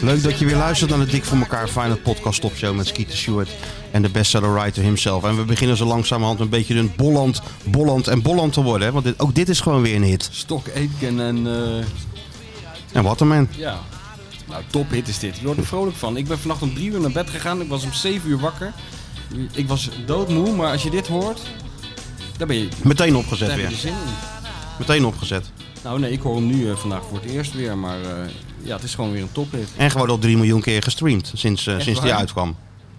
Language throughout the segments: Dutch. Leuk dat je weer luistert naar de Dik voor elkaar Final Podcast Topshow met Skeeter Stewart en de bestseller writer himself. En we beginnen zo langzamerhand een beetje een Bolland, Bolland en Bolland te worden. Hè? Want dit, ook dit is gewoon weer een hit. Stok, Aitken en eh, En wat een man. ja. Nou, tophit is dit. Je wordt er vrolijk van. Ik ben vannacht om drie uur naar bed gegaan. Ik was om zeven uur wakker. Ik was doodmoe, maar als je dit hoort, dan ben je, Meteen dan opgezet heb je er weer. zin in. Meteen opgezet. Nou nee, ik hoor hem nu eh, vandaag voor het eerst weer, maar eh, ja, het is gewoon weer een tophit. En gewoon al 3 miljoen keer gestreamd sinds, eh, Echt sinds die waar? uitkwam.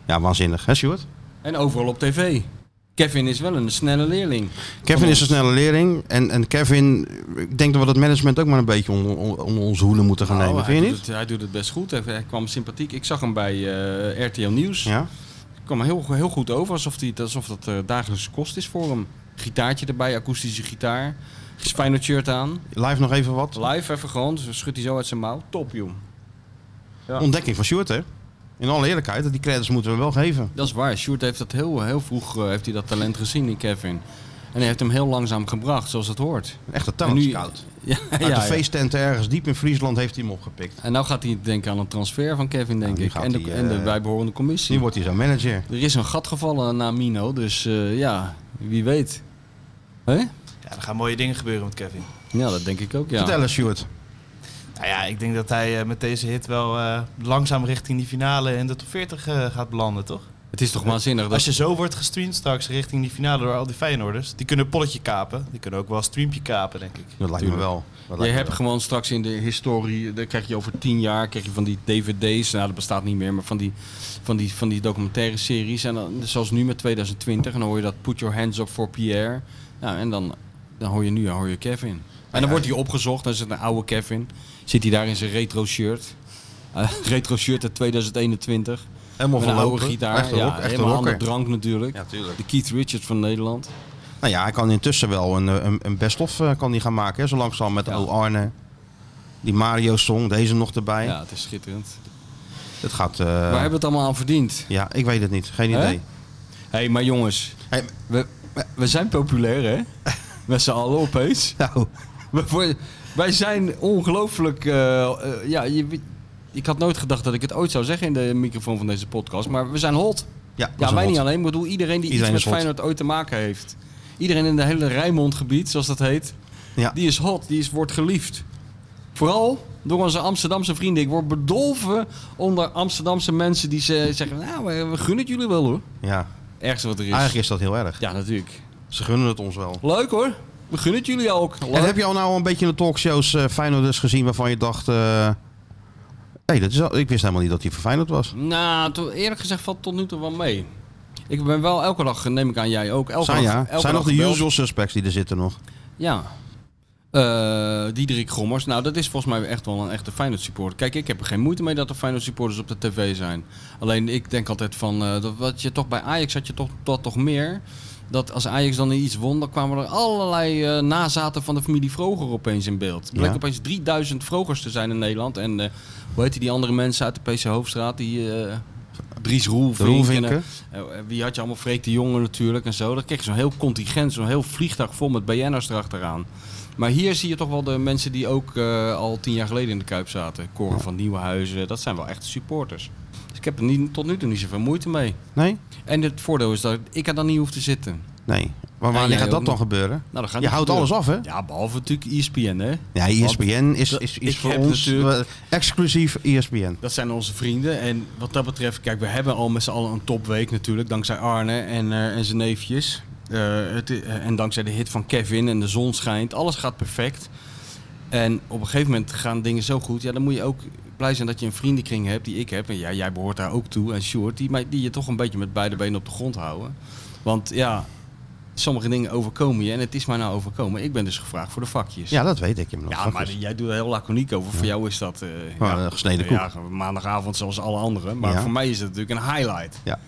Ja, waanzinnig. Hè, Stuart? En overal op tv. Kevin is wel een snelle leerling. Kevin Van is een ons. snelle leerling. En, en Kevin, ik denk dat we dat management ook maar een beetje onder on, on onze hoelen moeten gaan Nou, nemen. hij Vind je doet niet? het- hij doet het best goed. Hij, hij kwam sympathiek. Ik zag hem bij eh, RTL Nieuws. Ja? kwam heel, heel goed over, alsof, die, alsof dat eh, dagelijkse kost is voor hem. Gitaartje erbij, akoestische gitaar. Spinal shirt aan. Live nog even wat. Live even gewoon, dus schudt hij zo uit zijn mouw. Top, joh. Ja. Ontdekking van Stuart, hè? In alle eerlijkheid, die credits moeten we wel geven. Dat is waar, Sjoerd heeft dat heel, heel vroeg eh, heeft hij dat talent gezien in Kevin. En hij heeft hem heel langzaam gebracht, zoals het hoort. Echt een En nu- talentscout. Ja, Uit ja, de ja. feesttenten ergens diep in Friesland heeft hij hem opgepikt. En nou gaat hij denken aan een transfer van Kevin, denk nu ik. gaat En de, hij, en de eh, bijbehorende commissie. Nu wordt hij zo'n manager. Er is een gat gevallen na Mino, dus eh, ja, wie weet. Hè? Ja, er gaan mooie dingen gebeuren met Kevin. Ja, dat denk ik ook, ja. Vertel eens, Stuart. Nou ja, ik denk dat hij eh, met deze hit wel eh, langzaam richting die finale en de top 40 eh, gaat belanden, toch? Het is toch waanzinnig dat Als je zo wordt gestreamd straks richting die finale door al die Feyenoorders, die kunnen een polletje kapen. Die kunnen ook wel een streampje kapen, denk ik. Dat lijkt me wel. Dat Je lijkt me hebt wel. gewoon straks in de historie, dan krijg je over tien jaar, krijg je van die dvd's, nou dat bestaat niet meer, maar van die, van die, van die documentaire series. En dan, zoals nu met 2020, en dan hoor je dat Put Your Hands Up for Pierre. Nou, en dan, dan hoor je nu, dan hoor je Kevin. En dan wordt hij opgezocht, dan is het een oude Kevin. Zit hij daar in zijn retro shirt. Eh, retro shirt uit 2021. helemaal met een oude verlopen. gitaar. Echt een, ja, rock, echt een helemaal aan de rocker. drank natuurlijk. Ja, tuurlijk. de Keith Richards van Nederland. Nou ja, hij kan intussen wel een, eh, een, een best-of eh, kan die gaan maken. Hè? Zo langzaam met Ja. O Arne. Die Mario-song, deze nog erbij. Ja, het is schitterend. Het gaat... eh, Waar hebben we het allemaal aan verdiend? Ja, ik weet het niet. Geen Hè? idee. Hé, maar jongens, Hey, We, we zijn populair, hè? Met z'n allen opeens. nou, We voor- Wij zijn ongelooflijk... eh, eh, ja, je, weet- ik had nooit gedacht dat ik het ooit zou zeggen in de microfoon van deze podcast. Maar we zijn hot. ja, Ja, wij niet aan. alleen. Ik bedoel, iedereen die Iedereen is iets hot. met Feyenoord ooit te maken heeft. Iedereen in de hele Rijnmondgebied, zoals dat heet. Ja. Die is hot. Die is, wordt geliefd. Vooral door onze Amsterdamse vrienden. Ik word bedolven onder Amsterdamse mensen die ze, zeggen... Nou, we, we gunnen het jullie wel, hoor. Ja, Ergste wat er is. eigenlijk is dat heel erg. Dus- Ja, natuurlijk. Ze gunnen het ons wel. Leuk hoor. We gunnen het jullie ook. Leuk. En heb je al nou een beetje in de talkshows eh Feyenoorders gezien waarvan je dacht... eh, hey, dat is al- ik wist helemaal niet dat hij voor Feyenoord was. Nou, to- eerlijk gezegd valt tot nu toe wel mee. Ik ben wel elke dag, neem ik aan jij ook, elke zijn dag. ja, elke zijn dag nog de gebeld. usual suspects die er zitten nog. Ja. Eh Diederik Gommers. Nou, dat is volgens mij echt wel een echte Feyenoord supporter. Kijk, ik heb er geen moeite mee dat er Feyenoord supporters op de tv zijn. Alleen ik denk altijd van, eh, dat wat je toch bij Ajax had je toch, dat toch meer. Dat als Ajax dan iets won, dan kwamen er allerlei eh, nazaten van de familie Vroger opeens in beeld. Er bleek Ja. opeens 3000 Vrogers te zijn in Nederland. En eh, hoe heet die, die andere mensen uit de PC Hoofdstraat? Die, eh, Dries Roel, De Vink en, Roelvinken. eh, Wie had je allemaal? Freek de Jonge natuurlijk en zo. Dan kreeg je zo'n heel contingent, zo'n heel vliegtuig vol met BN'ers erachteraan. Maar hier zie je toch wel de mensen die ook eh, al tien jaar geleden in de Kuip zaten. Koren van Nieuwenhuizen, dat zijn wel echte supporters. Dus ik heb er niet, tot nu toe niet zoveel moeite mee. Nee? En het voordeel is dat ik er dan niet hoef te zitten. Nou, Nee. Maar Ja, wanneer jij gaat dat ook dan niet. gebeuren? Nou, dat gaat Je niet houdt alles gebeuren. af, hè? Ja, behalve natuurlijk E ESPN, hè. Ja, E ESPN is, dat- is, is ik voor heb ons natuurlijk- eh, exclusief ESPN. Dat zijn onze vrienden. En wat dat betreft, kijk, we hebben al met z'n allen een topweek natuurlijk. Dankzij Arne en, eh, en zijn neefjes. Eh, het, eh, en dankzij de hit van Kevin en de zon schijnt. Alles gaat perfect. En op een gegeven moment gaan dingen zo goed. Ja, dan moet je ook blij zijn dat je een vriendenkring hebt die ik heb. En ja, jij behoort daar ook toe. En Sjoerd, die, mij- die je toch een beetje met beide benen op de grond houden. Want ja, sommige dingen overkomen je. En het is mij nou overkomen. Ik ben dus gevraagd voor de vakjes. Ja, dat weet ik inmiddels. Ja, Dat maar is- jij doet er heel laconiek over. Voor jou is dat... eh, Gewoon Oh, een gesneden koek. Ja, maandagavond zoals alle anderen. Maar Ja. voor mij is dat natuurlijk een highlight. Ja.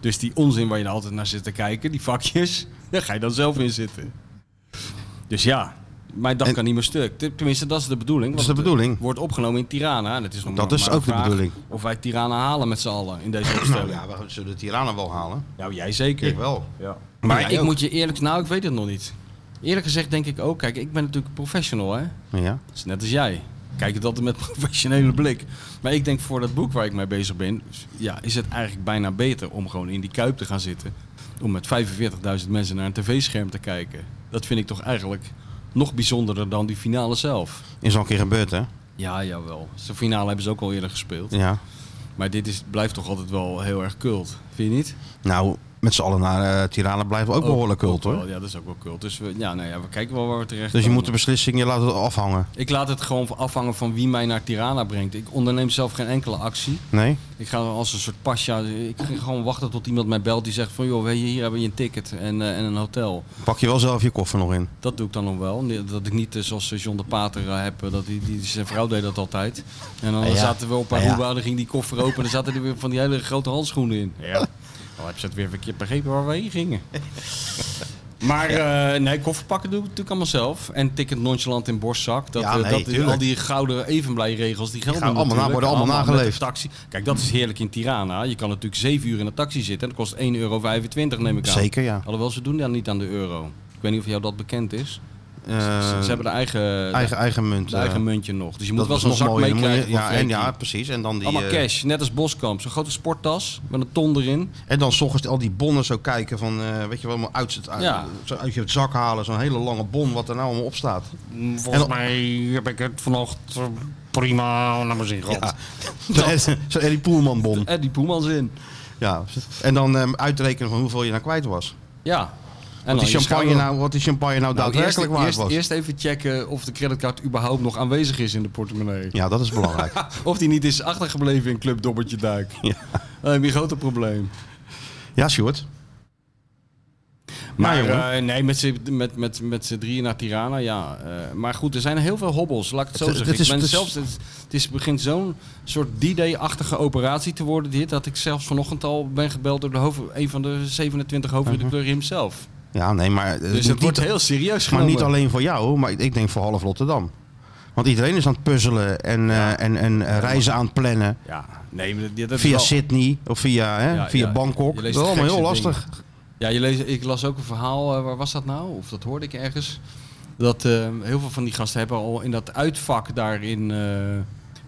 Dus die onzin waar je dan altijd naar zit te kijken, die vakjes, daar ga je dan zelf in zitten. Dus ja, mijn dag En- kan niet meer stuk. Ten- Tenminste, dat is de bedoeling. Dat is want de het, eh, bedoeling. Wordt opgenomen in Tirana. En het is nog Dat maar- is maar een ook de vraag bedoeling. Of wij Tirana halen met z'n allen in deze Nou opstelling. ja, we zullen de Tirana wel halen. Nou, jij zeker. Ik wel. Ja. Maar Maar jij ik ook. moet je eerlijk... Nou, ik weet het nog niet. Eerlijk gezegd denk ik ook. Kijk, ik ben natuurlijk professional, hè. Ja. Dat is net als jij. kijk het altijd met professionele blik. Maar ik denk voor dat boek waar ik mee bezig ben, ja, is het eigenlijk bijna beter om gewoon in die kuip te gaan zitten. Om met 45.000 mensen naar een tv-scherm te kijken. Dat vind ik toch eigenlijk nog bijzonderder dan die finale zelf. Is al een keer gebeurd, hè? Ja, jawel. Zijn finale hebben ze ook al eerder gespeeld. Ja. Maar dit is, blijft toch altijd wel heel erg cult. Vind je niet? Nou, met z'n allen naar eh Tirana blijven we ook behoorlijk cult, ook hoor. wel. Ja, dat is ook wel cult. Dus we, ja, nou ja, we kijken wel waar we Dus terecht je komen. moet de beslissing je laten afhangen. Ik laat het gewoon afhangen van wie mij naar Tirana brengt. Ik onderneem zelf geen enkele actie. Nee? Ik ga als een soort pasja. Ik ga gewoon wachten tot iemand mij belt die zegt van joh, weet je, hier hebben je een ticket en, eh, en een hotel. Pak je wel zelf je koffer nog in. Dat doe ik dan nog wel. Nee, Dat ik niet eh, zoals John de Pater eh, heb, eh, dat die, die, zijn vrouw deed dat altijd. En dan Ja. zaten we op Ja. Aruba, dan ging die koffer open en dan zaten er weer van die hele grote handschoenen in. Ja. Oh, Dan heb je het weer verkeerd begrepen waar we heen gingen. Maar eh, nee, kofferpakken doe ik natuurlijk allemaal zelf. En ticket nonchalant in borstzak. Dat, Ja, eh, nee, dat, tuurlijk. al die gouden evenblij-regels, die gelden gaan allemaal na- natuurlijk. worden allemaal met de nageleefd. Taxi. Kijk, dat is heerlijk in Tirana. Je kan natuurlijk zeven uur in een taxi zitten. En dat kost 1,25 euro, neem ik aan. Zeker, ja. Alhoewel, ze doen daar niet aan de euro. Ik weet niet of jou dat bekend is. Eh, ze, ze hebben de eigen, eigen, eigen munt. de eh, eigen muntje nog. Dus je moet dat wel was zo'n nog mooier. zak Dan moet je- meekrijgen. Ja, van en, 14. ja, precies. En dan, die, Allemaal eh, cash, net als Boskamp. Zo'n grote sporttas met een ton erin. en dan s ochtends al die bonnen zo kijken van, eh, weet je wel, maar uit, het- uit, Ja. zo uit je zak halen. Zo'n hele lange bon wat er nou allemaal op staat. Volgens mij heb ik het vanochtend eh, prima naar mijn zin gehad. Ja. Zo'n Ed- Zo'n Eddie Poelman bon. Eddie Eh, Poemans in. Ja. En dan eh, uitrekenen van hoeveel je nou kwijt was. Ja. En Wat die, je champagne schouder- nou, wat die champagne nou, Nou, eerst, daadwerkelijk waard eerst, was. eerst even checken of de creditcard überhaupt nog aanwezig is in de portemonnee. Ja, dat is belangrijk. Of die niet is achtergebleven in Club Dobbertje Duik. Ja. Dan heb je een groter probleem. ja, Sjoerd. Maar Nou, jongen. eh, nee, met z'n met, met, met z'n drieën naar Tirana, ja. Eh, maar goed, er zijn heel veel hobbels, laat ik het zo Het- zeggen. het is- ik ben het is- zelfs, het, het is, begint zo'n soort D-Day-achtige operatie te worden, dit. Dat ik zelfs vanochtend al ben gebeld door de hoofd, een van de 27 hoofdredacteuren hemzelf. Ja, nee, maar, eh, Dus het Mhm. Dus niet, wordt heel serieus maar genomen. niet alleen voor jou, maar ik denk voor half Rotterdam. Want iedereen is aan het puzzelen en, eh, en, en eh, reizen aan het plannen. Ja, nee, maar dit, dat is Via wel- Sydney of via, hè, Ja, via ja, Bangkok. je Dat leest is de allemaal heel gekste lastig. Ja, je leest, ik las ook een verhaal, eh, waar was dat nou? Of dat hoorde ik ergens. Dat eh, heel veel van die gasten hebben al in dat uitvak daarin, eh,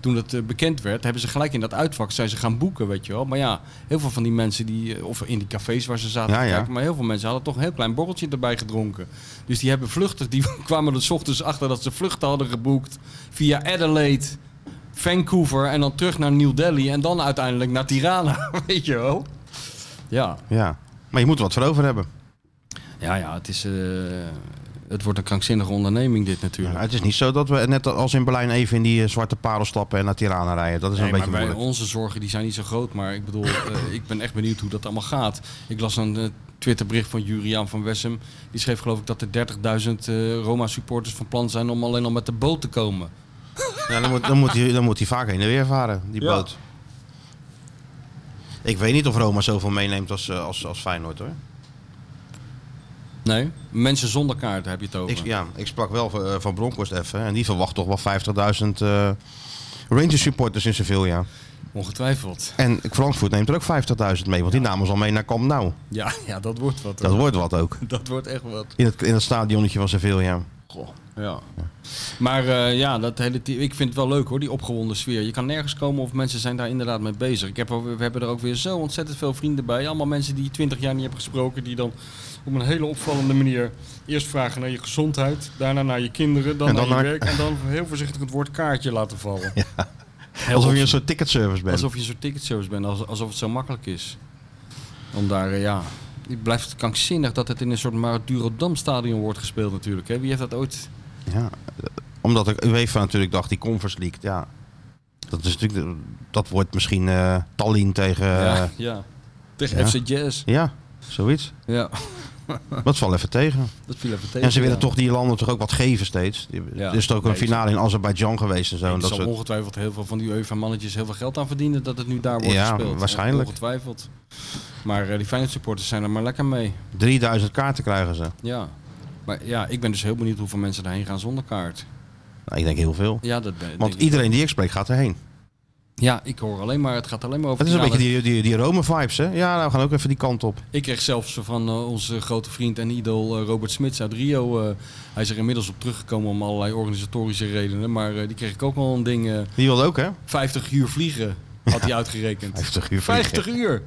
toen dat eh, bekend werd, hebben ze gelijk in dat uitvak zijn ze gaan boeken, weet je wel. Maar ja, heel veel van die mensen die, eh, of in die cafés waar ze zaten Ja, te ja. kijken, maar heel veel mensen hadden toch een heel klein borreltje erbij gedronken. Dus die hebben vluchtig, die kwamen er 's ochtends achter dat ze vluchten hadden geboekt via Adelaide. Vancouver en dan terug naar New Delhi en dan uiteindelijk naar Tirana, weet je wel? Ja. Ja. Maar je moet er wat voor over hebben. Ja, ja, het is. eh, het wordt een krankzinnige onderneming, dit natuurlijk. Ja, het is niet zo dat we net als in Berlijn even in die eh, zwarte parel stappen en naar Tirana rijden. Dat is een Nee, beetje maar wij- moeilijk. onze zorgen die zijn niet zo groot. Maar ik bedoel, eh, ik ben echt benieuwd hoe dat allemaal gaat. Ik las een eh, Twitterbericht van Juriaan van Wessem. Die schreef geloof ik dat er 30.000 eh, Roma-supporters van plan zijn om alleen al met de boot te komen. Ja, dan, moet, dan, moet hij, dan moet hij vaak heen en weer varen, die Ja. boot. Ik weet niet of Roma zoveel meeneemt als, eh, als, als Feyenoord hoor. Nee, mensen zonder kaart heb je het over. Ik, ja, ik sprak wel van, eh, van Bronkhorst even en die verwacht toch wel 50.000 eh Rangers supporters in Sevilla. Ongetwijfeld. En Frankfurt neemt er ook 50.000 mee, want die namen ze al mee naar Camp Nou. Ja, ja, dat wordt wat. Dat hoor. wordt wat ook. dat wordt echt wat. In het, in het stadionnetje van Sevilla. Ja. Maar eh, ja, dat hele team, ik vind het wel leuk hoor, die opgewonden sfeer. Je kan nergens komen of mensen zijn daar inderdaad mee bezig. Ik heb, er- we hebben er ook weer zo ontzettend veel vrienden bij. Allemaal mensen die je twintig jaar niet hebt gesproken, die dan op een hele opvallende manier eerst vragen naar je gezondheid, daarna naar je kinderen, dan, En dan naar je naar- werk en dan heel voorzichtig het woord kaartje laten vallen. Alsof je een soort ticketservice bent. Alsof je zo'n ticketservice bent, als- alsof het zo makkelijk is. Om daar, eh, ja... Het blijft krankzinnig dat het in een soort Maraduro-Dam-stadion wordt gespeeld natuurlijk. Hè? Wie heeft dat ooit... Ja, eh, omdat ik UEFA natuurlijk dacht, die Converse League, ja. Dat, is natuurlijk, de- dat wordt misschien eh, Tallinn tegen... eh, ja, ja. ja. Tegen ja. FC Jazz. zoiets. Ja, Dat valt even tegen. dat viel even tegen. En ze willen ja. toch die landen toch ook wat geven steeds. Die- Ja. Er is toch ook een Nee, finale in Azerbeidzjan geweest en zo. En Er dat zal soort... ongetwijfeld heel veel van die UEFA-mannetjes heel veel geld aan verdienen dat het nu daar wordt Ja, gespeeld. waarschijnlijk. Ongetwijfeld. Maar eh, die Feyenoord supporters zijn er maar lekker mee. 3000 kaarten krijgen ze. Ja. Maar ja, ik ben dus heel benieuwd hoeveel mensen daarheen gaan zonder kaart. Nou, ik denk heel veel. Ja, dat ben Want denk ik. iedereen die ik spreek gaat erheen. Ja, ik hoor alleen maar, het gaat alleen maar over Het is een finale. beetje die, die, die Rome-vibes, hè? Ja, nou, we gaan ook even die kant op. Ik kreeg zelfs van eh, onze grote vriend en idool eh, Robert Smits uit Rio. eh, hij is er inmiddels op teruggekomen om allerlei organisatorische redenen. Maar eh, die kreeg ik ook wel een ding. eh, Die wilde ook, hè? 50 uur vliegen had hij uitgerekend. 50 uur 50 uur!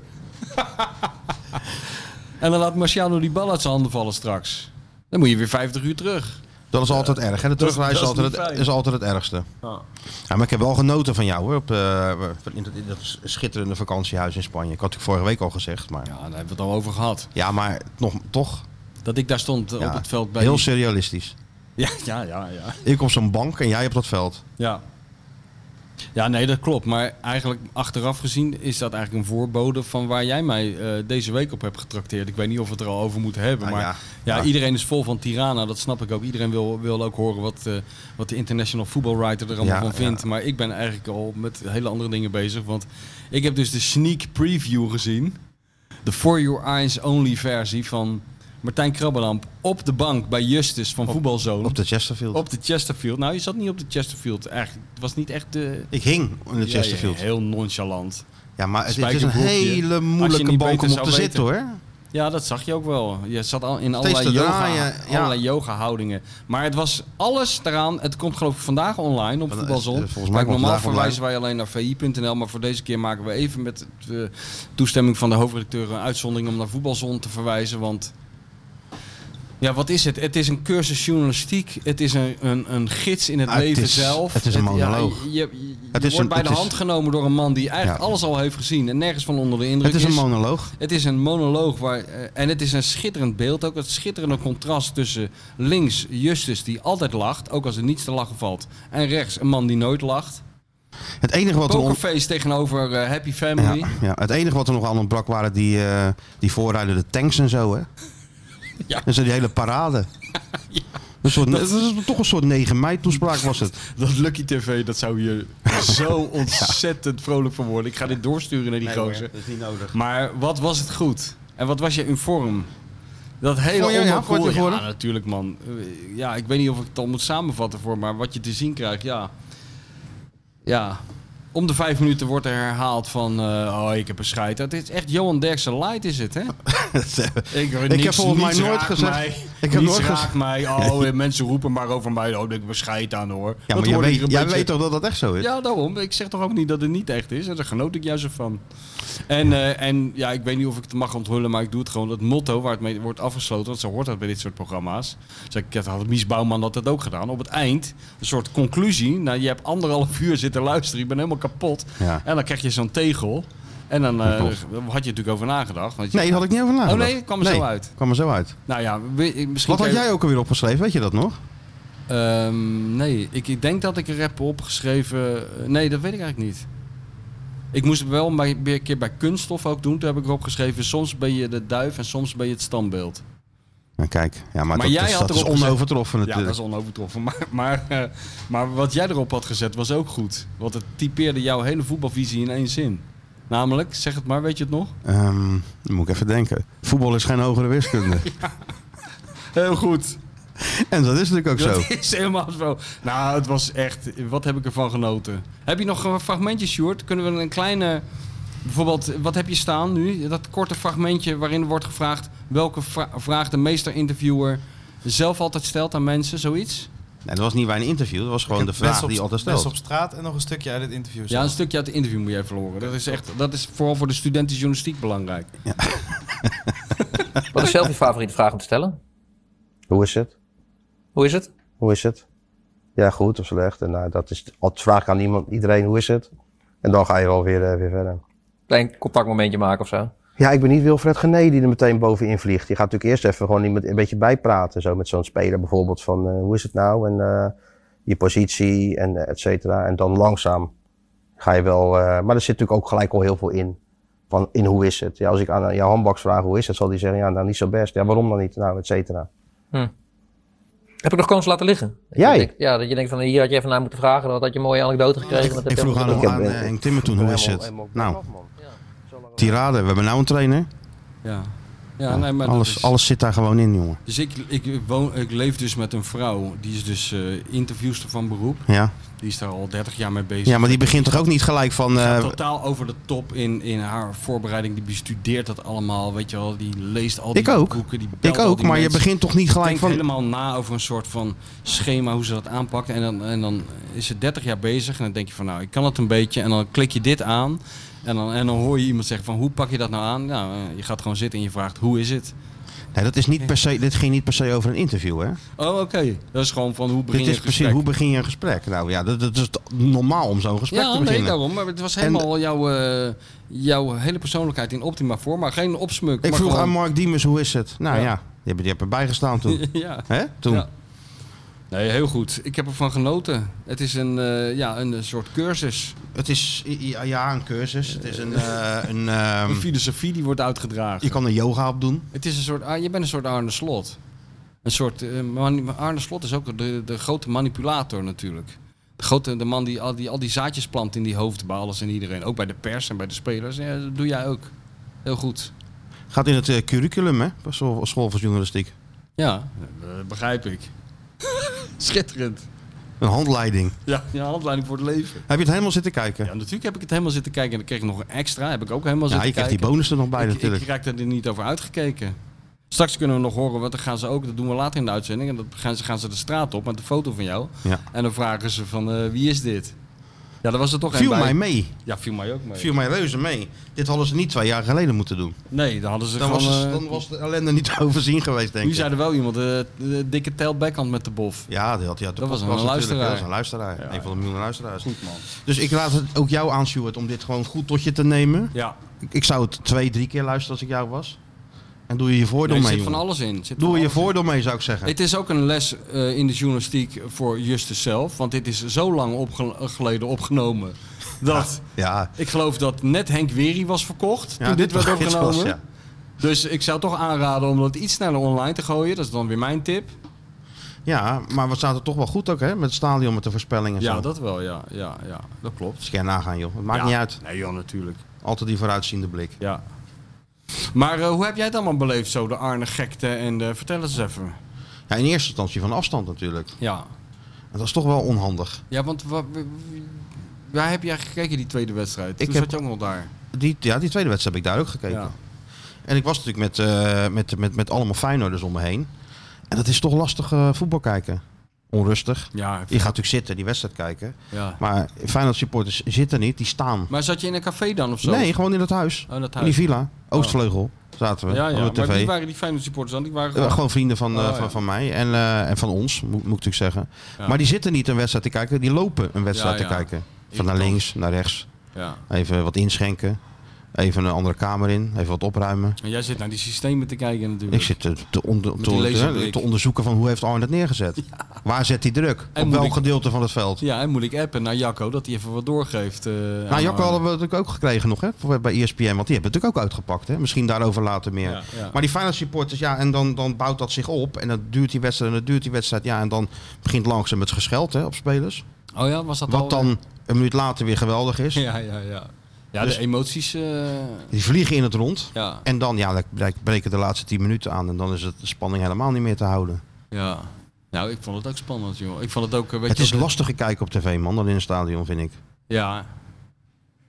en dan laat Marciano die bal uit zijn handen vallen straks. Dan moet je weer 50 uur terug. Dat is altijd erg, hè? De terugreis is, dat is altijd niet het- fijn. is altijd het ergste. Ja. Ja, maar ik heb wel genoten van jou, hoor. Op, eh, in, dat, in dat schitterende vakantiehuis in Spanje. Ik had het vorige week al gezegd, maar... daar hebben we het al over gehad. Ja, maar nog, toch Dat ik daar stond eh, Ja, op het veld bij... heel die- serialistisch. Ja, ja, ja, ja. Ik op zo'n bank en jij op dat veld. Ja. Ja, nee, dat klopt. Maar eigenlijk achteraf gezien is dat eigenlijk een voorbode van waar jij mij eh, deze week op hebt getrakteerd. Ik weet niet of we het er al over moeten hebben. Nou maar ja, ja, ja. iedereen is vol van Tirana, dat snap ik ook. Iedereen wil, wil ook horen wat, eh, wat de International Football Writer er allemaal Ja, van vindt. Maar ik ben eigenlijk al met hele andere dingen bezig. Want ik heb dus de sneak preview gezien. De For Your Eyes Only versie van Martijn Krabbelamp op de bank bij Justus van Voetbalzone. Op de Chesterfield. Op de Chesterfield. Nou, je zat niet op de Chesterfield. Eigenlijk, het was niet echt de... Ik hing in de Chesterfield. Ja, ja, heel nonchalant. Ja, maar het, het is een Spijkerbroekje. Als hele je moeilijke niet bank beter om op zou te weten. zitten, hoor. Ja, dat zag je ook wel. Je zat al in allerlei te yoga, draaien, ja. allerlei yoga houdingen. Maar het was alles eraan. Het komt geloof ik vandaag online op Van- Voetbalzon. eh, volgens mij Kijk, komt normaal vandaag verwijzen wij alleen naar vi.nl. Maar voor deze keer maken we even met de toestemming van de hoofdredacteur een uitzondering om naar Voetbalzon te verwijzen. Want ja, wat is het? Het is een cursus journalistiek. Het is een, een, een gids in het Ah, het leven is- zelf. het is een ja, monoloog. je je, je Het is wordt een- bij het de is- hand genomen door een man die eigenlijk Ja. alles al heeft gezien en nergens van onder de indruk Het is een is. monoloog. Het is een monoloog waar, eh, en het is een schitterend beeld. Ook het schitterende contrast tussen links Justus die altijd lacht, ook als er niets te lachen valt. En rechts een man die nooit lacht. Het enige wat er on- Pokerface tegenover eh, Happy Ja, Family. Ja, ja, het enige wat er nog aan ontbrak waren die, eh, die voorrijden, de tanks en zo, hè? Ja. En zo die hele parade. Een soort, dat... is toch een soort 9 mei toespraak was het. Dat Lucky TV, dat zou hier zo ontzettend vrolijk van worden. Ik ga dit doorsturen naar die gozer. is niet nodig. Maar wat was het goed? En wat was je in vorm? Dat hele Vond je- ja, onderkoor- vond je het geworden? Ja, natuurlijk man. Eh, Ja, ik weet niet of ik het al moet samenvatten voor, maar wat je te zien krijgt, ja. Ja. Om de vijf minuten wordt er herhaald van, eh, oh, ik heb een scheid. Het is echt Johan Derksen light is het, hè? eh, Ik, niks- heb volgens mij niets nooit raakt gezegd- Mij, ik heb niets nooit raakt mij. Oh, eh, mensen roepen maar over mij. Oh, ik heb een scheid aan, hoor. Ja, Dat maar jij, hoorde ik er weet, een jij beetje- weet toch dat dat echt zo is? ja, daarom. Ik zeg toch ook niet dat het niet echt is. En daar genoot ik juist van. En, eh, en ja, ik weet niet of ik het mag onthullen, maar ik doe het gewoon. Dat motto waar het mee wordt afgesloten, want zo hoort dat bij dit soort programma's. Dus ik dat had Mies Bouwman dat, dat ook gedaan. Op het eind, een soort conclusie. Nou, je hebt anderhalf uur zitten luisteren, je bent helemaal kapot. Ja. En dan krijg je zo'n tegel. En dan eh, Dat had klopt. je natuurlijk over nagedacht. Want je- Nee, daar had ik niet over nagedacht. Oh, nee, het kwam er zo uit. kwam er zo uit. Nou ja, we- misschien... Wat had kan je- jij ook alweer opgeschreven, weet je dat nog? Ehm, nee, ik, ik denk dat ik er heb opgeschreven. eh, Nee, dat weet ik eigenlijk niet. Ik moest het wel bij- weer een keer bij kunststof ook doen. Toen heb ik erop geschreven: soms ben je de duif en soms ben je het standbeeld. Nou, kijk, ja, maar, Maar dat, jij is, had dat is erop gezet- onovertroffen Ja, dat natuurlijk. is onovertroffen. Maar, maar, eh, maar wat jij erop had gezet was ook goed. Want het typeerde jouw hele voetbalvisie in één zin. Namelijk, zeg het maar, weet je het nog? Ehm, dan moet ik even denken. Voetbal is geen hogere wiskunde. Heel goed. En dat is natuurlijk ook zo. Dat is helemaal zo. Nou, het was echt... Wat heb ik ervan genoten? Heb je nog een fragmentje, Sjoerd? Kunnen we een kleine... Bijvoorbeeld, wat heb je staan nu? Dat korte fragmentje waarin wordt gevraagd... welke vra- vraag de meester-interviewer zelf altijd stelt aan mensen. Zoiets? Nee, dat was niet bij een interview, dat was gewoon de vraag Mensen op- die je altijd mensen stelt. op straat en nog een stukje uit het interview. Ja, een stukje uit het interview moet jij verloren. Dat is, echt, dat is vooral voor de studentenjournalistiek belangrijk. Wat is zelf je favoriete vraag om te stellen? Hoe is het? Hoe is het? Hoe is het? Ja, goed of slecht. En nou, dat is altijd vraag ik aan iemand, iedereen, hoe is het? En dan ga je wel weer, eh, weer verder. Klein contactmomentje maken of zo. Ja, ik ben niet Wilfred Gené die er meteen bovenin vliegt. Je gaat natuurlijk eerst even gewoon iemand een beetje bijpraten. Zo met zo'n speler bijvoorbeeld van eh, hoe is het nou en eh, je positie en eh, et cetera. En dan langzaam ga je wel... eh, maar er zit natuurlijk ook gelijk al heel veel in. Van in hoe is het? Ja, als ik aan eh, jouw handbaks vraag hoe is het, zal die zeggen ja, nou niet zo best. Ja, waarom dan niet? Nou, et cetera. Heb ik nog kansen laten liggen? Dat je Jij? denkt- ja, dat je denkt van hier had je even naar moeten vragen. Dan had je een mooie anekdote gekregen. Dat heb Ik je vroeg ook- aan, Ik heb- aan eh, Henk Timmer toen, hoe is Nou. Helemaal- het? helemaal Nou, af, man. tirade, we hebben nou een trainer. Ja. Ja, nee, maar dat alles, is- alles zit daar gewoon in, jongen. Dus ik, ik, woon, ik leef dus met een vrouw, die is dus eh interviewster van beroep. Ja. Die is daar al 30 jaar mee bezig. ja, maar die begint toch ook niet gelijk van... Gaat eh, totaal over de top in, in haar voorbereiding. Die bestudeert dat allemaal, weet je wel. Die leest al Ik die ook. boeken, die belt ik al ook, die maar je mensen. begint toch niet gelijk Denkt van... helemaal na over een soort van schema hoe ze dat aanpakt. En dan, en dan is ze 30 jaar bezig en dan denk je van nou, ik kan het een beetje. En dan klik je dit aan en dan, en dan hoor je iemand zeggen van hoe pak je dat nou aan? Nou, eh, je gaat gewoon zitten en je vraagt hoe is het? Nee, dat is niet per se, dit ging niet per se over een interview, hè? Oh, oké. Dat is gewoon van hoe begin Dit je is een precies, gesprek? hoe begin je een gesprek? Nou ja, dat, dat is t- normaal om zo'n gesprek ja, te nee, nou, beginnen. daarom. Maar het was En- helemaal jouw, eh, jouw hele persoonlijkheid in optima vorm. Maar geen opsmuk. ik maar vroeg gewoon- aan Mark Diemers, hoe is het? Nou Ja. ja, die hebben, die hebben erbij gestaan toen. ja. Hè? Toen. Ja. Nee, heel goed. Ik heb ervan genoten. Het is een, eh, ja, een eh, soort cursus. Het is i- i- ja, een cursus. Het is een... eh, een ehm, Een filosofie die wordt uitgedragen. je kan er yoga op doen. Het is een soort, ah, je bent een soort Arne Slot. Een soort, eh, mani- Arne Slot is ook de, de grote manipulator natuurlijk. De, grote, de man die al, die al die zaadjes plant in die hoofden bij alles en iedereen. Ook bij de pers en bij de spelers. Ja, dat doe jij ook. Heel goed. Gaat in het eh, curriculum, hè? Bij school, school voor journalistiek. Ja, Eh, dat begrijp ik. Schitterend. Een handleiding. Ja, ja, handleiding voor het leven. Heb je het helemaal zitten kijken? Ja, natuurlijk heb ik het helemaal zitten kijken. En dan kreeg ik nog een extra. Heb ik ook helemaal Ja, zitten je krijgt die kijken. bonus er nog bij ik, natuurlijk. ik raak er niet over uitgekeken. Straks kunnen we nog horen, want dan gaan ze ook, dat doen we later in de uitzending, en dan gaan ze, gaan ze de straat op met een foto van jou. Ja. En dan vragen ze van, eh, wie is dit? Ja, daar was er toch een Viel bij. mij mee. Ja, viel mij ook mee. Viel mij reuze mee. Dit hadden ze niet twee jaar geleden moeten doen. Nee, dan hadden ze Dan was, gewoon... het- eh, dan was de ellende niet te overzien geweest, denk nu ik. zei er wel iemand, eh, de dikke tail backhand met de bof. Ja, die had, die had de Dat was een podcast natuurlijk. luisteraar. Dat was een luisteraar. een van de miljoenen luisteraars. Goed man. Dus ik laat het ook jou aan, Stuart, om dit gewoon goed tot je te nemen. Ja, Ik, ik zou het twee, drie keer luisteren als ik jou was. En doe je je voordeel er mee, zit van jongen. alles in. Zit Doe van je je alles in. voordeel mee, zou ik zeggen. Het is ook een les eh, in de journalistiek voor Justus zelf, want dit is zo lang opge- geleden opgenomen dat... ja, Ik geloof dat net Henk Wery was verkocht ja toen dit werd was- opgenomen. ja. Dus ik zou toch aanraden om dat iets sneller online te gooien. Dat is dan weer mijn tip. ja, maar we zaten toch wel goed ook, hè? Met het stadion, met de voorspellingen en Ja, zo. dat wel. Ja, ja, ja. dat klopt. Dus kan je nagaan, joh. Het maakt Ja. niet uit. Nee joh, natuurlijk. Altijd die vooruitziende blik. Ja. Maar eh, hoe heb jij het allemaal beleefd zo, de Arne gekte en de... Vertel eens even. Ja, in eerste instantie van afstand natuurlijk. Ja, En dat is toch wel onhandig. ja want wa- wa- waar heb jij gekeken die tweede wedstrijd? Ik Toen heb- zat je ook nog daar. Die, ja, die tweede wedstrijd heb ik daar ook gekeken. Ja. En ik was natuurlijk met, eh, met, met, met allemaal Feyenoorders om me heen. En dat is toch lastig eh, voetbal kijken. Onrustig. Ja, Je gaat natuurlijk zitten, die wedstrijd kijken. ja. Maar Feyenoord supporters zitten niet, die staan. Maar zat je in een café dan of zo? Nee, gewoon in dat huis. Oh, dat In die huis. villa. Oostvleugel zaten we. Ja, ja, op de maar tv. die waren die fijne supporters dan? Die waren Eh, gewoon... gewoon vrienden van, eh, Oh, ja. van, van mij en, eh, en van ons, moet, moet ik natuurlijk zeggen. Ja. Maar die zitten niet een wedstrijd te kijken, die lopen een wedstrijd Ja, te ja. kijken. Van naar Irritant. links, naar rechts. Ja. Even wat inschenken. Even een andere kamer in. Even wat opruimen. En jij zit naar die systemen te kijken natuurlijk. Ik zit te, te, onder- Met te, die te, laserblik. te onderzoeken van hoe heeft Arne het neergezet. Waar zet hij druk? En Op moet welk ik- gedeelte van het veld? Ja, en moet ik appen naar Jacco dat hij even wat doorgeeft. eh, Nou, aan Jacco Arne. hadden we natuurlijk ook gekregen nog hè, voor- bij E ESPN. Want die hebben het natuurlijk ook uitgepakt. Hè? Misschien daarover later meer. Ja, ja. Maar die finance supporters, ja, en dan, dan bouwt dat zich op. En dan duurt die wedstrijd en dan duurt die wedstrijd. Ja, en dan begint langzaam het gescheld hè, op spelers. Oh ja, was dat Wat al- dan een minuut later weer geweldig is. Ja, ja, ja. Ja, Dus- de emoties... eh, Die vliegen in het rond. ja, En dan, ja, dan breken de laatste 10 minuten aan. En dan is het de spanning helemaal niet meer te houden. ja. Nou, ik vond het ook spannend, joh. Ik vond het ook... eh, Weet Het je, is de- lastiger kijken op tv, man, dan in een stadion, vind ik. Ja.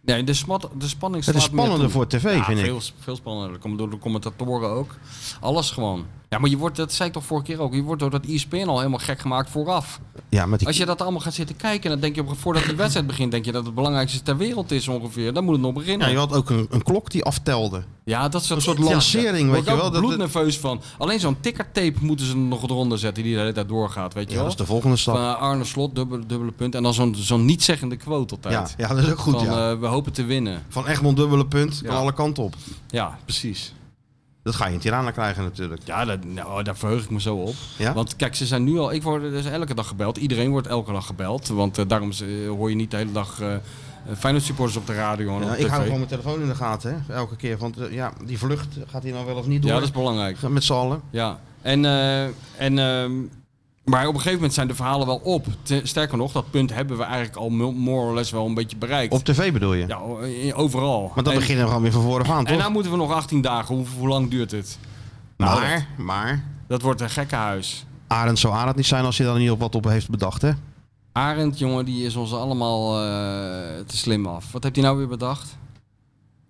Nee, de, smat, de spanning Het is slaat meer spannender toe. voor tv, Ja, vind ik. veel, veel spannender. Dat komt door de commentatoren ook. Alles gewoon. Ja, maar je wordt, dat zei ik toch vorige keer ook, je wordt door dat E ESPN al helemaal gek gemaakt vooraf. Ja, met die... Als je dat allemaal gaat zitten kijken, dan denk je op, voordat die wedstrijd begint, denk je dat het belangrijkste ter wereld is ongeveer. Dan moet het nog ja, beginnen. je had ook een, een klok die aftelde. Ja, dat soort, Een soort lancering, weet je wel, Ik dat- bloednerveus van. Alleen zo'n tikkertape moeten ze er nog eronder zetten die de hele tijd doorgaat, weet je Ja, dat wel. is de volgende stap. Van eh, Arne Slot, dubbele, dubbele punt. En dan zo'n zo'n niet-zeggende quote ja, altijd. ja, dat is ook goed, van, ja. eh, we hopen te winnen. Van Egmond dubbele punt, Ja. kan alle kanten op. Ja, precies. Dat ga je in Tirana krijgen natuurlijk. Ja, dat, nou, daar verheug ik me zo op. Ja? Want kijk, ze zijn nu al. Ik word dus elke dag gebeld. Iedereen wordt elke dag gebeld. Want eh, daarom eh, hoor je niet de hele dag eh Feyenoord supporters op de radio en Ja, op ik tv. hou gewoon mijn telefoon in de gaten, hè. Elke keer, want eh, ja, die vlucht gaat hij nou wel of niet door. ja, dat is belangrijk. Met z'n allen. Ja, en, eh, en ehm, maar op een gegeven moment zijn de verhalen wel op. Te- sterker nog, dat punt hebben we eigenlijk al mo- more or less wel een beetje bereikt. Op tv bedoel je? ja, o- eh, overal. Maar dan en, beginnen we gewoon weer van voren af aan, en toch? nou moeten we nog 18 dagen. Hoe, hoe lang duurt het? Maar, maar, Dat wordt een gekkenhuis. Arend zou Arend niet zijn als hij daar niet op wat op heeft bedacht, hè? Arend, jongen, die is ons allemaal eh, te slim af. Wat heeft hij nou weer bedacht?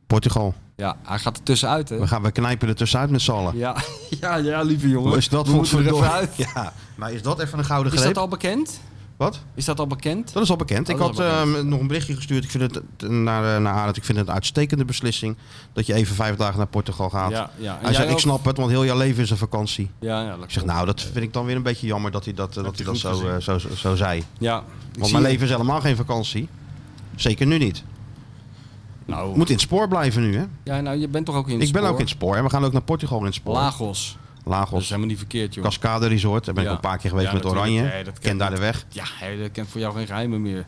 Portugal. Ja, hij gaat er tussenuit, hè? We, gaan, we knijpen er tussenuit met z'n allen. Ja, ja, ja, lieve jongen. Hoe is dat We moeten er godverdomme? even uit. Ja, maar is dat even een gouden Is greep? dat al bekend? Wat? Is dat al bekend? Dat is al bekend. Oh, ik dat is had al bekend. ehm, nog een berichtje gestuurd. Ik vind het eh, naar, eh, naar Arend. Ik vind het een uitstekende beslissing dat je even vijf dagen naar Portugal gaat. ja. En Hij jij zei, ik ook? snap het, want heel jouw leven is een vakantie. Ja, ja, dat Ik zeg, nou, dat vind ik dan weer een beetje jammer dat hij dat, eh, dat, hij hij dat goed zo, eh, zo, zo, zo zei. Ja. Ik Want zie mijn je. leven is helemaal geen vakantie. Zeker nu niet. Nou, Moet in het spoor blijven nu, hè? ja, nou, je bent toch ook in het ik ben spoor? ook in het spoor. En we gaan ook naar Portugal in het spoor. Lagos. Dat is Lagos. helemaal niet verkeerd, joh. Cascade Resort. Daar ben ik Ja. ook een paar keer geweest Ja, met natuurlijk. Oranje. Ja, dat Ken ken daar ik. de weg. Ja, hè, dat kent voor jou geen geheimen meer.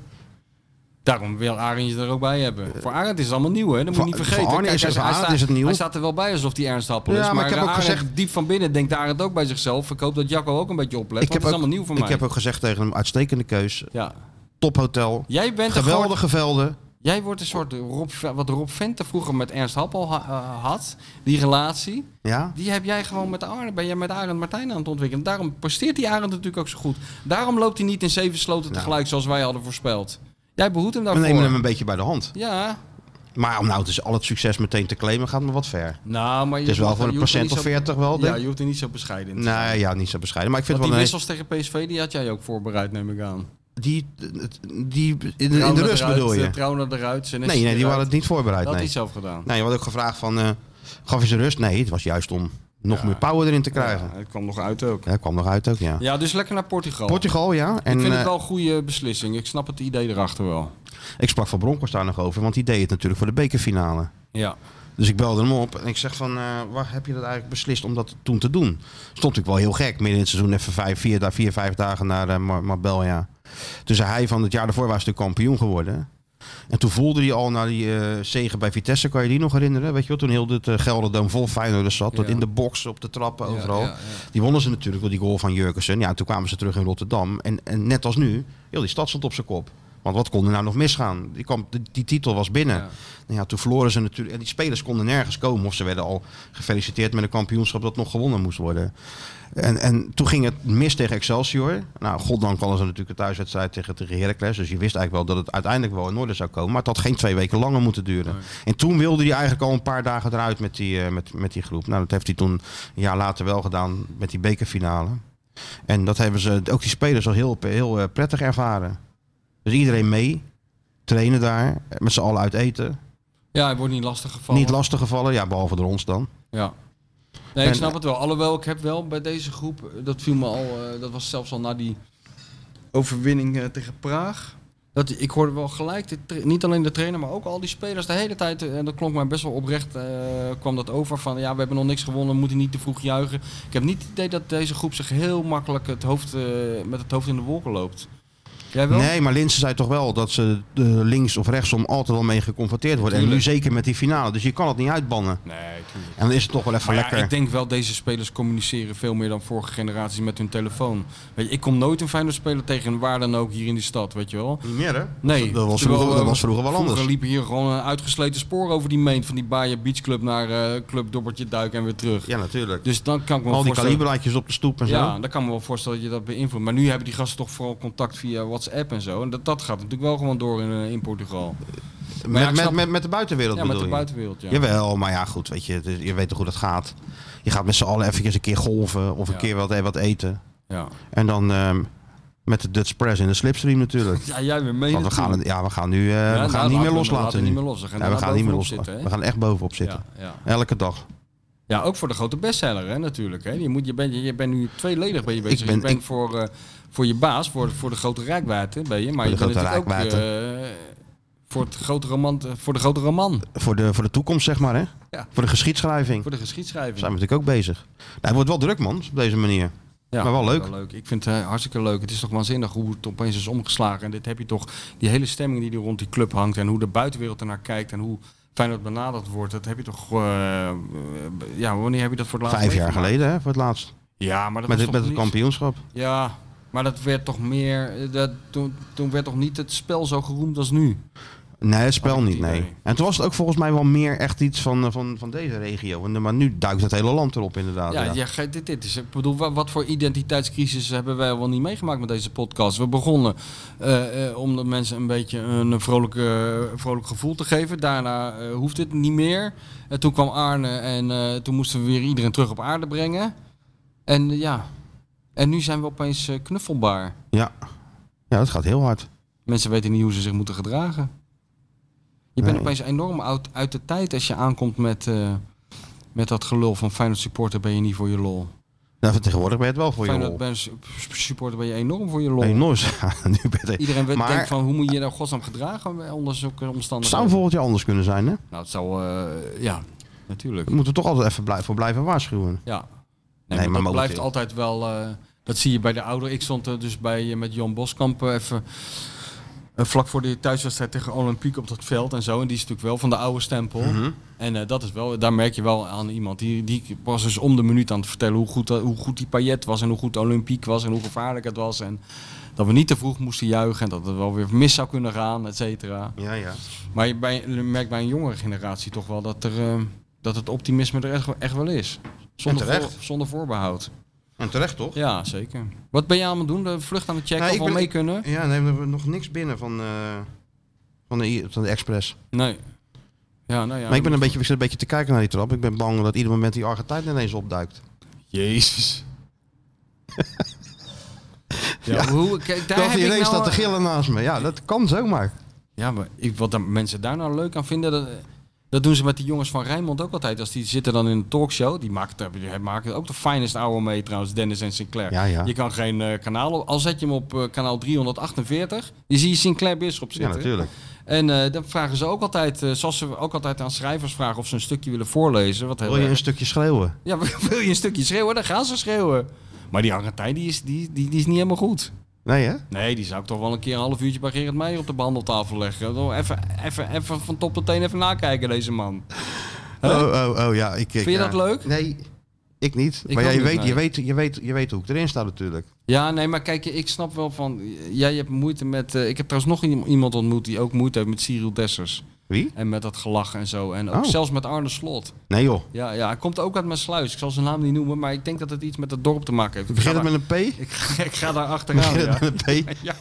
Daarom wil Arend je er ook bij hebben. Voor Arend is het allemaal nieuw, hè? Dat moet Eh, je voor- niet vergeten. voor Arne is hij het- voor hij Arend is het nieuw. Hij staat er wel bij alsof hij Ernst Happel Ja, is. maar maar ik heb ook Arend, gezegd- diep van binnen denkt Arend ook bij zichzelf. Ik hoop dat Jacco ook een beetje oplet, Ik heb want het is ook- dus allemaal nieuw voor Ik mij. heb ook gezegd tegen hem, uitstekende keus. Ja. Tophotel. Jij bent een soort- Geweldige velden. Jij wordt een soort Rob, wat Rob Venter vroeger met Ernst Happel ha- eh, had, die relatie, Ja. die heb jij gewoon met Arne, ben jij met Arend Martijn aan het ontwikkelen. Daarom presteert die Arend natuurlijk ook zo goed. Daarom loopt hij niet in zeven sloten Ja. tegelijk zoals wij hadden voorspeld. Jij behoedt hem We daarvoor. nemen hem een beetje bij de hand. Ja, Maar om nou dus al het succes meteen te claimen gaat me wat ver. nou, maar je Het is wel hoeft- voor een je hoeft er procent niet of zo- veertig wel, Ja, denk ik. je hoeft er niet zo bescheiden in te zijn. Nee, ja, niet zo bescheiden. Maar ik vind Want het die wel een... wissels tegen PSV, die had jij ook voorbereid, neem ik aan. Die, die, in, de- in de Trauner rust eruit, bedoel eh, je? Trauner eruit, Senesi Nee, nee, die eruit. waren het niet voorbereid. Dat had Nee. hij zelf gedaan. nee, je had ook gevraagd van, eh, gaf je ze rust? Nee, het was juist om nog Ja. meer power erin te krijgen. Ja, het kwam nog uit ook. Ja, kwam nog uit ook, ja. Ja, dus lekker naar Portugal. Portugal, ja. En ik vind eh, het wel een goede beslissing. Ik snap het idee erachter wel. ik sprak van Broncos daar nog over, want die deed het natuurlijk voor de bekerfinale. Ja. Dus ik belde hem op en ik zeg van, eh, waar heb je dat eigenlijk beslist om dat toen te doen? Stond natuurlijk wel heel gek, midden in het seizoen even vijf, vier, da- vier vijf dagen naar eh, Mar- Marbella. Toen zei hij van, het jaar daarvoor was hij natuurlijk kampioen geworden. En toen voelde hij al naar die eh zegen bij Vitesse, kan je die nog herinneren? Weet je wel, toen heel het eh, Gelderdoom vol Feyenoorders zat, tot Ja. in de box, op de trappen, overal. Ja, ja, Die wonnen ze natuurlijk door die goal van Jurkensen. Ja, toen kwamen ze terug in Rotterdam. En, en net als nu, heel die stad stond op zijn kop. Want wat kon er nou nog misgaan? Die, kwam, die, die titel was binnen. Ja. Nou ja, toen verloren ze natuurlijk. En die spelers konden nergens komen. Of ze werden al gefeliciteerd met een kampioenschap dat nog gewonnen moest worden. En, en toen ging het mis tegen Excelsior. Nou, goddank hadden ze natuurlijk een thuiswedstrijd tegen, tegen Heracles. Dus je wist eigenlijk wel dat het uiteindelijk wel in orde zou komen. Maar het had geen twee weken langer moeten duren. En toen wilde hij eigenlijk al een paar dagen eruit met die, eh, met, met die groep. Nou, dat heeft hij toen een jaar later wel gedaan met die bekerfinale. En dat hebben ze, ook die spelers al heel, heel eh, prettig ervaren. Dus iedereen mee, trainen daar, met z'n allen uit eten. Ja, hij wordt niet lastig gevallen. Niet lastig gevallen, ja, behalve door ons dan. Ja. Nee, En- ik snap het wel. Alhoewel, ik heb wel bij deze groep, eh, dat viel me al, eh, dat was zelfs al na die overwinning eh, tegen Praag. Dat, ik hoorde wel gelijk, de tra- niet alleen de trainer, maar ook al die spelers de hele tijd. eh, En dat klonk mij best wel oprecht, eh, kwam dat over van ja, we hebben nog niks gewonnen, we moeten niet te vroeg juichen. Ik heb niet het idee dat deze groep zich heel makkelijk het hoofd, eh, met het hoofd in de wolken loopt. Jij wel? Nee, maar Linsen zei toch wel dat ze eh, links of rechtsom altijd wel mee geconfronteerd worden. En nu Tuurlijk. zeker met die finale. Dus je kan het niet uitbannen. Nee, tuurlijk. En dan is het toch wel even Maar lekker. ja, ik denk wel, deze spelers communiceren veel meer dan vorige generaties met hun telefoon. Weet je, ik kom nooit een Feyenoord speler tegen, waar dan ook, hier in die stad, weet je wel. Niet meer, hè? Nee, Dat was terwijl, vroeger- dat eh, was vroeger wel anders. Vroeger liepen hier gewoon een uitgesleten spoor over die main van die Bayer Beach Club naar eh, Club Dobbertje Duik en weer terug. Ja, natuurlijk. Dus dan kan ik me wel Al die voorstellen... kaliberlaatjes op de stoep en zo. Ja, dan kan ik me wel voorstellen dat je dat beïnvloedt. Maar nu hebben die gasten toch vooral contact via WhatsApp en zo. En dat, dat gaat natuurlijk wel gewoon door in, eh, in Portugal. met, ja, ik snap- met, met, met de buitenwereld Ja, bedoel met de je? buitenwereld, ja. Jawel, maar ja, goed, weet je, het is- je weet toch hoe dat gaat. Je gaat met z'n allen eventjes een keer golven of een Ja. keer wat, eh, wat eten. Ja. En dan ehm, met de Dutch Press in de slipstream natuurlijk. ja, jij weer mee Want we gaan, natuurlijk. het- ja, we gaan nu eh, Ja, we nou, gaan het niet meer laten we- loslaten laten we nu. niet meer los. We gaan, nou Ja, we gaan niet meer loslaten. Zitten, hè? we gaan echt bovenop zitten. Ja, ja. Elke dag. Ja, ook voor de grote bestseller hè, natuurlijk. Hè. Je, moet, je, bent, je bent nu tweeledig ben je bezig. ben- je bent ik- voor, eh, voor je baas, voor, voor de grote rijkwijde ben je. Maar Voor je de bent grote natuurlijk ook eh, voor, het grote roman, voor de grote roman. Voor de, voor de toekomst, zeg maar. Hè? Ja. Voor de geschiedschrijving. Voor de geschiedschrijving. zijn we natuurlijk ook bezig. Nou, het wordt wel druk, man, op deze Nou, manier. Ja, maar wel leuk. Ik vind het eh, hartstikke leuk. Het is toch waanzinnig hoe het opeens is omgeslagen. En dit heb je toch, die hele stemming die er rond die club hangt. En hoe de buitenwereld ernaar kijkt. En hoe fijn dat benaderd wordt. Dat heb je toch, eh, eh, ja, wanneer heb je dat voor het laatst Vijf jaar meegemaakt? geleden, hè, voor het laatst. Ja, maar met dat was het, toch met het niks? kampioenschap. Ja, maar dat werd toch meer. eh, Dat, toen, toen werd toch niet het spel zo geroemd als nu. Nee, het spel Had ik het niet, nee. idee. En toen was het ook volgens mij wel meer echt iets van, eh, van, van deze regio. En, maar nu duikt het hele land erop inderdaad. Ja, Ja, ja. ge- dit, dit is. Ik bedoel, wa- wat voor identiteitscrisis hebben wij wel niet meegemaakt met deze podcast? We begonnen eh, eh, om de mensen een beetje een vrolijk, eh, vrolijk gevoel te geven. Daarna eh, hoeft het niet meer. En toen kwam Arne en eh, toen moesten we weer iedereen terug op aarde brengen. En eh, ja, en nu zijn we opeens eh, knuffelbaar. Ja, dat gaat heel hard. Mensen weten niet hoe ze zich moeten gedragen. Je bent Nee. opeens enorm oud, uit de tijd als je aankomt met, eh, met dat gelul van Feyenoord supporter ben je niet voor je lol. Nou, tegenwoordig ben je het wel voor je Feyenoord lol. ben, supporter ben je enorm voor je lol. Enorm. Ja, nu ben je- Iedereen weet, Maar- denkt van hoe moet je je nou godsnaam gedragen onder zulke Het omstandigheden. zou volgend jaar anders kunnen zijn, hè? Nou, het zou... eh, ja, natuurlijk. Daar moeten we toch altijd even blij- voor blijven waarschuwen. Ja. Nee, maar Nee, maar dat momenteel. blijft altijd wel... eh, dat zie je bij de ouder. Ik stond er dus bij, eh, met Jan Boskamp eh, even... eh, vlak voor de thuiswedstrijd tegen Olympiek op dat veld en zo. En die is natuurlijk wel van de oude stempel. En eh, dat is wel, daar merk je wel aan iemand. Die, die was dus om de minuut aan het vertellen hoe goed, dat- hoe goed die paillet was. En hoe goed de Olympiek was. En hoe gevaarlijk het was. En dat we niet te vroeg moesten juichen. En dat het wel weer mis zou kunnen gaan, et cetera. Ja, ja. Maar je, bij, je merkt bij een jongere generatie toch wel dat, er, eh, dat het optimisme er echt, echt wel is. Zonder, En terecht. voor- zonder voorbehoud. En terecht, toch? Ja, zeker. Wat ben je aan het doen? De vlucht aan het checken Nou, of ik we ben- mee kunnen? Ja, nee, we hebben nog niks binnen van, eh, van, de, van de Express. Nee. Ja, nou ja. maar ik, ben een beetje, ik zit een beetje te kijken naar die trap. Ik ben bang dat ieder moment die Argentijn ineens opduikt. Jezus. ja, Hoe, kijk, dat daar heb hij ik ineens nou... staat te gillen naast me. Ja, dat kan zomaar. Ja, maar ik, wat dan, mensen daar nou leuk aan vinden, dat, dat doen ze met die jongens van Rijnmond ook altijd. Als die zitten dan in een talkshow, die maken, het- die maken ook de finest hour mee trouwens, Dennis en Sinclair. Ja, ja. Je kan geen eh, kanaal op, al zet je hem op eh, kanaal 348, je ziet Sinclair Bisschop Ja, zitten. natuurlijk. En eh, dan vragen ze ook altijd, eh, zoals ze ook altijd aan schrijvers vragen of ze een stukje willen voorlezen. Wat heel Wil je erg- een stukje schreeuwen? ja, wil je een stukje schreeuwen, dan gaan ze schreeuwen. Maar die Argentijn, die is, die, die, die is niet helemaal goed. Nee, hè? Nee, die zou ik toch wel een keer een half uurtje bij Gerrit Meijer op de behandeltafel leggen. Toch Even, even, even van top tot teen even nakijken, deze man. Oh, oh, oh, ja. Ik, ik- Vind je ja. dat leuk? Nee, ik niet. Ik maar ja, ook je, niet, weet, nee. je, weet, je, weet, je weet hoe ik erin sta natuurlijk. Ja, nee, maar kijk, ik snap wel van... Jij hebt moeite met... eh, ik heb trouwens nog iem- iemand ontmoet die ook moeite heeft met Cyril Dessers. Wie? En met dat gelach en zo. En ook Oh. zelfs met Arne Slot. Nee, joh. Ja, ja, hij komt ook uit mijn sluis. Ik zal zijn naam niet noemen, maar ik denk dat het iets met het dorp te maken heeft. Ik ga Begint het daar- met een P? ik, ga- ik ga daar achteraan, Begint het ja. met een P? Ja.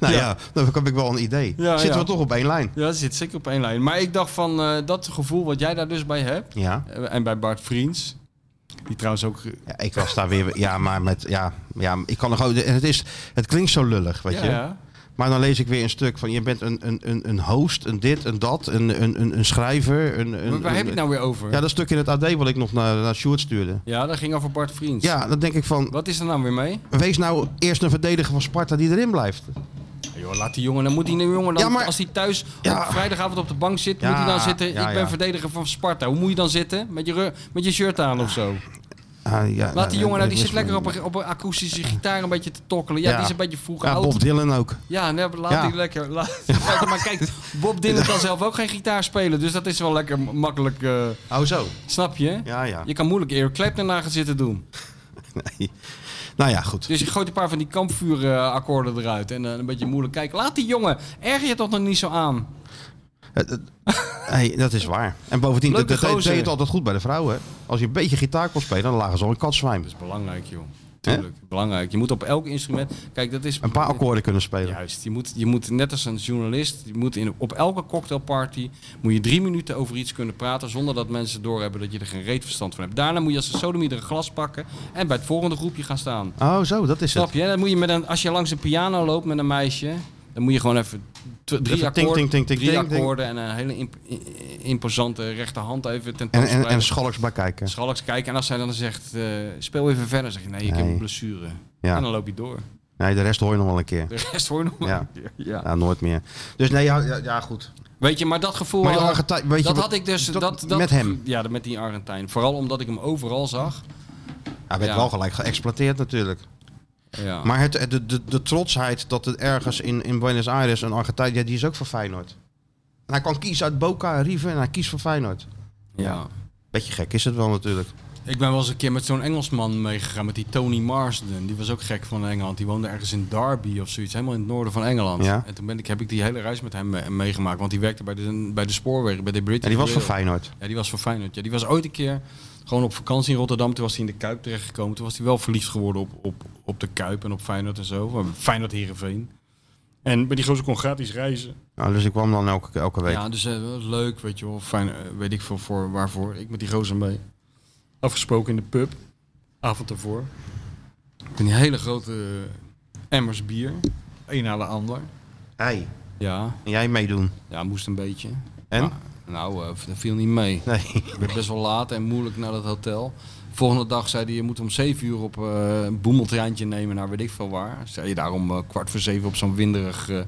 Nou ja. dan heb ik wel een idee. Ja, Zitten ja. we toch op één lijn? Ja, dat zit zeker op één lijn. Maar ik dacht van eh, dat gevoel wat jij daar dus bij hebt... Ja. eh, en bij Bart Vriends... Die trouwens ook eh, ja. Ik was daar weer... Ja, maar met... Ja, ja ik kan nog... en Het, is, het klinkt zo lullig, weet je. Maar dan lees ik weer een stuk van je bent een, een, een, een host, een dit, een dat, een, een, een, een schrijver. Een, een, Maar waar een- heb je het nou weer over? Ja, Ja, dat stuk in het AD wat ik nog naar, naar Sjoerd stuurde. dat ging over Bart Vriends. Ja, dan denk ik van, Wat is er nou weer mee? wees nou eerst een verdediger van Sparta die erin blijft. joh, laat die jongen, dan moet die jongen dan, Ja, maar- als hij thuis Ja. op vrijdagavond op de bank zit, Ja, moet hij dan zitten. ja, ik ben ja. verdediger van Sparta. Hoe moet je dan zitten? Met je, ru- met je shirt aan of zo. Ah, ja, Laat die nou, jongen, nou, die dat zit is- lekker op een, op een akoestische gitaar een beetje te tokkelen. Ja, Ja. die is een beetje vroeg Ja, oud. Bob Dylan ook. Ja, nee, laat Ja. die lekker. Laat, maar kijk, Bob Dylan kan zelf ook geen gitaar spelen, dus dat is wel lekker makkelijk. eh, Oh zo. snap je? Ja, ja. Je kan moeilijk Eric Clapton na gaan zitten doen. Nee. Nou ja, goed. Dus je gooit een paar van die kampvuurakkoorden eruit en eh, een beetje moeilijk kijken. Laat die jongen, erger je toch nog niet zo aan? Het- het- hey, dat is waar. En bovendien, dat Leuke dat deed gozer. deed het altijd goed bij de vrouwen. Als je een beetje gitaar kon spelen, dan lagen ze al een katzwijn. Dat is belangrijk, joh. Tuurlijk, belangrijk. Je moet op elk instrument... Kijk, dat is... Een paar akkoorden kunnen spelen. Juist, je moet, je moet net als een journalist, je moet in, op elke cocktailparty moet je drie minuten over iets kunnen praten zonder dat mensen doorhebben dat je er geen reet verstand van hebt. Daarna moet je als een sodemieter een glas pakken en bij het volgende groepje gaan staan. Oh zo, dat is het. Snap je? Dan moet je met een, als je langs een piano loopt met een meisje, dan moet je gewoon even tw- drie Even akkoorden, ting, ting, ting, ting, drie ting, ting. akkoorden en een hele imp- i- i- imposante rechterhand even En, en, tentoonspreiden. en Schalks bij kijken. Schalks kijken en als zij dan zegt, eh, speel even verder, zeg je nee, ik heb Nee. een blessure. Ja. En dan loop je door. Nee, de rest hoor je nog wel een keer. De rest hoor je nog maar. Ja. Ja. Ja. Ja, nooit meer. Dus nee, ja, ja, ja, goed. Weet je, maar dat gevoel... Maar die had- Argentijn, weet je Oh, dat wat- had ik dus... dat- Dat, dat, met hem. Ja, dat met die Argentijn. Vooral omdat ik hem overal zag. Hij werd Ja. wel gelijk geëxploiteerd natuurlijk. Ja. Maar het, de, de, de trotsheid dat het ergens in, in Buenos Aires een Argentijn... Ja, die is ook voor Feyenoord. En hij kan kiezen uit Boca, River en hij kiest voor Feyenoord. ja. Beetje gek is het wel natuurlijk. Ik ben wel eens een keer met zo'n Engelsman meegegaan, met die Tony Marsden. Die was ook gek van Engeland. Die woonde ergens in Derby of zoiets, helemaal in het noorden van Engeland. Ja. En toen ben ik, heb ik die hele reis met hem me- meegemaakt, want die werkte bij de, bij de spoorwegen, bij de British En die was van Rail. Feyenoord. Ja, die was van Feyenoord. Ja, die was ooit een keer gewoon op vakantie in Rotterdam. Toen was hij in de Kuip terechtgekomen. Toen was hij wel verliefd geworden op, op, op de Kuip en op Feyenoord en zo. Maar Feyenoord Herenveen. En bij die gozer kon gratis reizen. Nou, dus ik kwam dan elke, elke week. Ja, dus eh, wel leuk, weet je wel. Fijn, eh, weet ik veel voor, waarvoor. Ik met die gozer mee. Afgesproken in de pub. Avond ervoor. Met die hele grote eh, emmers bier. Een na de ander. Hey, Ja, en jij meedoen? ja moest een beetje. En? Ja, nou, eh, dat viel niet mee. Nee. Ik werd best wel laat en moeilijk naar dat hotel. Volgende dag zei hij, je moet om 7 uur op eh, een boemeltreintje nemen naar weet ik veel waar. Zei je daar om eh, kwart voor zeven op zo'n winderig, eh,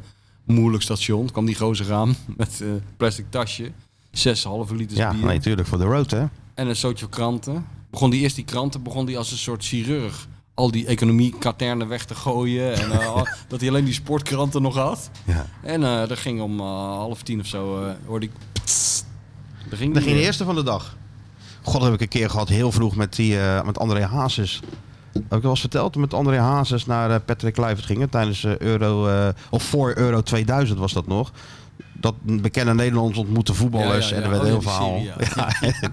moeilijk station. kwam die gozer aan met eh plastic tasje. 6,5 liters Ja, bier. nee, tuurlijk. Voor de road, hè? En een zootje kranten. Begon die eerst die kranten, begon die als een soort chirurg. Al die economie-katernen weg te gooien. En eh, al- dat hij alleen die sportkranten nog had. Ja. En eh dat ging om eh, half tien of zo, eh, hoorde ik... pssst. Dat Daar ging die ging de weer. eerste van de dag. God, dat heb ik een keer gehad, heel vroeg, met, die, eh, met André Hazes. Heb ik dat wel eens verteld? Toen Met André Hazes naar eh, Patrick Kluivert gingen tijdens eh, Euro, eh, of voor Euro 2000 was dat nog. Dat bekende Nederlands ontmoette voetballers Ja, ja, ja. en er werd Oh, heel ja, die verhaal. serie, Ja, en-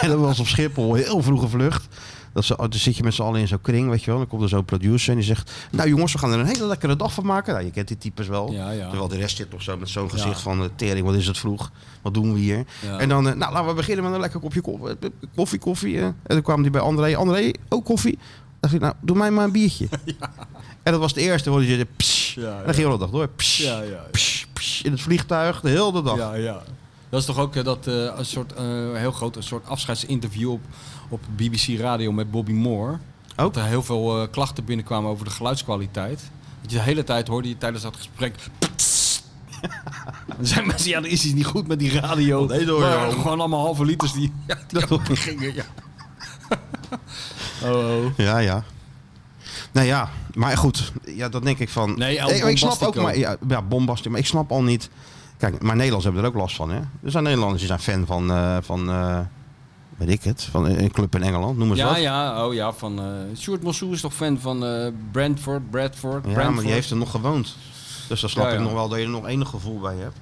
en dat was op Schiphol, heel vroege vlucht. Dat ze, oh, dan zit je met z'n allen in zo'n kring, weet je wel. Dan komt er zo'n producer en die zegt... Nou jongens, we gaan er een hele lekkere dag van maken. Nou, je kent die types wel. Ja, ja. Terwijl de rest zit toch zo met zo'n gezicht Ja. van... eh, tering, wat is het vroeg? Wat doen we hier? Ja. En dan, eh, nou, laten we beginnen met een lekker kopje ko- eh, koffie, koffie. eh. En dan kwam die bij André. André, ook koffie? Dan dacht ik, nou, doe mij maar een biertje. En dat was de eerste, hoorde je de pssch. Ja, En ja. dan ging je de dag door. Pssch, Ja, ja, ja. pssch, pssch, in het vliegtuig, de hele dag. Ja, ja. Dat is toch ook eh, dat, eh, een soort, eh, heel groot een soort afscheidsinterview op, op BBC Radio met Bobby Moore. Dat er heel veel eh, klachten binnenkwamen over de geluidskwaliteit. Dat je de hele tijd hoorde je tijdens dat gesprek... "Ptst." Dan zijn mensen, ja, er is iets niet goed met die radio. nee, hoor je Maar wel. Gewoon allemaal halve liters die, ja, die hoor open gingen. Ja. Oh, oh. Ja, ja. Nou ja, maar goed, ja, dat denk ik van. Nee, El ik, ik snap ook Bombastico. maar. Ja, ja bombastisch, maar ik snap al niet. Kijk, maar Nederlanders hebben er ook last van, hè? Er zijn Nederlanders die zijn fan van, eh, van eh, weet ik het, van eh, een een club in Engeland, noem eens Ja, wat. ja, oh ja, van... eh Sjoerd Mossoe is toch fan van eh Brentford, Bradford, Ja, maar Brentford. die heeft er nog gewoond. Dus dan snap Ja, ja. ik nog wel dat je er nog enig gevoel bij hebt.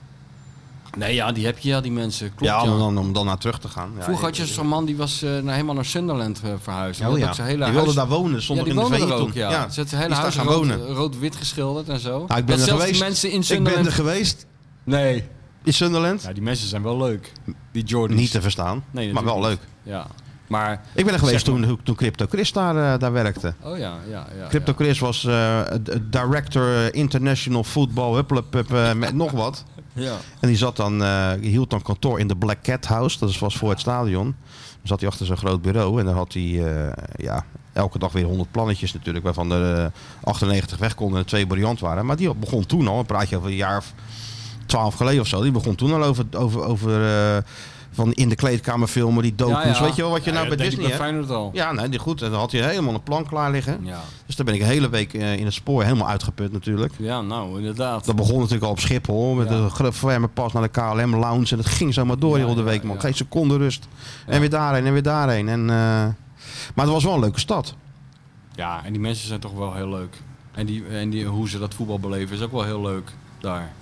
Nee, ja, die heb je, ja, die mensen. Klopt, ja, ja. om dan, om dan naar terug te gaan. Ja, Vroeger had je ik- zo'n man die was eh, naar, helemaal naar Sunderland eh, verhuisd. Ja, Omdat Oh, ja. ook zijn hele Die huis- wilde daar wonen, zonder ja, in die de woonde vee er ook, toen. ja. Dus het hele Die is huis daar gaan rood- wonen. rood-wit geschilderd en zo. Nou, ik ben dat er zelfs geweest. die mensen in Ik ben Sunderland... er geweest Nee. in Sunderland. Ja, die mensen zijn wel leuk. Die Jordans. Niet te verstaan, Nee, maar wel leuk. Ja. Maar, Ik ben er geweest Zeg maar. toen, toen Crypto Chris daar, eh, daar werkte. oh ja, ja, ja. Crypto Chris was eh, d- director international football, hupplepup, eh, met nog wat. Ja. ja. En die zat dan, eh, die hield dan kantoor in de Black Cat House, dat was voor het stadion. Dan zat hij achter zo'n groot bureau en dan had hij eh, ja, elke dag weer 100 plannetjes natuurlijk, waarvan er eh, 98 weg konden en er twee briljant waren. Maar die begon toen al, een praatje over een jaar of 12 geleden of zo, die begon toen al over, over, over eh, van in de kleedkamer filmen, die docus, Ja, ja. weet je wel, wat je Ja, nou dat bij deed ik Disney hebt. bij Feyenoord al. Ja, nee, die- goed. En dan had hij helemaal een plan klaar liggen. Ja. Dus daar ben ik een hele week eh, in het spoor helemaal uitgeput natuurlijk. Ja, nou, inderdaad. Dat begon natuurlijk al op Schiphol met Ja. een gro- ferme pas naar de KLM lounge. En het ging zo maar door Ja, heel de ja, week, man. ja. Geen seconde rust. En weer daarheen en weer daarheen. En, eh, maar het was wel een leuke stad. Ja, en die mensen zijn toch wel heel leuk. En, die, en die, hoe ze dat voetbal beleven is ook wel heel leuk daar.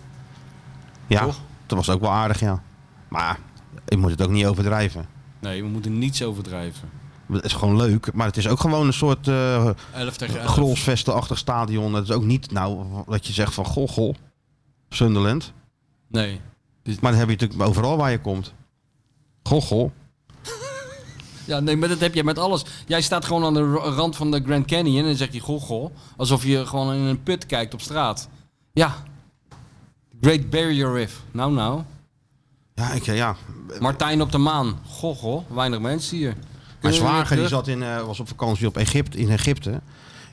Ja, Toch? dat was ook wel aardig, ja. Maar je moet het ook niet overdrijven. Nee, we moeten niets overdrijven. Het is gewoon leuk, maar het is ook gewoon een soort eh 11 tegen 11. grolsvestenachtig stadion. Het is ook niet nou dat je zegt van goh, goh, Sunderland. Nee. Maar dat heb je natuurlijk overal waar je komt. Goh, goh. Ja, nee, maar dat heb jij met alles. Jij staat gewoon aan de ra- rand van de Grand Canyon en dan zeg je gochel. Alsof je gewoon in een put kijkt op straat. Ja. Great Barrier Reef. Nou, nou. Ja, ik, ja. Martijn op de maan. Gochel. Weinig mensen hier. Mijn Kunnen we zwager die weer terug? zat in, eh, was op vakantie op Egypte, in Egypte.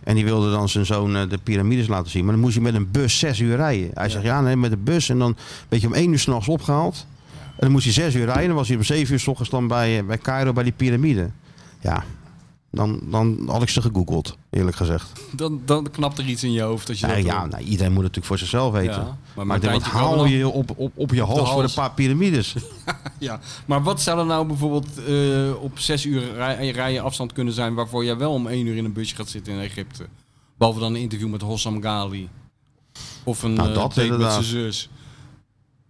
En die wilde dan zijn zoon eh, de piramides laten zien. Maar dan moest hij met een bus zes uur rijden. Hij zegt, ja nee, met de bus. En dan een beetje om één uur s'nachts opgehaald. En dan moest hij zes uur rijden. Dan was hij om zeven uur s ochtends dan bij, eh, bij Cairo bij die piramide. Ja, dan, dan had ik ze gegoogeld, eerlijk gezegd. Dan, dan knapt er iets in je hoofd als je Ja, dat ja doet. nou, iedereen moet het natuurlijk voor zichzelf weten. Ja, maar maar Martijntje dit, wat kan haal wel- je op, op, op je hals, voor hals. een paar piramides? Ja, maar wat zou er nou bijvoorbeeld eh, op zes uur rij, rijden afstand kunnen zijn waarvoor jij wel om één uur in een busje gaat zitten in Egypte? Behalve dan een interview met Hossam Ghali. Of een Nou, eh, dat date met inderdaad. zijn zus.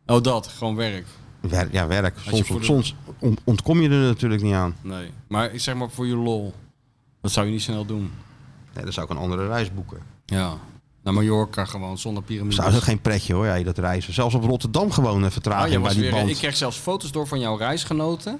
Oh, dat. Gewoon werk. Wer- ja, werk. je Soms, voor de- soms on- ontkom je er natuurlijk niet aan. Nee. Maar ik zeg maar voor je lol. Dat zou je niet snel doen. Nee, dan zou ik een andere reis boeken. Ja. Naar Mallorca gewoon, zonder piramides. Zou dat geen pretje hoor, jij dat reizen. Zelfs op Rotterdam gewoon een Ah, jij vertraging bij was die weer, band. ik kreeg zelfs foto's door van jouw reisgenoten.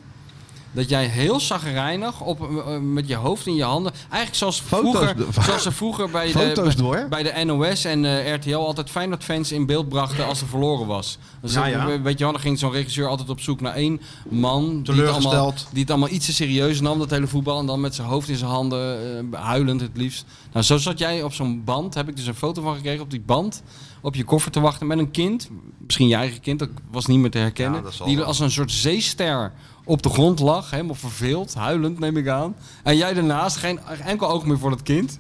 Dat jij heel zagrijnig op, eh, met je hoofd in je handen. Eigenlijk zoals, Foto's vroeger, door. zoals ze vroeger bij de, Foto's door. bij de NOS en eh, RTL altijd Feyenoord-fans in beeld brachten als er verloren was. Dus Ja, dan- ja. Weet je wel, dan ging zo'n regisseur altijd op zoek naar één man die het, Teleurgesteld. allemaal, die het allemaal iets te serieus nam, dat hele voetbal. En dan met zijn hoofd in zijn handen, eh, huilend het liefst. Nou, zo zat jij op zo'n band, heb ik dus een foto van gekregen, op die band, op je koffer te wachten met een kind. Misschien je eigen kind, dat was niet meer te herkennen. Ja, dat zal die wel. als een soort zeester op de grond lag, helemaal verveeld, huilend neem ik aan. En jij daarnaast, geen enkel oog meer voor dat kind.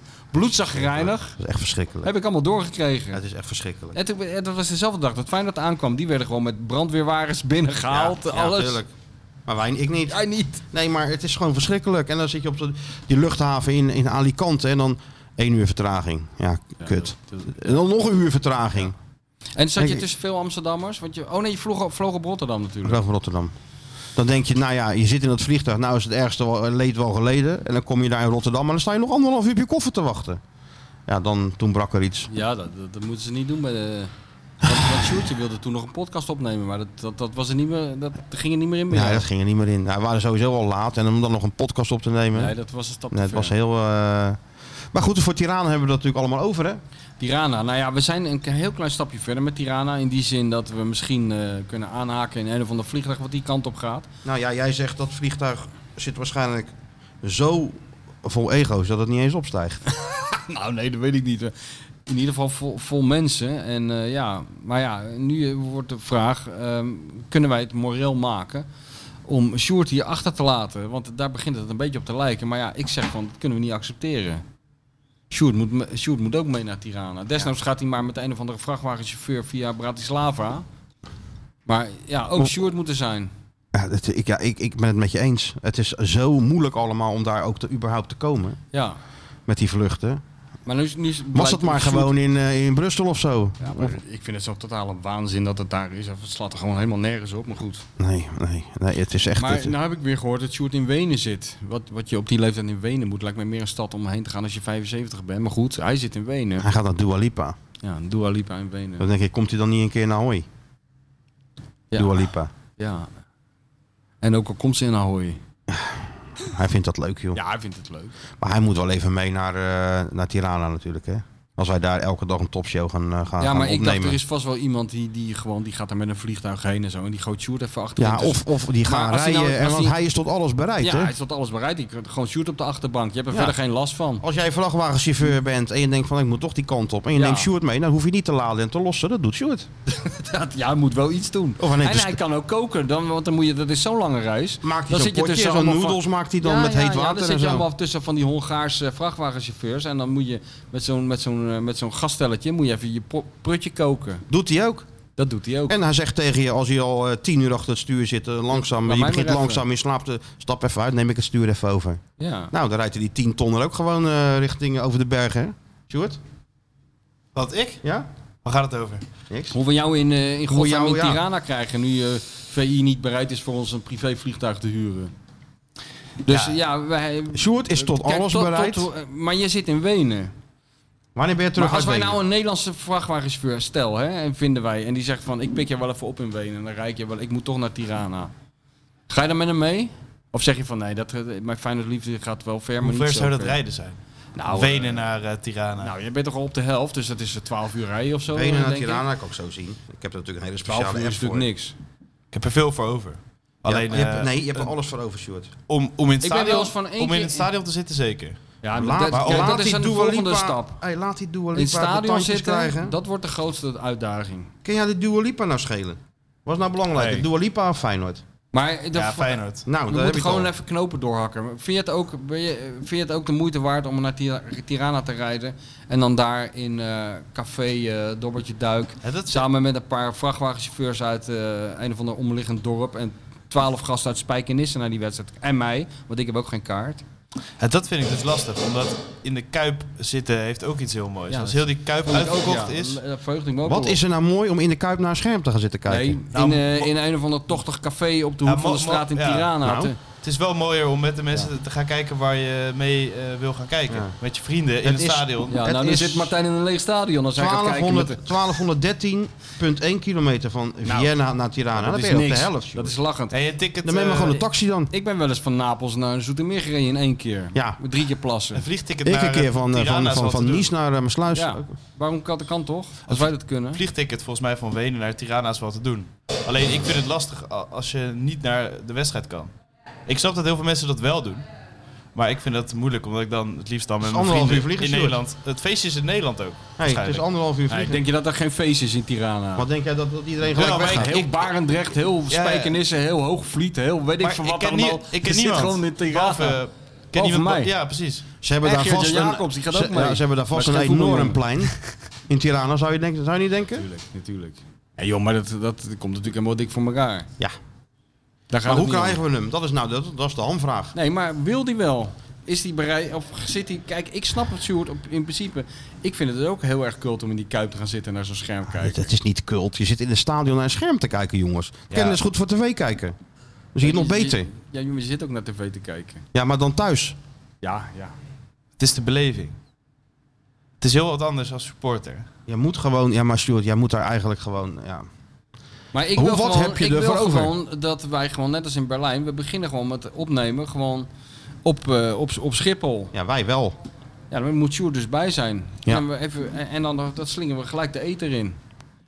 Bloedzagrijnig. Dat is echt verschrikkelijk. Heb ik allemaal doorgekregen. Ja, het is echt verschrikkelijk. En toen- en dat was dezelfde dag dat Feyenoord aankwam. Die werden gewoon met brandweerwagens binnengehaald. Ja, ja, alles. tuurlijk. Maar wij, ik niet. Jij niet. Nee, maar het is gewoon verschrikkelijk. En dan zit je op de, die luchthaven in, in Alicante en dan één uur vertraging. Ja, kut. En dan nog een uur vertraging. En zat je Ik- tussen veel Amsterdammers? Want je, oh nee, je vloog, op- vloog op Rotterdam Ik natuurlijk. geloof in Rotterdam. Dan denk je, nou ja, je zit in dat vliegtuig. Nou is het ergste wel- leed wel geleden. En dan kom je daar in Rotterdam en dan sta je nog anderhalf uur op je koffer te wachten. Ja, dan, toen brak er iets. Ja, dat, dat, dat moeten ze niet doen bij de... Want, want Sjoerdje wilde toen nog een podcast opnemen, maar dat, dat, dat, was er niet meer, dat ging er niet meer in bij Ja, jou. dat ging er niet meer in. Nou, we waren sowieso al laat. En om dan nog een podcast op te nemen. Nee, Nee, dat was een stap het te was ver. heel... eh, Maar goed, voor Tirana hebben we dat natuurlijk allemaal over, hè? Tirana, nou ja, we zijn een k- heel klein stapje verder met Tirana. In die zin dat we misschien eh, kunnen aanhaken in een of ander vliegtuig wat die kant op gaat. Nou ja, jij zegt dat vliegtuig zit waarschijnlijk zo vol ego's dat het niet eens opstijgt. Nou, nee, dat weet ik niet. In ieder geval vol, vol mensen. En eh, ja, maar ja, nu eh, wordt de vraag: ehm, kunnen wij het moreel maken om Sjoerd hier achter te laten? Want daar begint het een beetje op te lijken. Maar ja, ik zeg van, dat kunnen we niet accepteren. Sjoerd moet, me- Sjoerd moet ook mee naar Tirana. Desnoods gaat hij maar met een of andere vrachtwagenchauffeur via Bratislava. Maar ja, ook Sjoerd moet er zijn. Ja, dat, ik, ja ik, ik ben het met je eens. Het is zo moeilijk allemaal om daar ook te, überhaupt te komen Ja, met die vluchten. maar nu, is- nu is- Was blijkt het maar Sjoerd- gewoon in, eh, in Brussel of zo? Ja, maar Maar Ik vind het zo'n totale waanzin dat het daar is. Het slaat er gewoon helemaal nergens op, maar goed. Nee, nee, nee, het is echt... het- Maar nou heb ik weer gehoord dat Sjoerd in Wenen zit. Wat, wat je op die leeftijd in Wenen moet, lijkt mij meer een stad om heen te gaan als je 75 bent. Maar goed, hij zit in Wenen. Hij gaat naar Dua Lipa. Ja, Dua Lipa in Wenen. Dan denk ik, komt hij dan niet een keer naar Hoi? Ja. Dua Lipa. Ja. En ook al komt ze in Ahoy. Hij vindt dat leuk, joh. Ja, hij vindt het leuk. Maar hij moet wel even mee naar, eh, naar Tirana natuurlijk, hè? Als wij daar elke dag een topshow gaan, eh, gaan, ja, gaan maar ik opnemen. dacht, er is vast wel iemand die, die gewoon, die gaat daar met een vliegtuig heen en zo. En die gooit Sjoerd even achter. Ja, of, of die gaan Maar als hij rijden, nou- en als want hij- hij is tot alles bereid, Ja, hè? hij staat alles bereid. Ik gewoon Sjoerd op de achterbank. Je hebt er Ja. verder geen last van. Als jij vrachtwagenchauffeur bent en je denkt van ik moet toch die kant op en je Ja. neemt Sjoerd mee, dan hoef je niet te laden en te lossen. Dat doet Sjoerd. Dat- ja, hij moet wel iets doen. Of hij neemt en een hij st- kan ook koken, dan, want dan moet je, dat is zo'n lange reis. Maakt hij Dan zo'n zit je potje, tussen zo'n allemaal van- noedels maakt hij dan met heet dan water zit en je zo. allemaal tussen van die Hongaarse vrachtwagenchauffeurs. En dan moet je met zo'n, met zo'n, eh, met zo'n gastelletje moet je even je pro- prutje koken. Doet hij ook. Dat doet hij ook. En hij zegt tegen je als hij al eh, tien uur achter het stuur zit, eh, langzaam, Laat je mij begint maar even. langzaam, je slaapt, eh, stap even uit, neem ik het stuur even over. Ja. Nou, dan rijdt hij die tien ton er ook gewoon eh, richting over de bergen, hè? Sjoerd? Wat, ik? Ja? Waar gaat het over? Niks? Hoe we jou in, eh in godsnaam jou, in ja. Tirana krijgen nu eh, VI niet bereid is voor ons een privévliegtuig te huren. Dus ja, Ja. wij... Sjoerd is tot Kijk, alles bereid. tot- eh, maar je zit in Wenen. Wanneer ben je terug maar als uit wij Wenen? nou een Nederlandse vrachtwagenchauffeur stel, hè, en vinden wij, en die zegt van, ik pik je wel even op in Wenen, en dan rijd je wel, ik moet toch naar Tirana. Ga je dan met hem mee? Of zeg je van, nee, dat, eh, mijn fijne liefde gaat wel ver, maar Hoe niet ver zo zou dat ver. rijden zijn? Nou, Wenen eh, naar eh, Tirana. nou, je bent toch al op de helft, dus dat is eh, 12 uur rijden of zo. eh, Wenen naar denk ik. Tirana kan ik zo zien. Ik heb er natuurlijk een hele 12 speciale uur app is voor. natuurlijk niks. ik heb er veel voor over. Alleen, Ja, je hebt- eh, nee, je hebt er eh, alles voor over, Sjoerd. om, om, in het Ik ben wel eens stadion, van één om keer- in het stadion te zitten zeker. Ja, Laat- dat, maar kijk, laat dat is die een Dua volgende Lipa- stap. Hey, laat die Dua In Lipa het de stadion tandjes zitten, krijgen. dat wordt de grootste uitdaging. Kun jij de Dua Lipa nou schelen? Wat is nou belangrijk? Nee. De Dua Lipa of Feyenoord? Maar dat Ja, Feyenoord. Nou, we daar heb je moeten het gewoon al. even knopen doorhakken. Vind je, het ook, ben je, vind je het ook de moeite waard om naar Tira- Tirana te rijden en dan daar in eh, café eh Dobbertje Duik Ja, dat is- samen met een paar vrachtwagenchauffeurs uit eh, een of ander omliggend dorp en twaalf gasten uit Spijkenisse naar die wedstrijd en mij, want ik heb ook geen kaart. Ja, dat vind ik dus lastig, omdat in de Kuip zitten heeft ook iets heel moois. Ja, Als dat heel die Kuip uitverkocht is... Dat verheugde ik me ook Wat wel is op. er nou mooi om in de Kuip naar een scherm te gaan zitten kijken? Nee, Nou, in, eh, in een of ander tochtig café op de Ja, hoek van mo- de straat in mo- ja. Tirana. Nou. te- Het is wel mooier om met de mensen te gaan kijken waar je mee eh, wil gaan kijken. Ja. Met je vrienden in Het het is- stadion. Ja, Het nou, dan is- zit Martijn in een leeg stadion als hij gaat kijken met de... Nou, 1200 1213,1 kilometer van Vienna naar Tirana. dat dan is ben je op niks. de helft. joh. Dat is lachend. En je ticket, Dan ben je maar eh, gewoon een taxi dan. Ik ben wel eens van Napels naar Zoetermeer gereden in één keer. Ja. Met Drie keer plassen. een vliegticket Ik naar een keer van, eh, Tirana van, is van, wat van te doen. Nice naar eh, mijn sluis. Ja. Waarom kan dat kan toch? Als wij dat kunnen. Een vliegticket volgens mij van Wenen naar Tirana is wel te doen. Alleen ik vind het lastig a- als je niet naar de wedstrijd kan. Ik snap dat heel veel mensen dat wel doen. Maar ik vind dat moeilijk, omdat ik dan het liefst dan met is mijn anderhalf vrienden uur vliegen, in Sjoerd. Nederland... Het feestje is in Nederland ook, Hey, het is waarschijnlijk. anderhalf uur Nee, vliegen. denk je dat er geen feest is in Tirana? Wat denk jij dat, dat iedereen Ja, gelijk maar weggaat? ik- heel Barendrecht, heel Ja, ja. Spijkenissen, heel Hoogvliet, heel weet ik Maar van ik wat ken allemaal. nie- ik Je ken zit niemand. gewoon in Tirana. Behalve, eh, ik ken Behalve niemand, mij. Ja, precies. Ze hebben daar Echt, Geert-Jan vast een, Jacobs, die gaat ze- ook mee. ja, ze hebben daar Maar vast het een gaat voetballen. enorm plein in Tirana, zou je, denken, zou je niet denken? Natuurlijk, natuurlijk. Ja, joh, maar dat, dat komt natuurlijk helemaal dik voor elkaar. Ja. Daar gaat Maar het hoe niet om. krijgen we hem? Dat is, nou, dat, dat is de hamvraag. Nee, maar wil die wel? Is die bereid? Of zit hij? Kijk, ik snap het, Sjoerd, op, in principe. Ik vind het ook heel erg kult om in die kuip te gaan zitten en naar zo'n scherm Het, kijken. het is niet kult. Je zit in een stadion naar een scherm te kijken, jongens. Ja. Kennen is goed voor tv kijken. Dan zie je het nog beter. Ja, je, je zit ook naar tv te kijken. Ja, maar dan thuis. Ja, ja. Het is de beleving. Het is heel wat anders als supporter. Je moet gewoon, ja maar Stuart, jij moet daar eigenlijk gewoon, ja. Maar ik Hoe- wil wat gewoon, heb je ik wil ervoor over? gewoon dat wij gewoon, net als in Berlijn, we beginnen gewoon met opnemen gewoon op, eh, op, op Schiphol. Ja, wij wel. Ja, daar moet Sjoerd dus bij zijn. Ja. En, we even, en, en dan dat slingen we gelijk de eten in.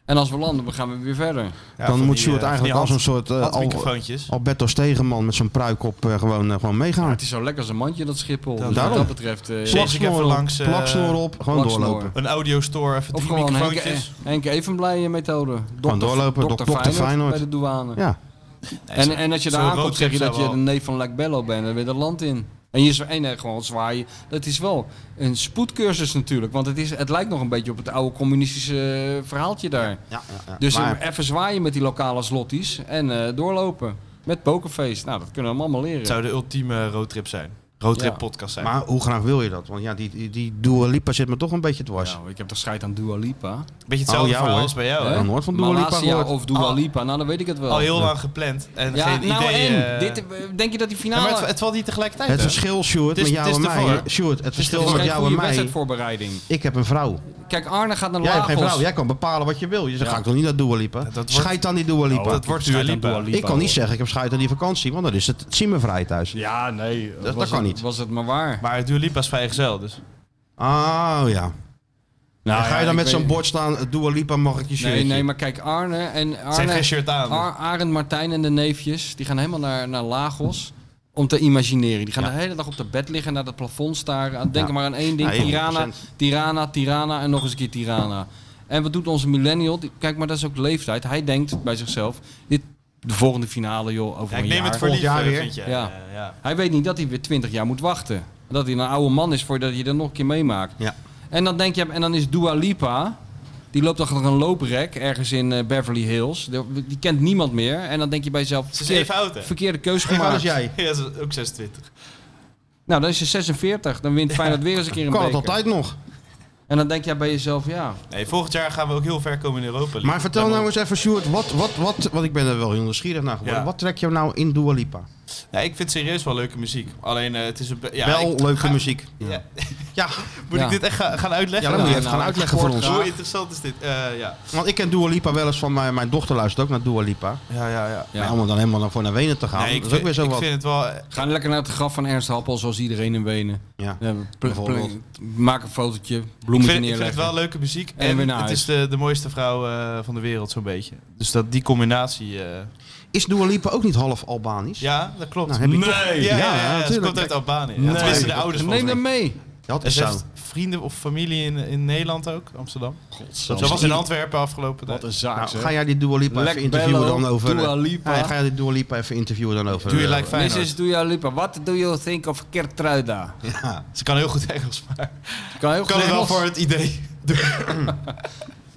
En als we landen, dan gaan we weer verder. Ja, dan van moet die, Stuart eh, van eigenlijk die als een soort eh, hand- Al- handmicrofoontjes. Alberto Stegenman met zo'n pruik op eh, gewoon, eh, gewoon Maar meegaan. het is zo lekker als een mandje, dat Schiphol. Ja, Dus wat daarom. dat betreft... eh, Zeker. Lees ik even Plaksnoor op, langs, eh, plaksnoor op, gewoon plaksnoor. doorlopen. Een audiostore, even Of drie gewoon Henk, microfoontjes. Henk Evenblij methode. Gewoon doorlopen, dok- dokter Feyenoord. bij de douane. Ja, En, en als je Zo'n daar aankomt roadtrip zeg je dat zou je wel- de neef van Lekbello bent en weer het land in. En je zwa- en eh, gewoon zwaaien. Dat is wel een spoedcursus natuurlijk. Want het, is, het lijkt nog een beetje op het oude communistische eh, verhaaltje daar. ja, ja, ja. Dus Maar- eh, even zwaaien met die lokale slotties en eh, doorlopen. Met pokerfeest. Nou, dat kunnen we hem allemaal leren. Het zou de ultieme roadtrip zijn. Roadtrip Ja. podcast zijn. Maar hoe graag wil je dat? Want ja, die, die, die Dua Lipa zit me toch een beetje dwars. Ja, Nou, ik heb toch scheid aan Dua Lipa. Beetje hetzelfde Oh, ja, verhaal hoor. als bij jou. Ja. hè? nog nooit van Dua Lipa Malasia gehoord. Oh. of Dua Al- Lipa. Nou, dan weet ik het wel. Al heel lang gepland en ja, geen nou idee. en? eh, Dit, eh, denk je dat die Ja, finale... maar het, het valt niet tegelijkertijd. Het hè? verschil, Sjoerd, Het is- met jou het en is mij. ervoor. hè? Sjoerd, het Het verschil is met geen jou en goede mij. wedstrijdvoorbereiding. Ik heb een vrouw. Kijk, Arne gaat naar Jij hebt Lagos. geen vrouw. Jij kan bepalen wat je wil. Je zegt, ga ik toch niet naar Dua Lipa? Dat wordt- Scheid aan die Dua Lipa. dat wordt Dua Lipa. ik kan niet zeggen, ik heb scheid aan die vakantie. Want dan is het vrij thuis. Ja, nee. dat Was kan het- niet. Was het maar waar. Maar Dua Lipa is vrijgezel, dus... Oh ja. Nou, En ga ja, je dan ik met weet- zo'n bord staan, Dua Lipa mag ik je shirtje? Nee, nee, maar kijk, Arne en Ze heeft Arne, geen shirt aan. Ar- Arend, Martijn en de neefjes, die gaan helemaal naar, naar Lagos om te imagineren. Die gaan de hele dag op de bed liggen, naar het plafond staren. aan- Denk Ja. maar aan één ding, Ja, heel Tirana, procent. Tirana, Tirana en nog eens een keer Tirana. En wat doet onze millennial? Die- Kijk, maar dat is ook leeftijd. Hij denkt bij zichzelf, dit, de volgende finale joh, over Ja, een ik neem jaar. het voor Volgend lief, jaar eh, weer. vind je. Ja. Eh, ja. Hij weet niet dat hij weer 20 jaar moet wachten. Dat hij een oude man is voordat hij dat nog een keer meemaakt. Ja. En dan denk je, en dan is Dua Lipa, die loopt achter een looprek ergens in eh, Beverly Hills. Die, die kent niemand meer. En dan denk je bij jezelf, Ze is even oud, hè? verkeerde keus Even gemaakt. als jij. Ja, ze is ook 26. Nou, dan is ze 46. Dan wint Feyenoord weer eens een keer een Kan het beker. altijd nog. En dan denk je bij jezelf, ja, Nee, volgend jaar gaan we ook heel ver komen in Europa. League. Maar vertel Daar nou moet- eens even, Sjoerd, wat, wat, wat, want ik ben er wel heel nieuwsgierig naar geworden. Ja. Wat trek je nou in Dua Lipa? Ja, ik vind serieus wel leuke muziek. Alleen eh, het is een... be- Ja, wel ik- leuke ga- muziek. Ja, Ja. ja. Moet Ja. ik dit echt gaan gaan uitleggen? dan moet je even nou, gaan ik uitleggen voor hoor ons. graag. Hoe interessant is dit? Eh, ja. Want ik ken Dua Lipa wel eens van mijn, mijn dochter luistert ook naar Dua Lipa. Ja, ja, ja. Ja. Ja. Om er dan helemaal naar voor naar Wenen te gaan. Nee, ik, Nou, dat is ook weer zo ik wat. vind het wel... ga lekker naar het graf van Ernst Happel, zoals iedereen in Wenen. Ja. Ja, pl- pl- Bijvoorbeeld. maak een fotootje, Ik bloemetje vind, ik vind het neerleggen. wel leuke muziek. En En, weer naar het huis. is de, de mooiste vrouw eh, van de wereld, zo'n beetje. Dus dat, die combinatie... eh, Is Dua Lipa ook niet half Albanisch? ja, dat klopt. Nou, heb je Ja, ja, ja, Ja, ze natuurlijk. komt uit Albanië. Ja, Nee. tenminste, de ouders Neem dus volgens hem mij. mee. Je had En iets ze zo. heeft vrienden of familie in, in Nederland ook, Amsterdam. Godzang. Ze was in Antwerpen afgelopen Wat tijd. een zaak, Nou, zeg. ga jij die Dua Lipa Lek even interviewen Bello, dan over... Dua Lipa. Ja, ga jij die Dua Lipa even interviewen dan over... Doe je eh, like Feyenoord. Mrs. Dua Lipa, what do you think of Kertruida? Ja. Ze kan heel goed Engels, maar Kan heel goed kan het wel Engels. voor het idee. Oh,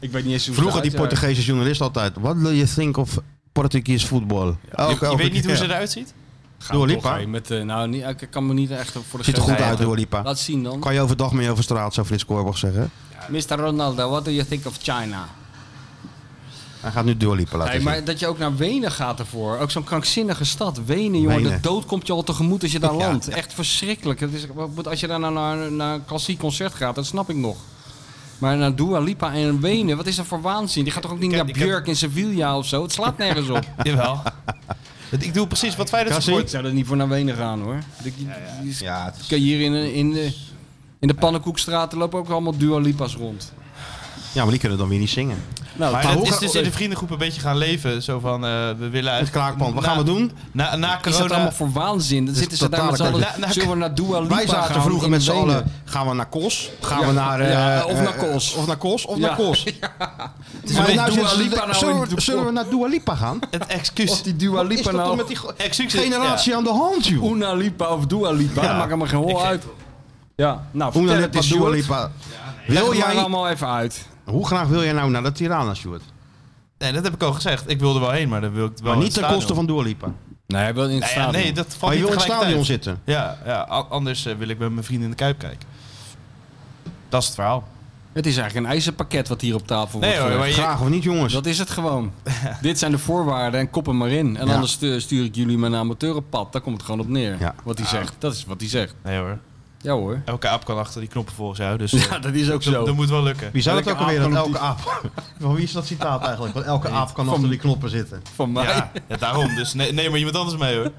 Ik weet niet eens hoe ze Vroeger die eruit zagen. Portugese journalist altijd. What do you think of Portuguese football? Je- je weet niet hoe ze eruit ziet? Gaan Dua we Lipa. toch heen Met, eh, nou, niet, ik kan me niet echt voor de Ziet er gek- goed Nee, uit, ja. Dua Lipa. Laat zien dan. Kan je overdag mee over straat, zou Frits Korbach zeggen. Mr. Ronaldo, what do you think of China? Hij gaat nu Dua Lipa laten Hey, zien. maar dat je ook naar Wenen gaat ervoor. Ook zo'n krankzinnige stad. Wenen, jongen. Wenen. De dood komt je al tegemoet als je daar Ja. landt. Echt verschrikkelijk. Het is, want als je daar nou naar, naar een klassiek concert gaat, dat snap ik nog. Maar naar Dua Lipa en Wenen, wat is dat voor waanzin? Die gaat toch ook niet Ik heb- naar ik heb- Björk in Sevilla of zo? Het slaat nergens op. Jawel. Het- Ik doe precies wat Feyenoord ik support. zou er niet voor naar Wenen gaan, hoor. Die, die- die- Ja, het is- kan je hier in, de- in de, in de pannenkoekstraat er lopen ook allemaal Dua Lipa's rond. ja, maar die kunnen dan weer niet zingen. Nou, Maar maar dat hoe is ga- dus in de vriendengroep een beetje gaan leven. Zo van, eh, we willen uit... Het kraakpand, wat gaan we Na- doen? Na, na is dat corona... allemaal voor waanzin? Dan is zitten ze daar met z'n totale nou, allen. kut. Na- na- zullen we naar Dua Lipa Wij zaten gaan vroeger in met z'n Wenen? allen, gaan we naar Kos? Gaan Ja. we naar... eh, Ja, of eh, naar Kos. Of naar Kos, of Ja. naar Kos. is Maar nou een Dua zitten ze- Lipa nou zullen, in we- de- zullen we naar Dua Lipa gaan? Het excuus. Of die Dua Wat is Lipa dat toch nou... met die go- Excuus. generatie aan de hand, joh? Una Lipa of Dua Lipa, dat maakt me geen hol uit. Ja, Una nou, vertel het Lipa, eens, Dua Sjoerd. Lipa. Leg Wil het maar jij, allemaal even uit. hoe graag wil jij nou naar de Tirana, Stuart? Ja. Nee, dat heb ik al gezegd. Ik wilde wel heen, maar dat wil ik wel Maar in niet het ten stadion. koste van Dua Lipa. Nee, hij wil in het Nee, ja, stadion. nee, dat valt Maar je niet wil in het stadion tegelijkertijd. zitten. Ja, ja, a- anders eh, wil ik met mijn vrienden in de Kuip kijken. Dat is het verhaal. Het is eigenlijk een ijzerpakket wat hier op tafel Nee wordt hoor, gelegd. maar je, Graag of niet, jongens? Dat is het gewoon. Dit zijn de voorwaarden en kop hem maar in. En Ja. anders eh, stuur ik jullie mijn amateur op pad. Daar komt het gewoon op neer. Ja. Wat hij zegt. Dat is wat hij zegt. nee hoor. Ja hoor. Elke aap kan achter die knoppen volgens jou, dus eh, Ja, dat is ook dat, zo. dat moet wel lukken. Wie zou Elke dat ook alweer? aap Dat kan elke aap. Van wie is dat citaat eigenlijk? Want elke aap kan achter die knoppen zitten. Van mij. Ja, ja, daarom. Dus nee, neem maar iemand anders mee hoor.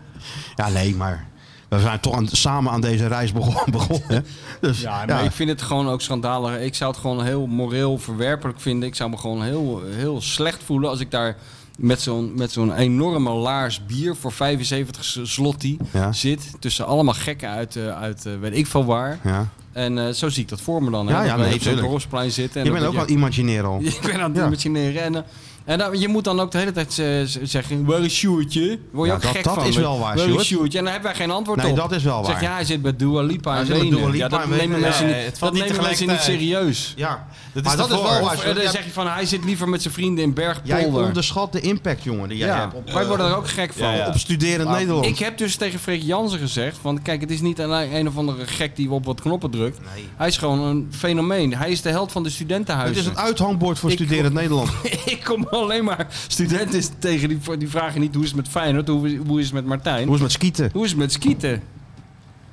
Ja, nee, maar we zijn toch aan- samen aan deze reis begon- begonnen. Dus, Ja, ja, maar ik vind het gewoon ook schandalig. Ik zou het gewoon heel moreel verwerpelijk vinden. Ik zou me gewoon heel, heel slecht voelen als ik daar met zo'n, met zo'n enorme laars bier voor 75 s- zlotti Ja. zit. Tussen allemaal gekken uit, eh, uit eh, weet ik veel waar. ja. En eh, zo zie ik dat voor me dan. hè. Ja, ja, Dat wij nee, op zo'n tuurlijk. dorpsplein zitten. En Je dat bent ook je- aan het imagineren al. Ik ben aan het Ja. imagineren. En, eh, en dan- je moet dan ook de hele tijd eh, z- zeggen, waar is Sjoerdje? Word je Ja, ook dat- gek dat van. is me. wel waar, Waar is Sjoerd. Sjoerdje? En daar hebben wij geen antwoord Nee, op. dat is wel Zeg, waar. ja, hij zit bij Dua Lipa Hij en zit bij Wenen. Dua Lipa ja, dat en nemen Wenen. mensen Ja, niet, het valt dat niet nemen mensen niet tegelijkertijd. serieus. Ja, Dat maar is dat de is wel voorwaarde. waar. Of eh, Sjoerd. dan Jij- zeg je van, hij zit liever met zijn vrienden in Jij dus- Bergpolder. onderschat de impact, jongen, die jij Ja, hebt op, wij worden er ook gek van. Ja, ja. op studerend Maar Nederland. Ik heb dus tegen Freek Jansen gezegd: van kijk, het is niet alleen een of andere gek die op wat knoppen drukt. Nee. Hij is gewoon een fenomeen. Hij is de held van de Het studentenhuizen. is het uithangbord voor Ik- studerend Nederland. ik kom alleen maar studenten tegen die, die vragen niet hoe is het met Feyenoord, hoe, is- hoe is het met Martijn, Hoe hoe, is het met skieten? is het met skieten.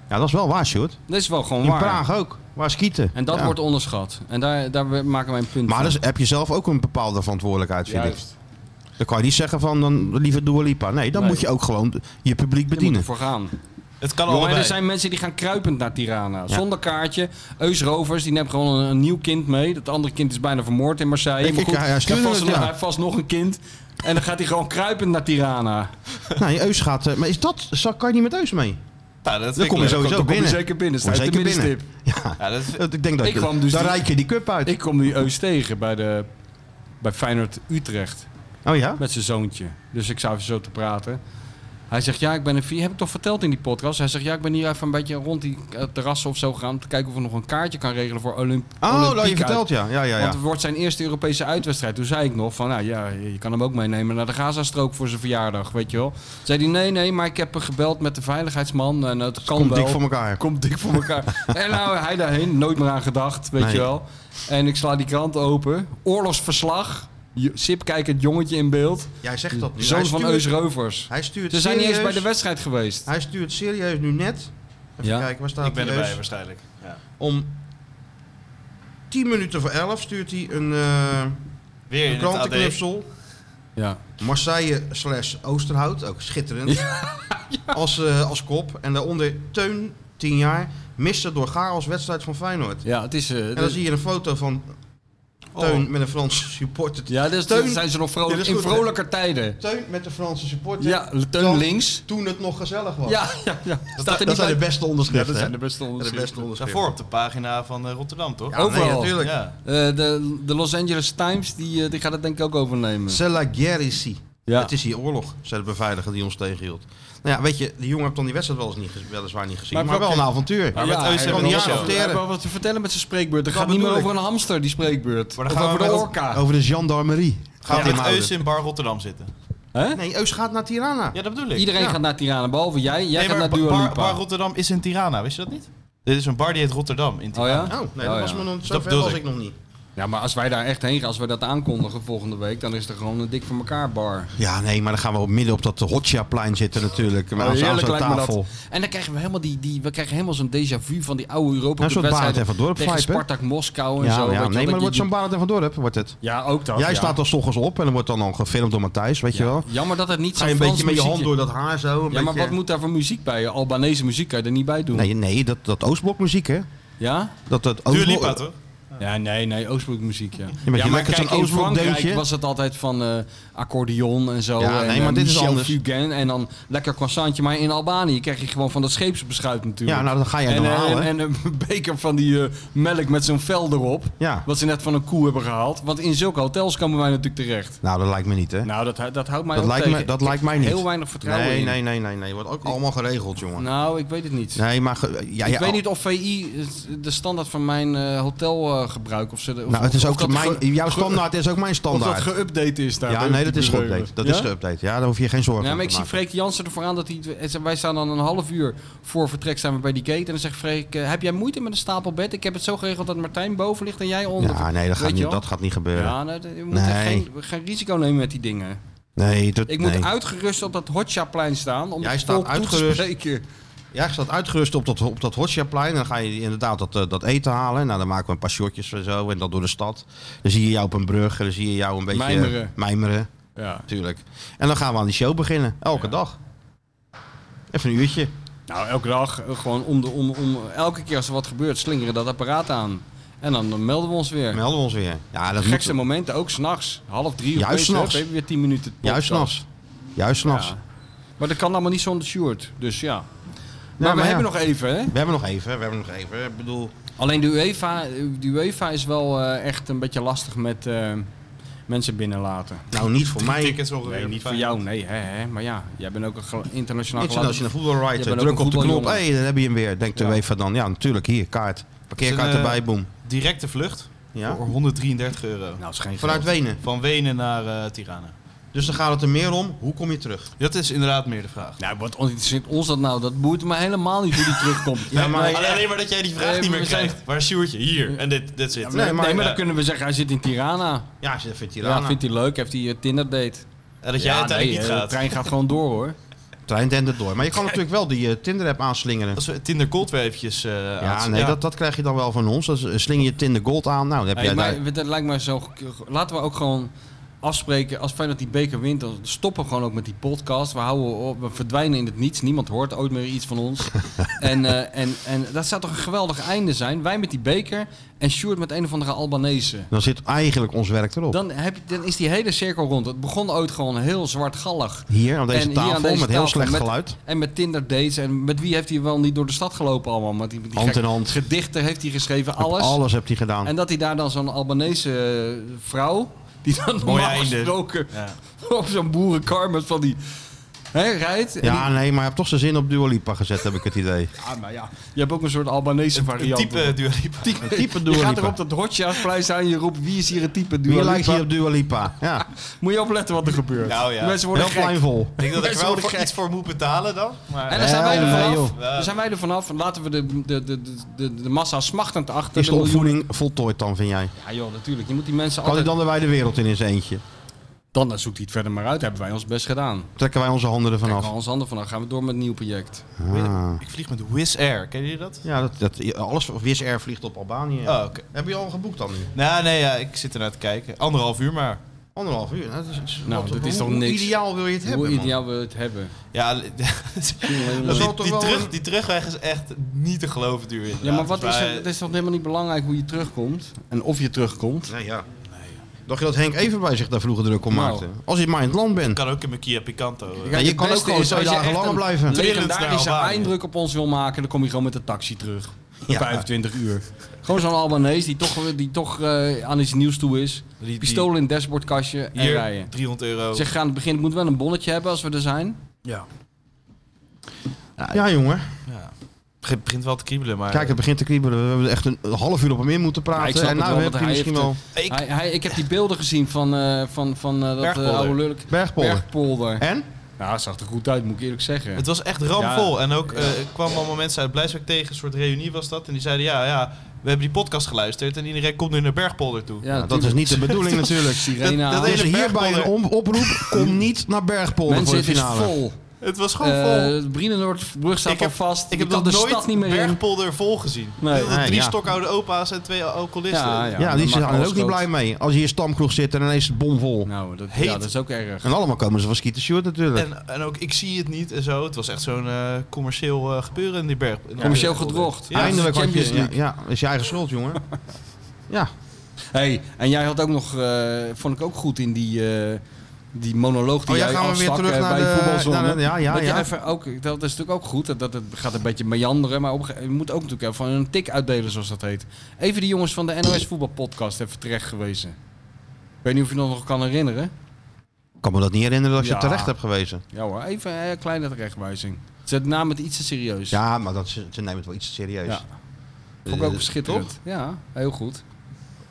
Ja, dat is wel waar, Sjoerd. Dat is wel gewoon In waar. Praag ook. Waar skieten? En dat Ja. wordt onderschat. En daar, daar we- maken wij een punt Maar van. dus heb je zelf ook een bepaalde verantwoordelijkheid, vind Juist. ik. Dan kan je niet zeggen van, dan liever Dua Lipa. Nee, dan Nee. moet je ook gewoon je publiek Je moet bedienen. ervoor gaan. Het kan Jongen, allebei. er zijn mensen die gaan kruipend naar Tirana. Zonder kaartje. Eus Rovers, die neemt gewoon een, een nieuw kind mee. Dat andere kind is bijna vermoord in Marseille. Ik- maar ik- goed, hij- hij hij, stuurde heeft vast, het, ja. nog- hij heeft vast nog een kind. En dan gaat hij gewoon kruipend naar Tirana. Nee, Eus gaat... eh, Maar is dat... zal- Kan je niet met Eus mee? Ja, dat Dan kom je zo. sowieso Dan kom je binnen. zeker binnen. Kom Staat op de zeker binnen. middenstip. Ja, Ja, dat is- dat- ik denk dat Ik je... kwam dus daar die- reik je die cup uit. Ik kom die Eus tegen bij, de, bij Feyenoord Utrecht. Oh ja? Met zijn zoontje. Dus ik zou even zo te praten. Hij zegt, ja, ik ben een vier. Heb ik toch verteld in die podcast? Hij zegt, ja, ik ben hier even een beetje rond die eh, terrassen of zo gegaan. Om te kijken of ik nog een kaartje kan regelen voor Olymp Oh, Olympiek dat je uit. verteld, ja. Ja, ja, Want ja. het wordt zijn eerste Europese uitwedstrijd. Toen zei ik nog van, nou ja, je kan hem ook meenemen naar de Gazastrook voor zijn verjaardag, weet je wel. Zei hij, nee, nee, maar ik heb gebeld met de veiligheidsman en Dus het kan Komt wel. dik voor elkaar. Komt dik voor elkaar. en nou, hij daarheen, nooit meer aan gedacht, weet Nee. je wel. En ik sla die krant open. Oorlogsverslag. Jo- Sip kijkt het jongetje in beeld. Jij zegt dat nu. Zoon Hij van stuurt- Eus Rovers. Hij stuurt Ze zijn niet eens bij serieus- de wedstrijd geweest. Hij stuurt serieus nu net. Even Ja. kijken, waar staat Ik ben die erbij dus- Eus? waarschijnlijk. Ja. Om 10 minuten voor 11 stuurt hij een, eh Weer in een het AD. krantenknipsel. Ja. Marseille slash Oosterhout, ook schitterend. Als, eh, als kop. En daaronder Teun, 10 jaar, miste door chaos wedstrijd van Feyenoord. ja, het is... eh, En dan zie je een foto van Teun met een Franse supporter. Oh. Ja, dus Teun- dan zijn ze nog vrolijk, Ja, dat is in goed, hè? vrolijker tijden. Teun met de Franse supporter. Ja, Teun Dan- links. Toen het nog gezellig was. Ja, ja, ja. Staat er dat niet zijn de bij. beste onderschriften. Ja, dat zijn hè? de beste onderschriften. De beste onderschriften. Daarvoor op de pagina van eh, Rotterdam, toch? Ja, nee, Overal. natuurlijk. Ja. Eh, de, de Los Angeles Times, die, eh, die gaat het denk ik ook overnemen. C'est la guerre ici. Ja. Het is hier oorlog, zei de beveiliger die ons tegenhield. Nou ja, weet je, die jongen heeft dan die wedstrijd wel eens niet, gez- weliswaar niet gezien, maar, Maar wel welke- een avontuur. Maar met Ja, hij Eus hebben kan we niet nog aan- zo. Hij heeft Teren. wel wat te vertellen met zijn spreekbeurt. Het Dat gaat niet meer bedoel over een hamster, die spreekbeurt. Maar Of dan over gaan de we met- orka. Over de gendarmerie. Gaat Ja. dit Eus in Bar Rotterdam zitten? Hè? Nee, Eus gaat naar Tirana. Ja, dat bedoel ik. Iedereen gaat naar Tirana, behalve jij. Jij Nee, gaat naar maar Dua bar, Lipa. Bar Rotterdam is in Tirana, wist je dat niet? Dit is een bar die heet Rotterdam in oh Tirana. ja? Oh, nee, Oh, dat was ja. me nog Dat zo ver bedoelde was ik. ik nog niet. Ja, maar als wij daar echt heen gaan, als we dat aankondigen volgende week, dan is er gewoon een dik voor elkaar bar. Ja, nee, maar dan gaan we op midden op dat Hotja-plein zitten natuurlijk. Maar aan zo'n- aan zo'n lijkt me dat. tafel. En dan krijgen we helemaal, die, die, we krijgen helemaal zo'n déjà vu van die oude Europa Nou, zo'n Barend Cup wedstrijden en Van Dorp tegen vibe, hè? Spartak Moskou en Ja, zo. weet je ja, wel, nee, maar dat dan wordt je- zo'n Barend en Van Dorp, wordt het. Ja, ook dat. Jij ja. staat dan s ochtends op en dan wordt dan al gefilmd door Matthijs, weet je Ja. wel. Jammer dat het niet Ga zo'n je een beetje Frans met je hand muziekje- door dat haar zo. een Ja, maar beetje- wat moet daar voor muziek bij? Albanese muziek kan je er niet bij doen. Nee, nee dat, dat Oostblokmuziek, hè? Ja? Dat, dat Dua Oostblok- Lipa, toch? Ja, nee, nee, Oostblokmuziek, ja. je ja, maar lekker kijk, zo'n in Frankrijk Oostblokdeuntje. was het altijd van eh, accordeon en zo. Ja, en, nee, eh, maar dit is Michel anders. Fugain en dan lekker croissantje. Maar in Albanië krijg je gewoon van dat scheepsbeschuit natuurlijk. Ja, nou, dat ga jij en, dan eh, halen. en, hè? en een beker van die eh, melk met zo'n vel erop. Ja. Wat ze net van een koe hebben gehaald. Want in zulke hotels komen wij natuurlijk terecht. Nou, dat lijkt me niet, hè? Nou, dat, hou- dat houdt mij dat, ook lijkt tegen. me, dat Ik lijkt mij heb niet. Heel weinig vertrouwen Nee, in. nee, nee, nee, nee. Wordt ook allemaal geregeld, jongen. Nou, ik weet het niet. Nee, maar... ge- ja, ik ja, oh. weet niet of VI het- de standaard van mijn eh, hotel eh, gebruikt. Of ze de, of, Nou, het is of ook dat mijn, ge- jouw standaard is ook mijn Of dat standaard. geüpdate is daar. ja, bij nee, de dat is bureau. geüpdate. Dat Ja? is geüpdate. Ja, daar hoef je geen zorgen Ja, maar ik te zie maken. Freek Jansen ervoor aan dat hij... hij zei, Wij staan dan een half uur voor vertrek staan we bij die gate. En dan zegt Freek, eh, heb jij moeite met een stapelbed? Ik heb het zo geregeld dat Martijn boven ligt en jij onder. Ja, nee, dat Weet gaat, je niet, wel? dat gaat niet gebeuren. Ja, nee, dat- je moet er Nee. geen, geen risico nemen met die dingen. Nee, dat, Ik moet nee. uitgerust op dat hotshotplein staan om Jij het staat volk toe te uitgerust. spreken. Ja, je staat uitgerust op dat, op dat Hotshotplein. En dan ga je inderdaad dat, eh, dat eten halen. Nou, dan maken we een paar shotjes en zo. En dat door de stad. Dan zie je jou op een brug. En dan zie je jou een beetje... eh, Mijmeren. Mijmeren, Ja. natuurlijk. En dan gaan we aan die show beginnen. Elke dag. Even een uurtje. Nou, elke dag eh, gewoon om de om, om elke keer als er wat gebeurt, slingeren dat apparaat aan. En dan eh, melden we ons weer. Melden we ons weer. Ja, dat Gekste moet... momenten, ook s'nachts. Half drie of Juist weet je, s'nachts. Even weer tien minuten. podcast. Juist s'nachts. Juist s'nachts. Ja. Maar dat kan allemaal niet zonder Sjoerd. Dus ja. Maar we maar ja. hebben nog even, hè? We hebben nog even. We hebben nog even. Ik bedoel... Alleen de UEFA, de UEFA is wel eh, echt een beetje lastig met eh, mensen binnenlaten. Nou, niet voor mij. Tickets ongeveer. Nee, niet voor jou, nee, hè, hè. Maar ja, jij bent ook een gel- internationaal Niks aan nou als je een voetbalrider Je writer bent ook druk een op de knop. Hé, voetbaljongen. hey, dan heb je hem weer. Denkt de Ja. UEFA dan. Ja, natuurlijk. Hier, kaart. Parkeerkaart Is een, eh, erbij, boom. Directe vlucht Ja. voor 133 euro. Nou, het is geen Vanuit geld. Wenen. Van Wenen naar eh, Tirana. Dus dan gaat het er meer om. Hoe kom je terug? Dat is inderdaad meer de vraag. Nou, wat interesseert ons dat nou? Dat boeit me helemaal niet hoe die terugkomt. Ja, maar- Nee, Alleen, alleen maar dat jij die vraag Nee, maar niet meer we zijn- krijgt. Waar is Sjoerdje? Hier. En dit, dit zit. Nee, nee, maar- maar, ja. dan kunnen we zeggen, hij zit in Tirana. Ja, ze vindt Ja, Tirana. vindt hij leuk? Heeft hij een Tinder date? En Eh, dat jij uiteindelijk niet hè, gaat. De eh, trein gaat gewoon door, hoor. Trein dendert door. Maar je kan natuurlijk wel die eh, Tinder-app aanslingeren. Als we Tinder Gold weer eventjes eh Ja, aan- nee, Dat, dat krijg je dan wel van ons. Dan sling je Tinder Gold aan. Nou, dan heb Hey, jij daar... maar, dat lijkt mij zo. Laten we ook gewoon afspreken. Als Feyenoord die beker wint, dan stoppen we gewoon ook met die podcast. We, houden op, we verdwijnen in het niets. Niemand hoort ooit meer iets van ons. en, eh, en, en dat zou toch een geweldig einde zijn. Wij met die beker en Sjoerd met een of andere Albanese. Dan zit eigenlijk ons werk erop. Dan, heb je, dan is die hele cirkel rond. Het begon ooit gewoon heel zwartgallig. Hier aan En deze hier tafel aan deze met heel tafel slecht met- geluid. En met Tinder dates. En met wie heeft hij wel niet door de stad gelopen allemaal? Met die, met die Hand gek- in hand. Gedichten heeft hij geschreven. Alles. Alles hebt hij gedaan. En dat hij daar dan zo'n Albanese eh, vrouw, die dan Mooi normaal einde. gesproken Ja. op zo'n boerenkar met van die... Hè, rijdt. En Ja, die- nee, maar je hebt toch zijn zin op Dua Lipa gezet, heb ik het idee. ja, maar ja. Je hebt ook een soort Albanese Een variant. type Dua Lipa. type, type Dua Je gaat Lipa. er op dat hotjaarsplein staan en je roept wie is hier een type Dua Wie Lipa? lijkt hier op Dua Lipa? Ja, Moet je opletten wat er gebeurt. Nou ja. Die Mensen worden heel gek. klein vol. Ik denk dat ik er Mensen wel worden voor gek. iets voor moet betalen dan. Maar, Ah. En daar zijn wij Nee, er vanaf. joh. Daar zijn wij er vanaf. Laten we de, de, de, de, de massa smachtend achter. Is de de miljoen- opvoeding voltooid dan, vind jij? Ja joh, natuurlijk. Je moet die mensen Kan hij altijd... dan Dan... de wijde wereld in in zijn eentje? dan zoekt hij het verder maar uit. Hebben wij ons best gedaan. Trekken wij onze handen ervan Kijk, af? Hans Ander vanaf nou gaan we door met een nieuw project. Ah. Ik vlieg met Wizz Air. Ken je dat? Ja, dat, dat, alles, Wizz Air vliegt op Albanië. Oh, oké. Heb je al geboekt dan nu? Nou, nee, ja, ik zit ernaar te kijken. Anderhalf uur maar. Anderhalf uur. Nou, dat is, is- Nou, wat- dit is hoe- toch hoe niks? ideaal wil je het hebben, Hoe man? ideaal we het hebben. Ja, l- Dat zal die, toch die wel terug, een- die terugweg is echt niet te geloven duur inderdaad. Ja, maar wat Dus is wij- er, het is toch helemaal niet belangrijk hoe je terugkomt en of je terugkomt. Nee, ja. Dacht je dat Henk even bij zich daar vroeger druk om Nou. maakte? Als je maar in het land bent. Ik kan ook in mijn Kia Picanto. eh. Ja, je het kan beste ook gewoon is twee als je dagen echt langer een blijven. Legendens legendarische naar Albanië. eindruk op ons wil maken, dan kom je gewoon met de taxi terug. Om Ja. 25 uur. Gewoon zo'n Albanese die toch, die toch eh, aan iets nieuws toe is. Die- die- Pistool in het dashboardkastje en Hier, rijden. 300 euro. Zeg, aan het begin, ik moet wel een bonnetje hebben als we er zijn. Ja, jongen. Ja. Het begint wel te kriebelen, maar... Kijk, het begint te kriebelen. We hebben echt een half uur op hem in moeten Maar ik praten. snap En het nou wel, heb want je hij misschien heeft wel Ik- Hij, hij, ik heb die beelden gezien van, eh, van, van eh, dat eh, Bergpolder. oude lulk. bergpolder. Bergpolder. En? Nou, het zag er goed uit, moet ik eerlijk zeggen. Het was echt ramvol. En ook eh, er kwamen allemaal mensen uit Blijswijk tegen. Een soort reunie was dat. En die zeiden, ja, ja, we hebben die podcast geluisterd. En iedereen komt nu naar Bergpolder toe. ja, Nou, dat is niet de bedoeling natuurlijk. Sirene dat- dat aan. Dus hele hierbij een Bergpolder. om- oproep. Kom niet naar Bergpolder Mensen, voor het de is finale. vol. Het was gewoon Oh, vol. Eh Brienenoordbrug staat Ik heb- al vast. Ik Je heb kan nog de nooit stad niet meer in. Bergpolder vol gezien. Nee. Nee, Drie ja. stokoude opa's en twee alcoholisten. Ja, die zijn er ook niet blij mee. Als je hier stamkroeg zit en ineens is het bomvol. Nou, dat, Heet. ja, dat is ook erg. En allemaal komen ze van Skeeter Stewart natuurlijk. En, en ook ik zie het niet en zo. Het was echt zo'n eh, commercieel eh, gebeuren in die berg. in Commercieel Bergpolder. gedrocht. Ja. Eindelijk had Champions je... Ja, ja, is je eigen schuld, jongen. ja. Hey, en jij had ook nog, eh, vond ik ook goed in die, eh, die monoloog die Oh, ja, jij gaan we afstak weer terug eh, naar bij de- voetbalzone. naar de- ja, ja, dat, je ja. Even ook, dat is natuurlijk ook goed, dat, dat het gaat een beetje meanderen, maar op, een gege- je moet ook natuurlijk even van een tik uitdelen, zoals dat heet. Even die jongens van de NOS voetbalpodcast even terecht gewezen. Ik weet niet of je dat nog kan herinneren. Ik kan me dat niet herinneren dat je Ja. terecht hebt gewezen. Ja hoor, even een kleine terechtwijzing. Zet de naam het iets te serieus. Ja, maar dat, ze, ze nemen het wel iets te serieus. Ja. Vond ik ook Eh, schitterend. Ja, heel goed.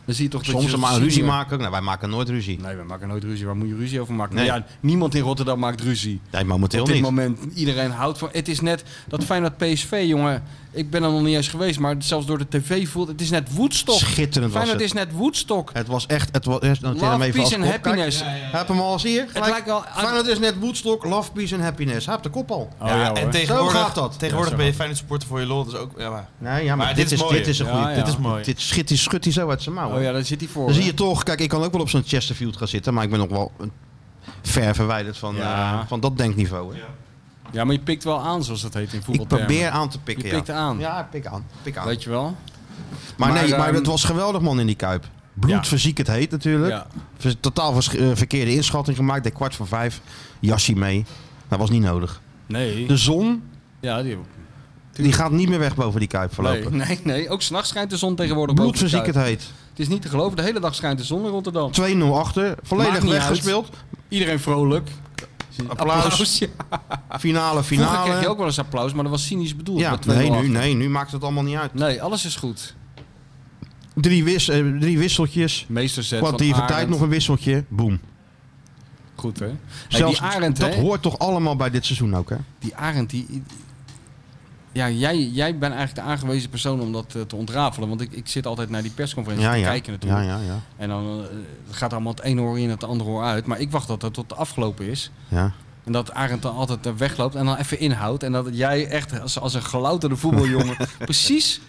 Dan zie je toch dat Soms je maar een ziet ruzie hier. maken. Nou, wij maken nooit ruzie. Nee, we maken nooit ruzie. Waar moet je ruzie over maken? Nee. Ja, niemand in Rotterdam maakt ruzie. Nee, momenteel Op dit niet. moment, iedereen houdt van... Het is net dat Feyenoord PSV, jongen. Ik ben er nog niet eens geweest, maar zelfs door de tv voelt... Het is net Woodstock. Schitterend was Feyenoord het. is net Woodstock. Het was echt... Het was, echt noteer hem Love, even als peace and kop. Kijk, happiness. Heb hem al eens hier. Het lijkt wel... Feyenoord is net Woodstock, Love, Peace and Happiness. Hij heeft de kop al. Oh, Ja, hoor. en tegenwoordig, Zo gaat dat. tegenwoordig Ja, zo ben je Feyenoord supporter voor je lol. Dus ook, ja, maar Nee, ja, maar, dit, Maar dit is, is mooi. dit is een goede. Ja, Dit, is, ja. Mooi. dit schiet, die schudt hij zo uit zijn mouwen. oh ja, daar zit hij voor. Dan zie hè? je toch, kijk, ik kan ook wel op zo'n Chesterfield gaan zitten, maar ik ben nog wel een- ver verwijderd van, Ja. eh, van dat denkniveau. Hè. Ja, maar je pikt wel aan, zoals dat heet in ik voetbaltermen. probeer aan te pikken. Je ja. pikt aan. Ja, ik pik aan. Pik aan. Weet je wel? maar nee, maar, maar ehm, het was geweldig man in die kuip. Ja. Bloedverziek het heet natuurlijk. Ja. Vers- Totaal vers- eh, verkeerde inschatting gemaakt. De kwart voor vijf, jasje mee. Dat was niet nodig. Nee. De zon, Ja, die... die gaat niet meer weg boven die kuip Nee, verlopen. nee, nee. Ook s'nachts schijnt de zon tegenwoordig boven de Bloedverziek kuip. het heet. Het is niet te geloven, de hele dag schijnt de zon in Rotterdam. 2-0 achter, volledig Maakt niet weggespeeld. Iedereen vrolijk. Applaus. ja. Finale, Vroeger kreeg je finale. ook wel eens applaus, maar dat was cynisch bedoeld. Ja, met 2-0 nee nu, achter. nee, nu maakt het allemaal niet uit. Nee, alles is goed. Drie, wis, eh, drie wisseltjes. Meesterzet Wat van die Arend. tijd nog een wisseltje. Boom. Goed, hè? Hey, Zelfs die Arend, dat hè? hoort toch allemaal bij dit seizoen ook, hè? Die Arend, die... Ja, jij, jij bent eigenlijk de aangewezen persoon om dat eh, te ontrafelen. Want ik, ik zit altijd naar die persconferentie te kijken natuurlijk. ja, ja, ja, En dan eh, het gaat allemaal het ene oor in het andere oor uit. Maar ik wacht dat dat tot de afgelopen is. ja. En dat Arend dan altijd eh, wegloopt en dan even inhoudt. En dat jij echt als, als een gelouterde voetbaljongen precies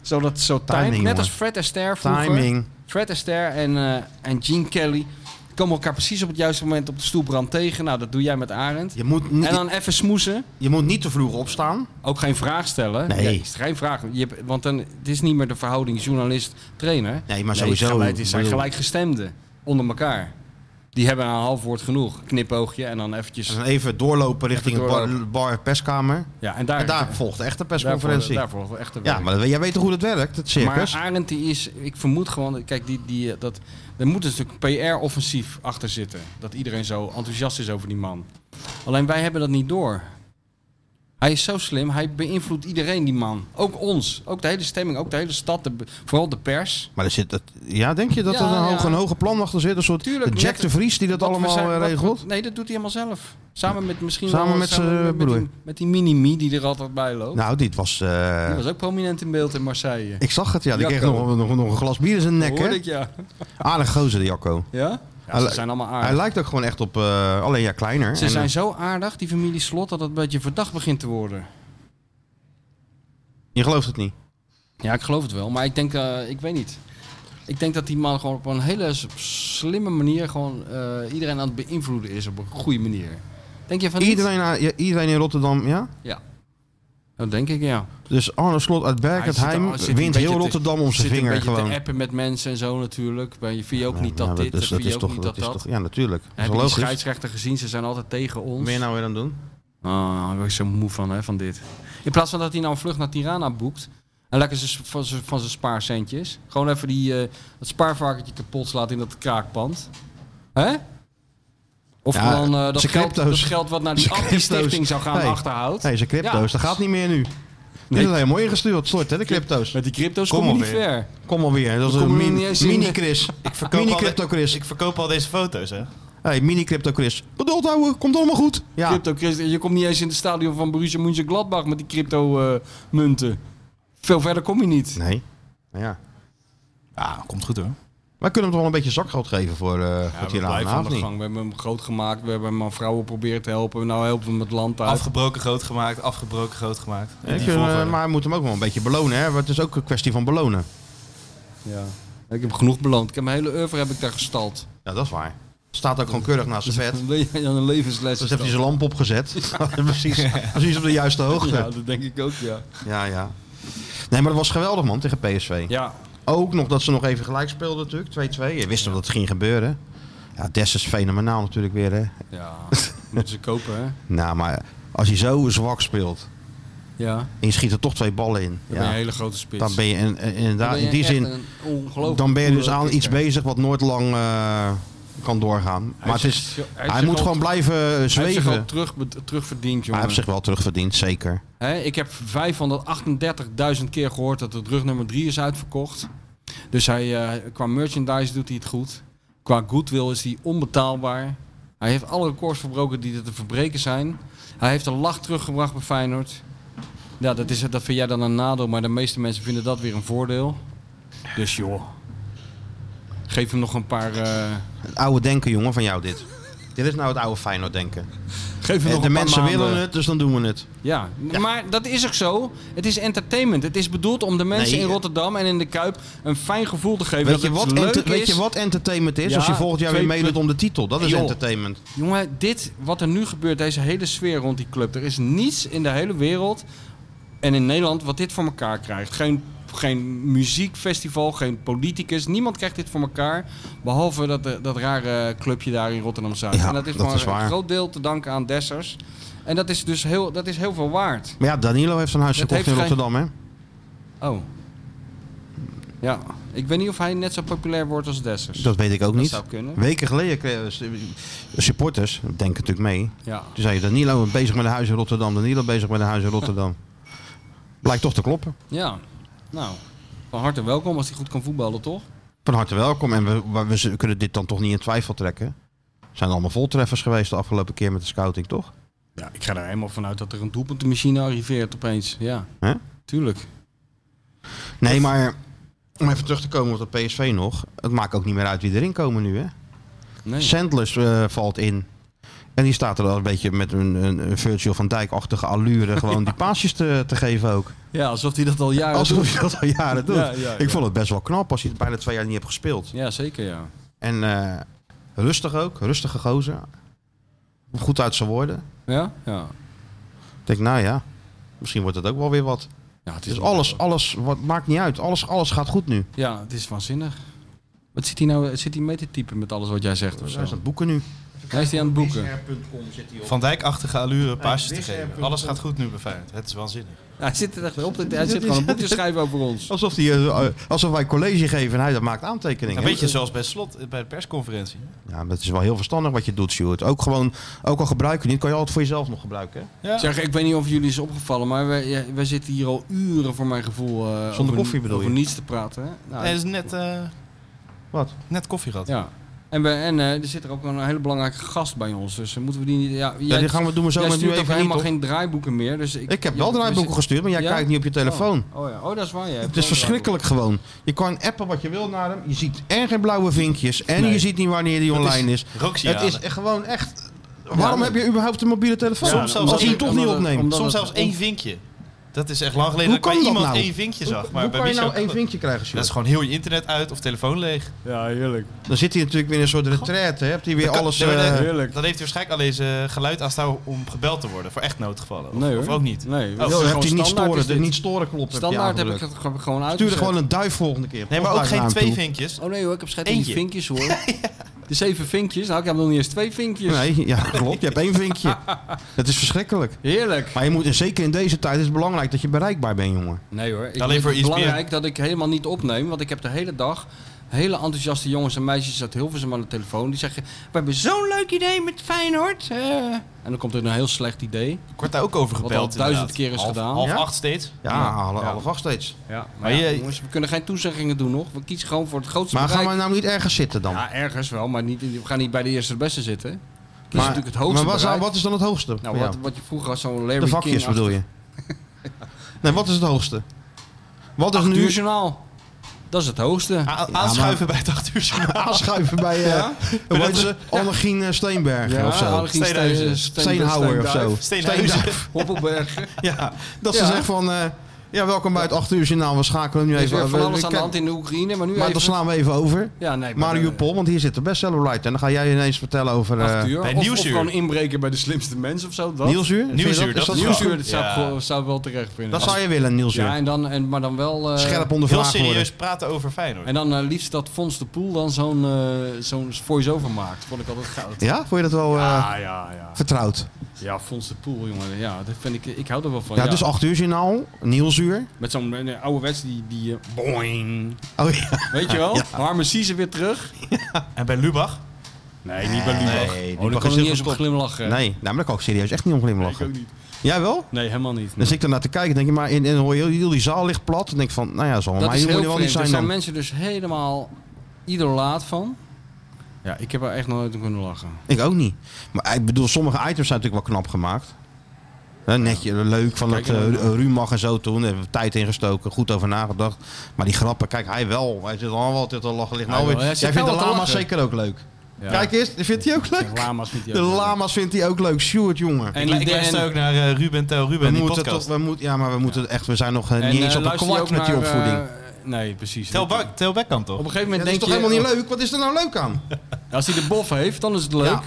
zo dat zo timed. Timing, net jongen. als Fred Astaire vroeger. Timing. Fred Astaire en, eh, en Gene Kelly komen elkaar precies op het juiste moment op de stoelbrand tegen. Nou, dat doe jij met Arend. Je moet, En niet, dan even smoesen. je moet niet te vroeg opstaan. Ook geen vraag stellen. Nee. Ja, is geen vraag. Je hebt, want dan, het is niet meer de verhouding journalist-trainer. Nee, maar sowieso, gelijk- Het zijn bedoel- gelijkgestemden onder elkaar. Die hebben een half woord genoeg. Knipoogje en dan eventjes... En dan even doorlopen richting Even de doorlopen. bar, bar perskamer. Ja, en daar, En daar volgt echt de daarvoor, persconferentie. daarvoor, daarvoor echt een ja, maar dat- jij weet toch hoe dat werkt, het circus? Maar Arendt die is, ik vermoed gewoon, kijk, die, die, eh, dat, er moet een stuk PR-offensief achter zitten. Dat iedereen zo enthousiast is over die man. Alleen wij hebben dat niet door. Hij is zo slim, hij beïnvloedt iedereen, die man. Ook ons, ook de hele stemming, ook de hele stad, de, be- vooral de pers. Maar er zit, dat, ja, denk je dat Ja, er een, hoog, ja. een hoge plan achter zit? Een soort Tuurlijk, Jack net- de Vries die dat Wat we allemaal zijn- eh, wat- regelt? wat- nee, dat doet hij helemaal zelf. Samen met misschien Samen met zijn eh, broer. die, met die mini-me die er altijd bij loopt. nou, dit was... eh, Die was ook prominent in beeld in Marseille. Ik zag het, ja. Die kreeg Jacco. nog, nog, nog een glas bier in zijn nek, Hoor hè? ik, ja. Aardig gozer, de Jacco. Ja? ja Hij ze li- zijn allemaal aardig. Hij lijkt ook gewoon echt op... eh, alleen ja, kleiner. Ah. Ze En, eh, zijn zo aardig, die familie Slot, dat het een beetje verdacht begint te worden. Je gelooft het niet. Ja, ik geloof het wel, maar ik denk, eh, ik weet niet. Ik denk dat die man gewoon op een hele s- slimme manier gewoon eh, iedereen aan het beïnvloeden is op een goede manier. Denk je van niet? Iedereen, eh, ja, iedereen in Rotterdam, ja? Ja. Dat denk ik, ja. Dus Arne Slot uit Berkentheim Hij zit er- zit wint een heel beetje te- Rotterdam om zijn Zit een vinger beetje gewoon. te appen met mensen en zo natuurlijk. Ben je vind je ook niet Ja, dat dit, dus vind je ook niet dat is dat. toch- Ja, natuurlijk. Dat Heb is je wel die logisch. scheidsrechter gezien? Ze zijn altijd tegen ons. Meer nou weer aan doen? Ah, daar ben ik zo moe van, hè, van dit. In plaats van dat hij nou een vlucht naar Tirana boekt. En lekker z'n- van z'n- van zijn spaarcentjes. Gewoon even die, eh, dat spaarvarkentje kapot slaat in dat kraakpand. Hè? Of Ja, gewoon eh, dat, zijn geld, dat crypto's. geld wat naar die Zijn crypto's. anti-stichting zou gaan Hey. achterhoudt. Hé, zijn crypto's, dat gaat niet meer nu. Dit is helemaal ingestuurd, slot hè, de crypto's. Met die crypto's Kom kom je niet alweer. ver. Kom alweer, dat is Kom een er min- niet eens in. mini-Chris. verkoop al de- Mini-crypto-Chris. Dus Ik verkoop al deze foto's, hè? hey, mini-crypto-Chris. Geduld houden, komt allemaal goed. Ja, Crypto, Christ- je komt niet eens in het stadion van Borussia Mönchengladbach met die crypto-munten. Veel verder kom je niet. nee. Nou Ja. Ja, komt goed hoor. Wij kunnen hem toch wel een beetje zakgeld geven voor eh Ja, voor we Tirana, blijven aan of de niet? gang. We hebben hem groot gemaakt. We hebben hem aan vrouwen proberen te helpen. Nou helpen we hem het land uit. Afgebroken groot gemaakt, afgebroken groot gemaakt. Ja, ik, eh, maar we moeten hem ook wel een beetje belonen, hè? want Het is ook een kwestie van belonen. ja. Ik heb genoeg beloond. Ik heb mijn hele oeuvre heb ik daar gestald. Ja, dat is waar. Staat ook gewoon keurig naast zijn bed. Een le- ja, een levensles. Dus is heeft hij dat. zijn lamp opgezet. precies, precies op de juiste Ja, hoogte. dat denk ik ook, ja. Ja, ja. Nee, maar dat was geweldig, man, tegen PSV. Ja, Ook nog dat ze nog even gelijk speelden natuurlijk, 2-2. Je wist toch dat het ging gebeuren. Ja, Des is fenomenaal natuurlijk weer, hè. ja. moeten ze kopen, hè? Nou, maar als je zo zwak speelt Ja, dan en je schiet er toch twee ballen in. ben je een Ja, hele grote spits. dan ben je in, in- inderdaad, Dan ben in die echt zin... een ongelooflijk Dan ben je dus coole aan iets kicker. bezig wat nooit lang eh, kan doorgaan. Maar het is, zich- hij hij, heeft zich moet al- gewoon blijven eh, Hij heeft zich al zweven. terug, terugverdiend, Maar jongen. hij heeft zich wel terugverdiend, zeker. Hè, ik heb 538.000 keer gehoord dat het rug nummer 3 is uitverkocht. Dus hij, eh, qua merchandise doet hij het goed. Qua goodwill is hij onbetaalbaar. Hij heeft alle records verbroken die er te verbreken zijn. Hij heeft een lach teruggebracht bij Feyenoord. Ja, dat, is, dat vind jij dan een nadeel, maar de meeste mensen vinden dat weer een voordeel. Dus joh, geef hem nog een paar... eh, Het oude denken, jongen, van jou dit. dit is nou het oude Feyenoord denken. geef hem nog Eh, de een paar mensen maanden. willen het, dus dan doen we het. Ja, maar dat is ook zo. Het is entertainment. Het is bedoeld om de mensen Nee, in eh, Rotterdam en in de Kuip een fijn gevoel te geven. Weet dat je, het wat leuk enter- is. weet je wat entertainment is? Ja, Als je volgend jaar weer twee meedoet punt- om de titel. Dat is Joh. entertainment. Jongen, dit, wat er nu gebeurt, deze hele sfeer rond die club. Er is niets in de hele wereld en in Nederland wat dit voor elkaar krijgt. Geen, geen muziekfestival, geen politicus. Niemand krijgt dit voor elkaar. Behalve dat, eh, dat rare clubje daar in Rotterdam-Zuid. Ja, en dat is dat maar is waar. een groot deel te danken aan Dessers. En dat is dus heel, dat is heel veel waard. Maar ja, Danilo heeft zijn huis Dat gekocht in heeft geen- Rotterdam, hè? Oh. Ja, ik weet niet of hij net zo populair wordt als Dessers. Dat weet ik ook Dat niet. zou kunnen. Weken geleden kregen supporters, denken natuurlijk mee, Ja. Toen zei je Danilo bezig met een huis in Rotterdam, Danilo bezig met een huis in Rotterdam. Blijkt toch te kloppen. Ja. Nou, van harte welkom als hij goed kan voetballen, toch? Van harte welkom en we, we, we kunnen dit dan toch niet in twijfel trekken. Zijn allemaal voltreffers geweest de afgelopen keer met de scouting, toch? Ja, ik ga er helemaal vanuit dat er een doelpuntenmachine arriveert opeens. Ja. Hè? Tuurlijk. Nee, maar om even terug te komen op dat PSV nog. Het maakt ook niet meer uit wie erin komen nu, hè? Nee. Sandlers eh, valt in. En die staat er al een beetje met een, een, een Virgil van Dijk-achtige allure gewoon die paasjes te, te geven ook. Ja, alsof hij Ah, dat al jaren Alsof doet. je dat al jaren doet. Ja, ja, Ik ja. vond het best wel knap als hij het bijna twee jaar niet hebt gespeeld. Ja, zeker ja. En eh, rustig ook, rustige gozer. Goed uit zijn woorden. Ja? Ja. Ik denk, nou ja, misschien wordt het ook wel weer wat. ja het Dus alles, alles wat, maakt niet uit. Alles, alles gaat goed nu. Ja, het is waanzinnig. Wat zit hij nou zit hij mee te typen met alles wat jij zegt of Hij is aan zo? het boeken nu. Hij is hij aan het boeken. zit hij op. Van Dijk-achtige allure, paasjes te geven. Alles gaat goed nu bij Feyenoord. Het is waanzinnig. Hij zit er echt weer op. te- Hij zit gewoon een boek te schrijven over ons. Alsof, die, eh, eh, alsof wij college geven en hij dat maakt aantekeningen. Een beetje zoals bij Slot, eh, bij de persconferentie. Ja, maar dat is wel heel verstandig wat je doet, Stuart. Ook gewoon, ook al gebruik je niet, kan je altijd voor jezelf nog gebruiken. hè? Ja. Zeg, ik weet niet of jullie is opgevallen, maar wij, ja, wij zitten hier al uren voor mijn gevoel eh, over, koffie bedoel over je? niets te praten. Hè? Nou, Nee, dat is net, eh, Ah. Wat? net koffie gehad. ja. En, we, en eh, er zit er ook een hele belangrijke gast bij ons, dus eh, moeten we die niet... Ja, Ja, jij, die gaan we doen we zo jij maar nu stuurt ook even niet, helemaal toch? geen draaiboeken meer, dus ik... Ik heb ja, wel we draaiboeken zitten- gestuurd, maar jij Ja? kijkt niet op je telefoon. Oh, oh ja, oh, dat is waar. jij hebt Het wel is een verschrikkelijk gewoon. Je kan appen wat je wil naar hem. Je ziet en geen blauwe vinkjes. En Nee. je ziet niet wanneer die online is. Het Rooksignalen. is echt gewoon echt... Waarom maar- heb je überhaupt een mobiele telefoon? Ja, Soms als zelfs als je hem je- toch niet omdat- opneemt. omdat- Soms het zelfs on- één vinkje. Dat is echt lang geleden Hoe dat ik kan bij dat iemand nou? één vinkje zag. Hoe- maar hoe bij kan je nou Michel kan één dat. vinkje krijgen, Sjoerd? Dat is gewoon heel je internet uit of telefoon leeg. Ja, heerlijk. Dan zit hij natuurlijk weer in een soort retraite. hè? Hebt hij weer Dan kan- alles... Nee, maar eh, dan- heerlijk. Dan heeft dus hij waarschijnlijk alleen zijn geluid aanstaan om gebeld te worden. Voor echt noodgevallen. Of, Nee, hoor. of ook niet. Nee, Oh, dat is joh, dus gewoon hebt hij niet standaard is storen, de dit. niet storen klopt. Standaard heb ik het. het ge- gewoon uit. Stuur er gewoon een duif volgende keer. Nee, maar ook Postduif naar geen hem twee toe. vinkjes. Oh nee hoor, ik heb scheid in Eentje. die vinkjes hoor. De zeven vinkjes. Nou, ik heb nog niet eens twee vinkjes. Nee, ja, klopt. Je hebt één vinkje. Dat is verschrikkelijk. Heerlijk. Maar je moet, en zeker in deze tijd is het belangrijk dat je bereikbaar bent, jongen. Nee hoor. Ik Alleen vind voor het ESPN. belangrijk dat ik helemaal niet opneem, want ik heb de hele dag hele enthousiaste jongens en meisjes uit Hilversum aan de telefoon. Die zeggen, we hebben zo'n leuk idee met Feyenoord. eh." En dan komt er een heel slecht idee, Ik word daar ook over wat gebeld. al duizend inderdaad. keer is Half- gedaan. Half Ja? acht steeds. Ja, alle, alle wacht steeds. Ja, maar, Maar ja, je- jongens, we kunnen geen toezeggingen doen nog. We kiezen gewoon voor het grootste Maar gaan bereik. we nou niet ergens zitten dan? Ja, ergens wel, maar niet, in- we gaan niet bij de eerste de beste zitten. Kies maar, natuurlijk het hoogste maar wat, zou- bereik. wat is dan het hoogste? Nou, Ja. wat, wat je vroeger als zo'n Larry De vakjes King bedoel je? Nee, wat is het hoogste? Wat is acht nu uur journaal. Dat is het hoogste. A- Aanschuiven bij het acht uur journaal. aanschuiven bij eh hoe heet ze? Annegien eh, Steenberg of zo? Algien Steen- Steenhuizen. Steen- Steenhouwer of zo. Steenduif. Steenhuizen. Steenduif. Hoppelberg. Ja, dat ze Ja. zegt van... eh, ja, welkom bij het 8 uur journaal. We schakelen hem nu Er is even... weer van we- alles we- aan de hand in de Oekraïne, maar nu Maar even... dan slaan we even over. Ja, nee, maar- Mariupol, want hier zit de bestsellerwriter. En dan ga jij ineens vertellen over... Acht eh uur. Bij Of- of, Nieuwsuur. gewoon inbreken bij de slimste mens of zo. Dat. Nieuwsuur? Vind je Nieuwsuur, is dat is wel- Nieuwsuur, dat zou, ik Ja. gewoon- zou ik wel terecht vinden. Dat zou je willen, Nieuwsuur. Ja, en dan, en, maar dan wel... eh, Scherp Heel ondervraagd worden. serieus praten over Feyenoord. En dan eh, liefst dat Fons de Poel dan zo'n eh zo'n voice-over maakt. Vond ik altijd goud. Ja? Vond je dat wel eh, Ja, ja, ja. vertrouwd? Ja, Fons de Poel, jongen. Ja, dat vind ik... Ik hou er wel van. Ja, dus 8 uur journaal. Nieuwsuur. Met zo'n eh, oude wets die... die eh, boing. Oh ja. Weet je wel? Harmen Siezen weer terug. En bij Lubach? Nee, niet bij Lubach. Nee, Lubach oh, daar is kan ik heel niet eens op goed. glimlachen. Nee, nou, maar daar kan ik serieus echt niet om ik ook glimlachen. niet. Jij wel? Nee, helemaal niet. Dan zit ik daarnaar te kijken, denk je, maar in, in hoor je heel, heel die zaal ligt plat. Dan denk ik van, nou ja, zal Dat maar is hier moet heel je wel vreemd. niet Er zijn zijn dan. mensen dus helemaal idolaat van. Ja, ik heb er echt nog nooit om kunnen lachen. Ik ook niet. Maar ik bedoel, sommige items zijn natuurlijk wel knap gemaakt. Hè, netje, leuk van Kijk, dat en eh dan- Rumach en zo toen. Daar hebben we tijd ingestoken, goed over nagedacht. Maar die grappen, kijk, hij wel. Hij zit al altijd al lachen. Ligt nou Hij weer. wel, hij Jij zit vindt de wel te lama's lachen. zeker ook leuk. Ja. Kijk eens, vindt hij ook leuk? De lama's vindt hij De ook leuk. lama's vindt hij ook leuk. Sjoerd, jongen. En Ik, lu- ik luister ook naar eh, Ruben Tel we Ruben, die moeten podcast. toch, we moeten, ja, maar we moeten echt, we zijn nog eh, niet eens op een kwart met die opvoeding. nee, precies. Tel, Op een Bak- Tel Beckham toch? gegeven Ja, moment dat is eh, denk toch je... helemaal niet leuk? Wat is er nou leuk aan? Als hij de bof heeft, dan is het leuk. Ja.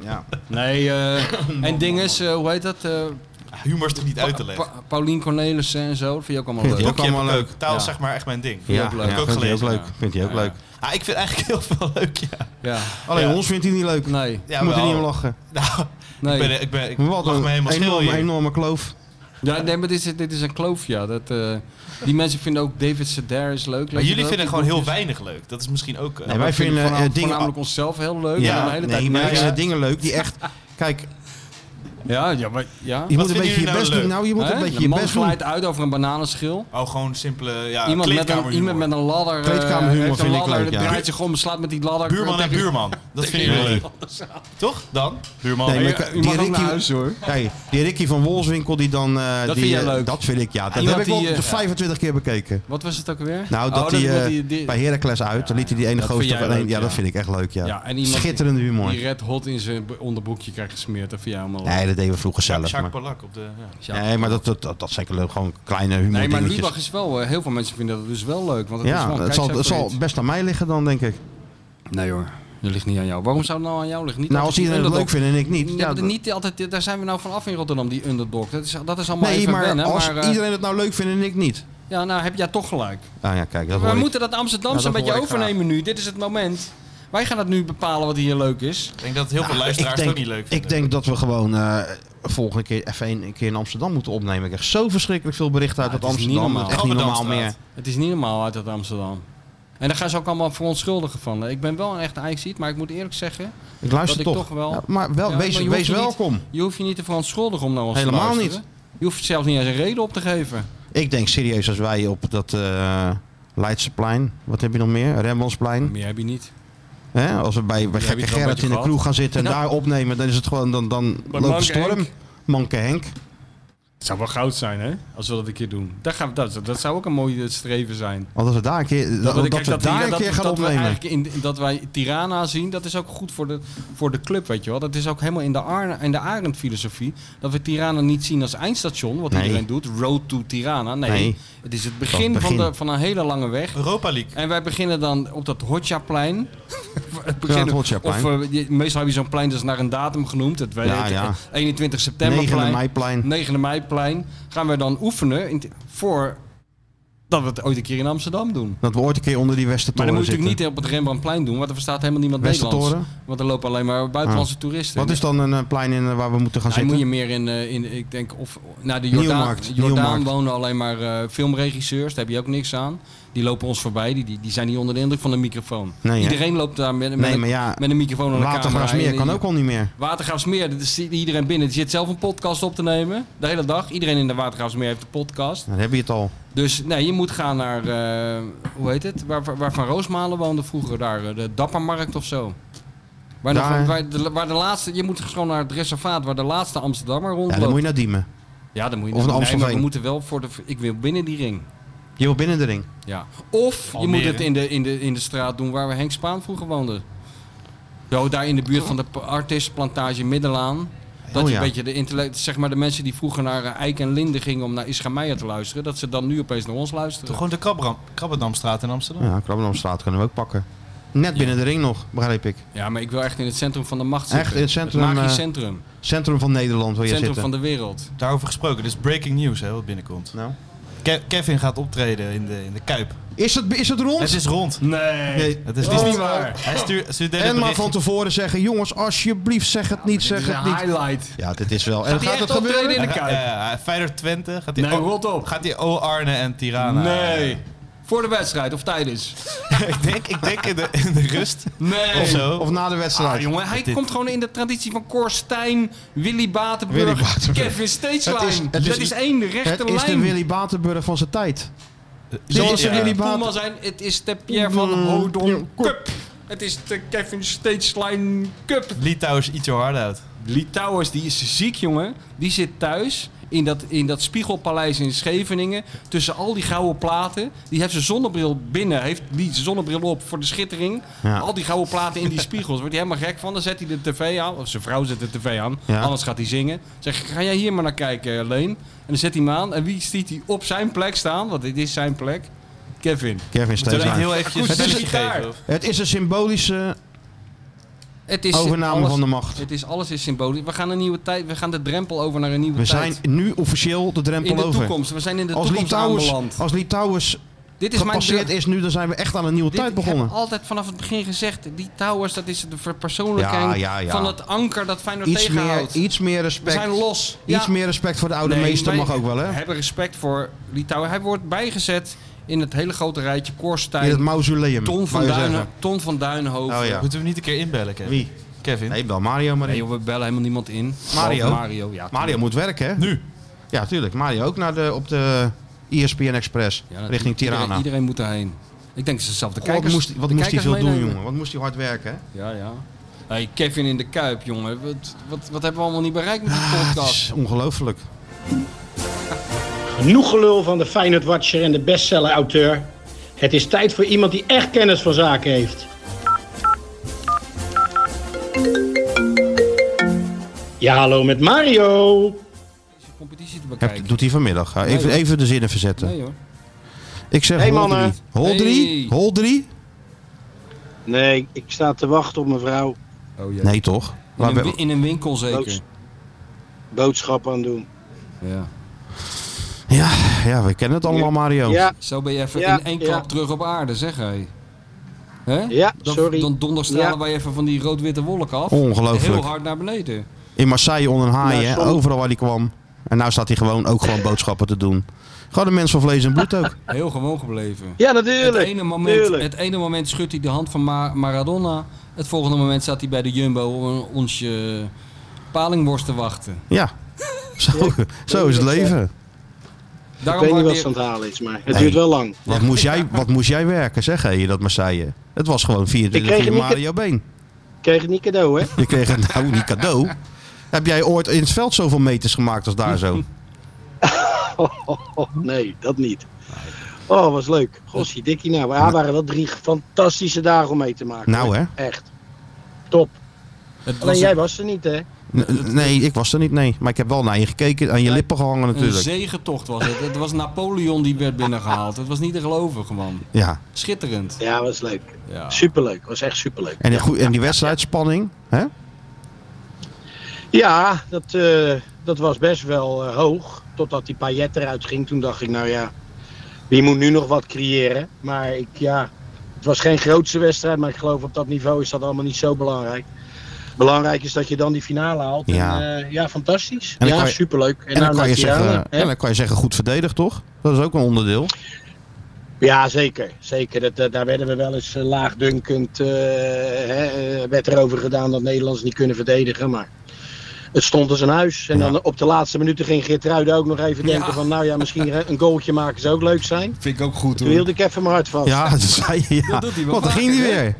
Ja. Nee, eh, en ding is, eh, hoe heet dat? eh, Humor is toch niet uit te leggen? Pa- Paulien Cornelissen en zo, dat vind je ook allemaal Vind leuk. je Boekje heb ik allemaal leuk. ook. Taal Ja. is zeg maar echt mijn ding. Ja, ook leuk. ja, Heb ik ook vindt hij ook gelezen, leuk. ja. Vindt hij ook Ja, leuk. Ah, ik vind eigenlijk heel veel leuk, ja. Ja, Alleen Ja. ons vindt hij niet leuk. nee, ja We moeten wel. niet om lachen. Nou, nee. ik ben, ik ben, ik Wat lach een me helemaal schil enorme, hier. enorme kloof. Ja, nee, maar dit is, dit is een kloof, ja. Dat, eh, die mensen vinden ook David Sedair is leuk. Maar jullie vinden gewoon heel weinig leuk. Dat is misschien ook... eh, Nee, wij vinden eh, voornamelijk, dingen... voornamelijk onszelf heel leuk. en dan de ja, hele tijd nee, maar wij mensen- vinden dingen leuk die echt... Kijk, Ja, ja, maar, ja. je moet een vinden beetje je jullie nou best leuk? doen. Nou, je moet Hè? een beetje de je man best doen. glijdt uit over een bananenschil. Oh, gewoon simpele ja, Iemand met, een, kleedkamerhumor. iemand met een ladder. eh, Kleedkamerhumor heeft een vind ik ladder, leuk, ja. draait zich om, slaat met die ladder. Buurman en tegen- buurman. Dat vinden jullie leuk. Toch? Dan? Buurman. Nee, Ja, maar je- ik- je die mag ook Ricky- naar huis hoor. Hey, die Ricky van Wolfswinkel die dan... eh, Dat die, vind jij eh, leuk. Dat vind ik, ja. Dat Iemand heb ik wel die, eh, 25 keer bekeken. Wat was het ook weer? Nou, Oh, dat die, wil eh, die- die- bij Heracles uit, dan liet hij die ene dat gozer... vind jij alleen- leuk, ja, dat ja. vind ik echt leuk, ja. Ja, en iemand die- Schitterende humor. die red hot in zijn be- onderboekje krijgt gesmeerd. Dat vind jij allemaal leuk. Nee, dat deden we vroeger zelf. Jacques maar- Polak op de... Ja. Ja. Nee, maar dat, dat, dat, dat zijn gewoon kleine humor Nee, maar dingetjes. Lubach is wel... eh, heel veel mensen vinden dat dus wel leuk. Want het is wel Ja, een het zal, het kijkcijfer zal iets. best aan mij liggen dan, denk ik. Nee hoor, dat ligt niet aan jou. Waarom zou het nou aan jou liggen? Niet Nou, als altijd die iedereen het leuk underdog. vindt en ik niet. Ja, Ja, maar niet altijd, daar zijn we nou vanaf in Rotterdam, die underdog. Dat is, dat is allemaal nee, even maar wennen. als maar, eh, iedereen het nou leuk vindt en ik niet. Ja, nou heb jij toch gelijk. Ah ja, kijk, dat we hoor ik. moeten dat Amsterdamse Ja, dat een beetje hoor ik overnemen nu. Dit is het moment. Wij gaan dat nu bepalen wat hier leuk is. Ik denk dat heel veel luisteraars Nou, Ik het ook denk, niet leuk vinden. ik denk dat we gewoon eh, volgende keer even een, een keer in Amsterdam moeten opnemen. Ik krijg zo verschrikkelijk veel berichten uit Ja, uit het is niet Amsterdam. normaal. Het is echt niet normaal meer. Rotterdamstraat. Het is niet normaal uit dat Amsterdam. En daar gaan ze ook allemaal verontschuldigen van. Ik ben wel een echte Ajaxiet, maar ik moet eerlijk zeggen... Ik luister Dat ik toch. toch wel- Ja, maar wel, Ja, wees, maar je wees hoeft niet- welkom. Je hoeft je niet te verontschuldigen om naar ons te Helemaal luisteren. Je hoeft zelfs niet eens een reden op te geven. Ik denk serieus als wij op dat eh Leidseplein, wat heb je nog meer? Rembrandtsplein. Meer heb je niet. Hè? Als we bij, bij Ja, gekke wie het wel Gerrit met in de gehad. kroeg gaan zitten en Ja. daar opnemen, dan is het gewoon dan, dan loopt de Manke storm. Henk. Manke Henk. Het zou wel goud zijn, hè? Als we dat een keer doen. Dat, gaan we, dat, dat zou ook een mooi streven zijn. Want als we daar een keer, dat, we- dat kijk, we die- daar een dat- keer gaan dat we opnemen. eigenlijk in, in- dat wij Tirana zien, dat is ook goed voor de, voor de club, weet je wel. Dat is ook helemaal in de, Arne, in de Arend-filosofie. Dat we Tirana niet zien als eindstation, wat Nee. iedereen doet. Road to Tirana. Nee, Nee. het is het Dat begin, is het Van, begin. de, van een hele lange weg. Europa League. En wij beginnen dan op dat Hotja-plein. het Ja, het Hotjaplein. Of, eh, je- meestal heb je zo'n plein dat is naar een datum genoemd. Het, wij Ja, heten, ja. eh, 21 september 9 meiplein. 9 meiplein. Gaan we dan oefenen in, voor dat we het ooit een keer in Amsterdam doen. Dat we ooit een keer onder die Maar dan Westertoren moet je zitten. natuurlijk niet op het Rembrandtplein doen, want er verstaat helemaal niemand Nederlands. Westertoren? Ah. Want er lopen alleen maar buitenlandse toeristen. Wat is dan een eh, plein in, eh, waar we moeten gaan Nou, dan moet zitten? je meer in, eh, in ik denk, of naar de Jordaan. Nieuwmarkt, Jordaan Nieuwmarkt. wonen alleen maar eh, filmregisseurs, daar heb je ook niks aan. Die lopen ons voorbij, die, die, die zijn niet onder de indruk van een microfoon. Nee, hè? Iedereen loopt daar met, met, Nee, een, maar ja, met een microfoon aan de camera. Watergraafsmeer En- kan ook al niet meer. Watergraafsmeer, er zit iedereen binnen. Die zit zelf een podcast op te nemen, de hele dag. Iedereen in de Watergraafsmeer heeft een podcast. Dan heb je het al. Dus nee, je moet gaan naar, eh, hoe heet het, waar, waar Van Roosmalen woonde vroeger, daar, eh, de Dappermarkt of zo. Waar, nog- Daar. waar, de, waar de laatste, je moet gewoon naar het reservaat waar de laatste Amsterdammer rondloopt. Ja, dan moet je naar Diemen. Ja, dan moet je Of naar nee, maar Amstelveen. we moeten wel voor de. Ik wil binnen die ring. Je wil binnen de ring. Ja. Of je Almere. moet het in de, in, de, in de straat doen waar we Henk Spaan vroeger woonde. Zo, daar in de buurt van de p- artistenplantage Middelaan. Dat Oh je ja. een beetje de intellect, zeg maar de mensen die vroeger naar eh, Eik en Linde gingen om naar Ischa Meijer te luisteren, dat ze dan nu opeens naar ons luisteren. Toch gewoon de Krabbedam- Krabbedamstraat in Amsterdam. Ja, Krabbenamstraat kunnen we ook pakken. Net binnen de ring nog, begrijp ik. Ja, maar ik wil echt in het centrum van de macht Echt zitten. in het centrum, magisch eh, centrum. Centrum van Nederland wil je Centrum zitten. van de wereld. Daarover gesproken, dus breaking news hè, wat binnenkomt. Nou. Ke- Kevin gaat optreden in de, in de Kuip. Is, het, is het rond? Het is rond. Nee. Nee. Het is, Dat is rond. Oh, niet waar. Hij stuurt stuurt deze En maar berichtje. van tevoren zeggen, jongens, alsjeblieft zeg het niet, zeg Zeg het een niet. highlight. Ja, dit is wel. Gaat en hij gaat echt het gebeuren? optreden in de Ja, Kuip? ja, ja. eh, Feyenoord Twente gaat hij Nee, O- rot op. Gaat hij O Arne en Ah, Tirana? eh, Nee. Voor de wedstrijd of tijdens? ik denk, ik denk in, de, in de rust Nee. of zo. Of na de wedstrijd? Ah, jongen, hij Dit- komt gewoon in de traditie van Cor Stijn, Willy Batenburg, Willy Batenburg. Kevin Steeslijn. Het is- het dat is- is, één rechte het lijn. is de Willy Batenburg van zijn tijd. Dit is Ja. de Willy Baten- Mm, Poelman zijn. Het is de Pierre van Hodon Cup. Het is de Kevin Steeslijn Cup. Litouwers iets zo hard uit. Litouwers, die is ziek, jongen. Die zit thuis in dat, in dat spiegelpaleis in Scheveningen. Tussen al die gouden platen. Die heeft zijn zonnebril binnen. Heeft die zonnebril op voor de schittering. Ja. Al die gouden platen in die spiegels. Wordt hij helemaal gek van. Dan zet hij de tv aan. Of zijn vrouw zet de tv aan. Ja. Anders gaat hij zingen. Zeg, ga jij hier maar naar kijken, eh, Leen. En dan zet hij hem aan. En wie ziet hij op zijn plek staan? Want dit is zijn plek. Kevin. Kevin Zullen we niet Steeslijn. heel eventjes Het is een een belletje gitaar. geven? of? Het is een symbolische Het is overname alles- van de macht. Het is alles is symbolisch. We gaan een nieuwe tijd. We gaan de drempel over naar een nieuwe We tijd. zijn nu officieel de drempel in de over. toekomst. We zijn in de als, toekomst Litouwers, aanbeland. als Litouwers dit is mijn gepasseerd is nu, dan zijn we echt aan een nieuwe tijd Ik begonnen. heb altijd vanaf het begin gezegd, die towers, dat is de verpersoonlijking Ja, ja, ja. van het anker dat Feyenoord Iets meer, tegenhoudt. iets meer we respect. zijn los. Iets Ja. meer respect voor de oude Nee, meester wij mag ook wel, hè? hebben respect voor Litouwen. Hij wordt bijgezet in het hele grote rijtje In het Korstijn, mausoleum. Ton van, wou je Duinen, zeggen. Ton van Duinhoven. Oh ja. Moeten we niet een keer inbellen, Kevin? Wie? Kevin? Nee, wel Mario maar Nee, in. joh, we bellen helemaal niemand in. Mario? Behalve Mario, ja. Mario moet werken, hè? Nu. Ja, tuurlijk. Mario ook naar de, op de E ESPN Express Ja, dat- richting iedereen- Tirana. Iedereen moet daarheen. Ik denk dat ze zelf de Kijk, wat kijkers... moest, wat de moest hij kijkers veel doen, meenemen. jongen? Wat moest hij hard werken? hè? Ja, ja. Hey, Kevin in de Kuip, jongen. Wat, wat, wat hebben we allemaal niet bereikt met die Het podcast? is ongelooflijk. Genoeg gelul van de Feyenoord Watcher en de bestseller auteur. Het is tijd voor iemand die echt kennis van zaken heeft. Ja, hallo met Mario. Deze competitie te dus- Heb- bekijken. doet hij vanmiddag. Ga Even, Nee, hoor. even de zinnen verzetten. Nee hoor. Ik zeg Hey, hol mannen. 3. Hol 3? Hey. Hol 3? Nee, ik sta te wachten op mevrouw. Oh, ja. Nee, toch? in, Waar een, we- wi- in een winkel zeker. Loods. Boodschap aan doen. Ja. ja, ja, we kennen het allemaal, Mario. Ja, Zo ben je even Ja, in één ja. klap terug op aarde, zeg hé. Hè? ja, Dan, sorry. dan donderstralen Ja. wij even van die rood-witte wolk af. Heel Ongelooflijk. hard naar beneden. In Marseille onder een haai, Nou, hè? soms- overal waar hij kwam. En nou staat hij gewoon ook gewoon boodschappen te doen. Gewoon een mens van vlees en bloed ook. Heel gewoon gebleven. Ja, Het natuurlijk. ene, moment, tuurlijk. het ene moment schudt hij de hand van Ma- Maradona. Het volgende moment staat hij bij de Jumbo om ons eh, palingworst te wachten. Ja, zo, zo is het leven. Ik weet niet wat waardeer- ze aan het halen is, maar het Nee. duurt wel lang. Wat moest jij, wat moest jij werken, zeg hé, dat Marseille? Het was gewoon 24 Ik uur kreeg niet- Mario Been. Ik kreeg het niet cadeau, hè? Je kreeg een nou, niet cadeau. Heb jij ooit in het veld zoveel meters gemaakt als daar zo? nee, dat niet. Oh, was leuk. Gossie, dikkie nou. Ja, waren dat drie fantastische dagen om mee te maken. Nou, hè? Echt. Top. Het was Alleen een- jij was er niet, hè? N- nee, ik was er niet, nee. Maar ik heb wel naar je gekeken, aan je lippen gehangen een natuurlijk. zegentocht was het. Het was Napoleon die werd binnengehaald. Het was niet te geloven gewoon. Ja. Schitterend. Ja, was leuk. Ja. Superleuk. Was echt superleuk. En die, goe- en die wedstrijdspanning, hè? Ja, dat, eh, dat was best wel eh, hoog. Totdat die paillet eruit ging. Toen dacht ik, nou ja, wie moet nu nog wat creëren? Maar ik, ja, het was geen grootste wedstrijd. Maar ik geloof op dat niveau is dat allemaal niet zo belangrijk. Belangrijk is dat je dan die finale haalt. Ja. Ja, en, eh, ja fantastisch. En dan ja, kan je- superleuk. En dan, nou kan je naar Tirana, zeggen, eh, hè? en dan kan je zeggen, goed verdedigd toch? Dat is ook een onderdeel. Ja, zeker. zeker. Dat, eh, daar werden we wel eens eh, laagdunkend. eh, hè, eh, werd erover gedaan dat Nederlanders niet kunnen verdedigen. Maar het stond als een huis. En dan op de laatste minuten ging Geertruiden ook nog even denken: van nou ja, misschien een goaltje maken zou ook leuk zijn. Vind ik ook goed Toen hield ik even mijn hart vast. Ja, dat zei je, ja. Dat doet hij wel Want dan ging hij weer.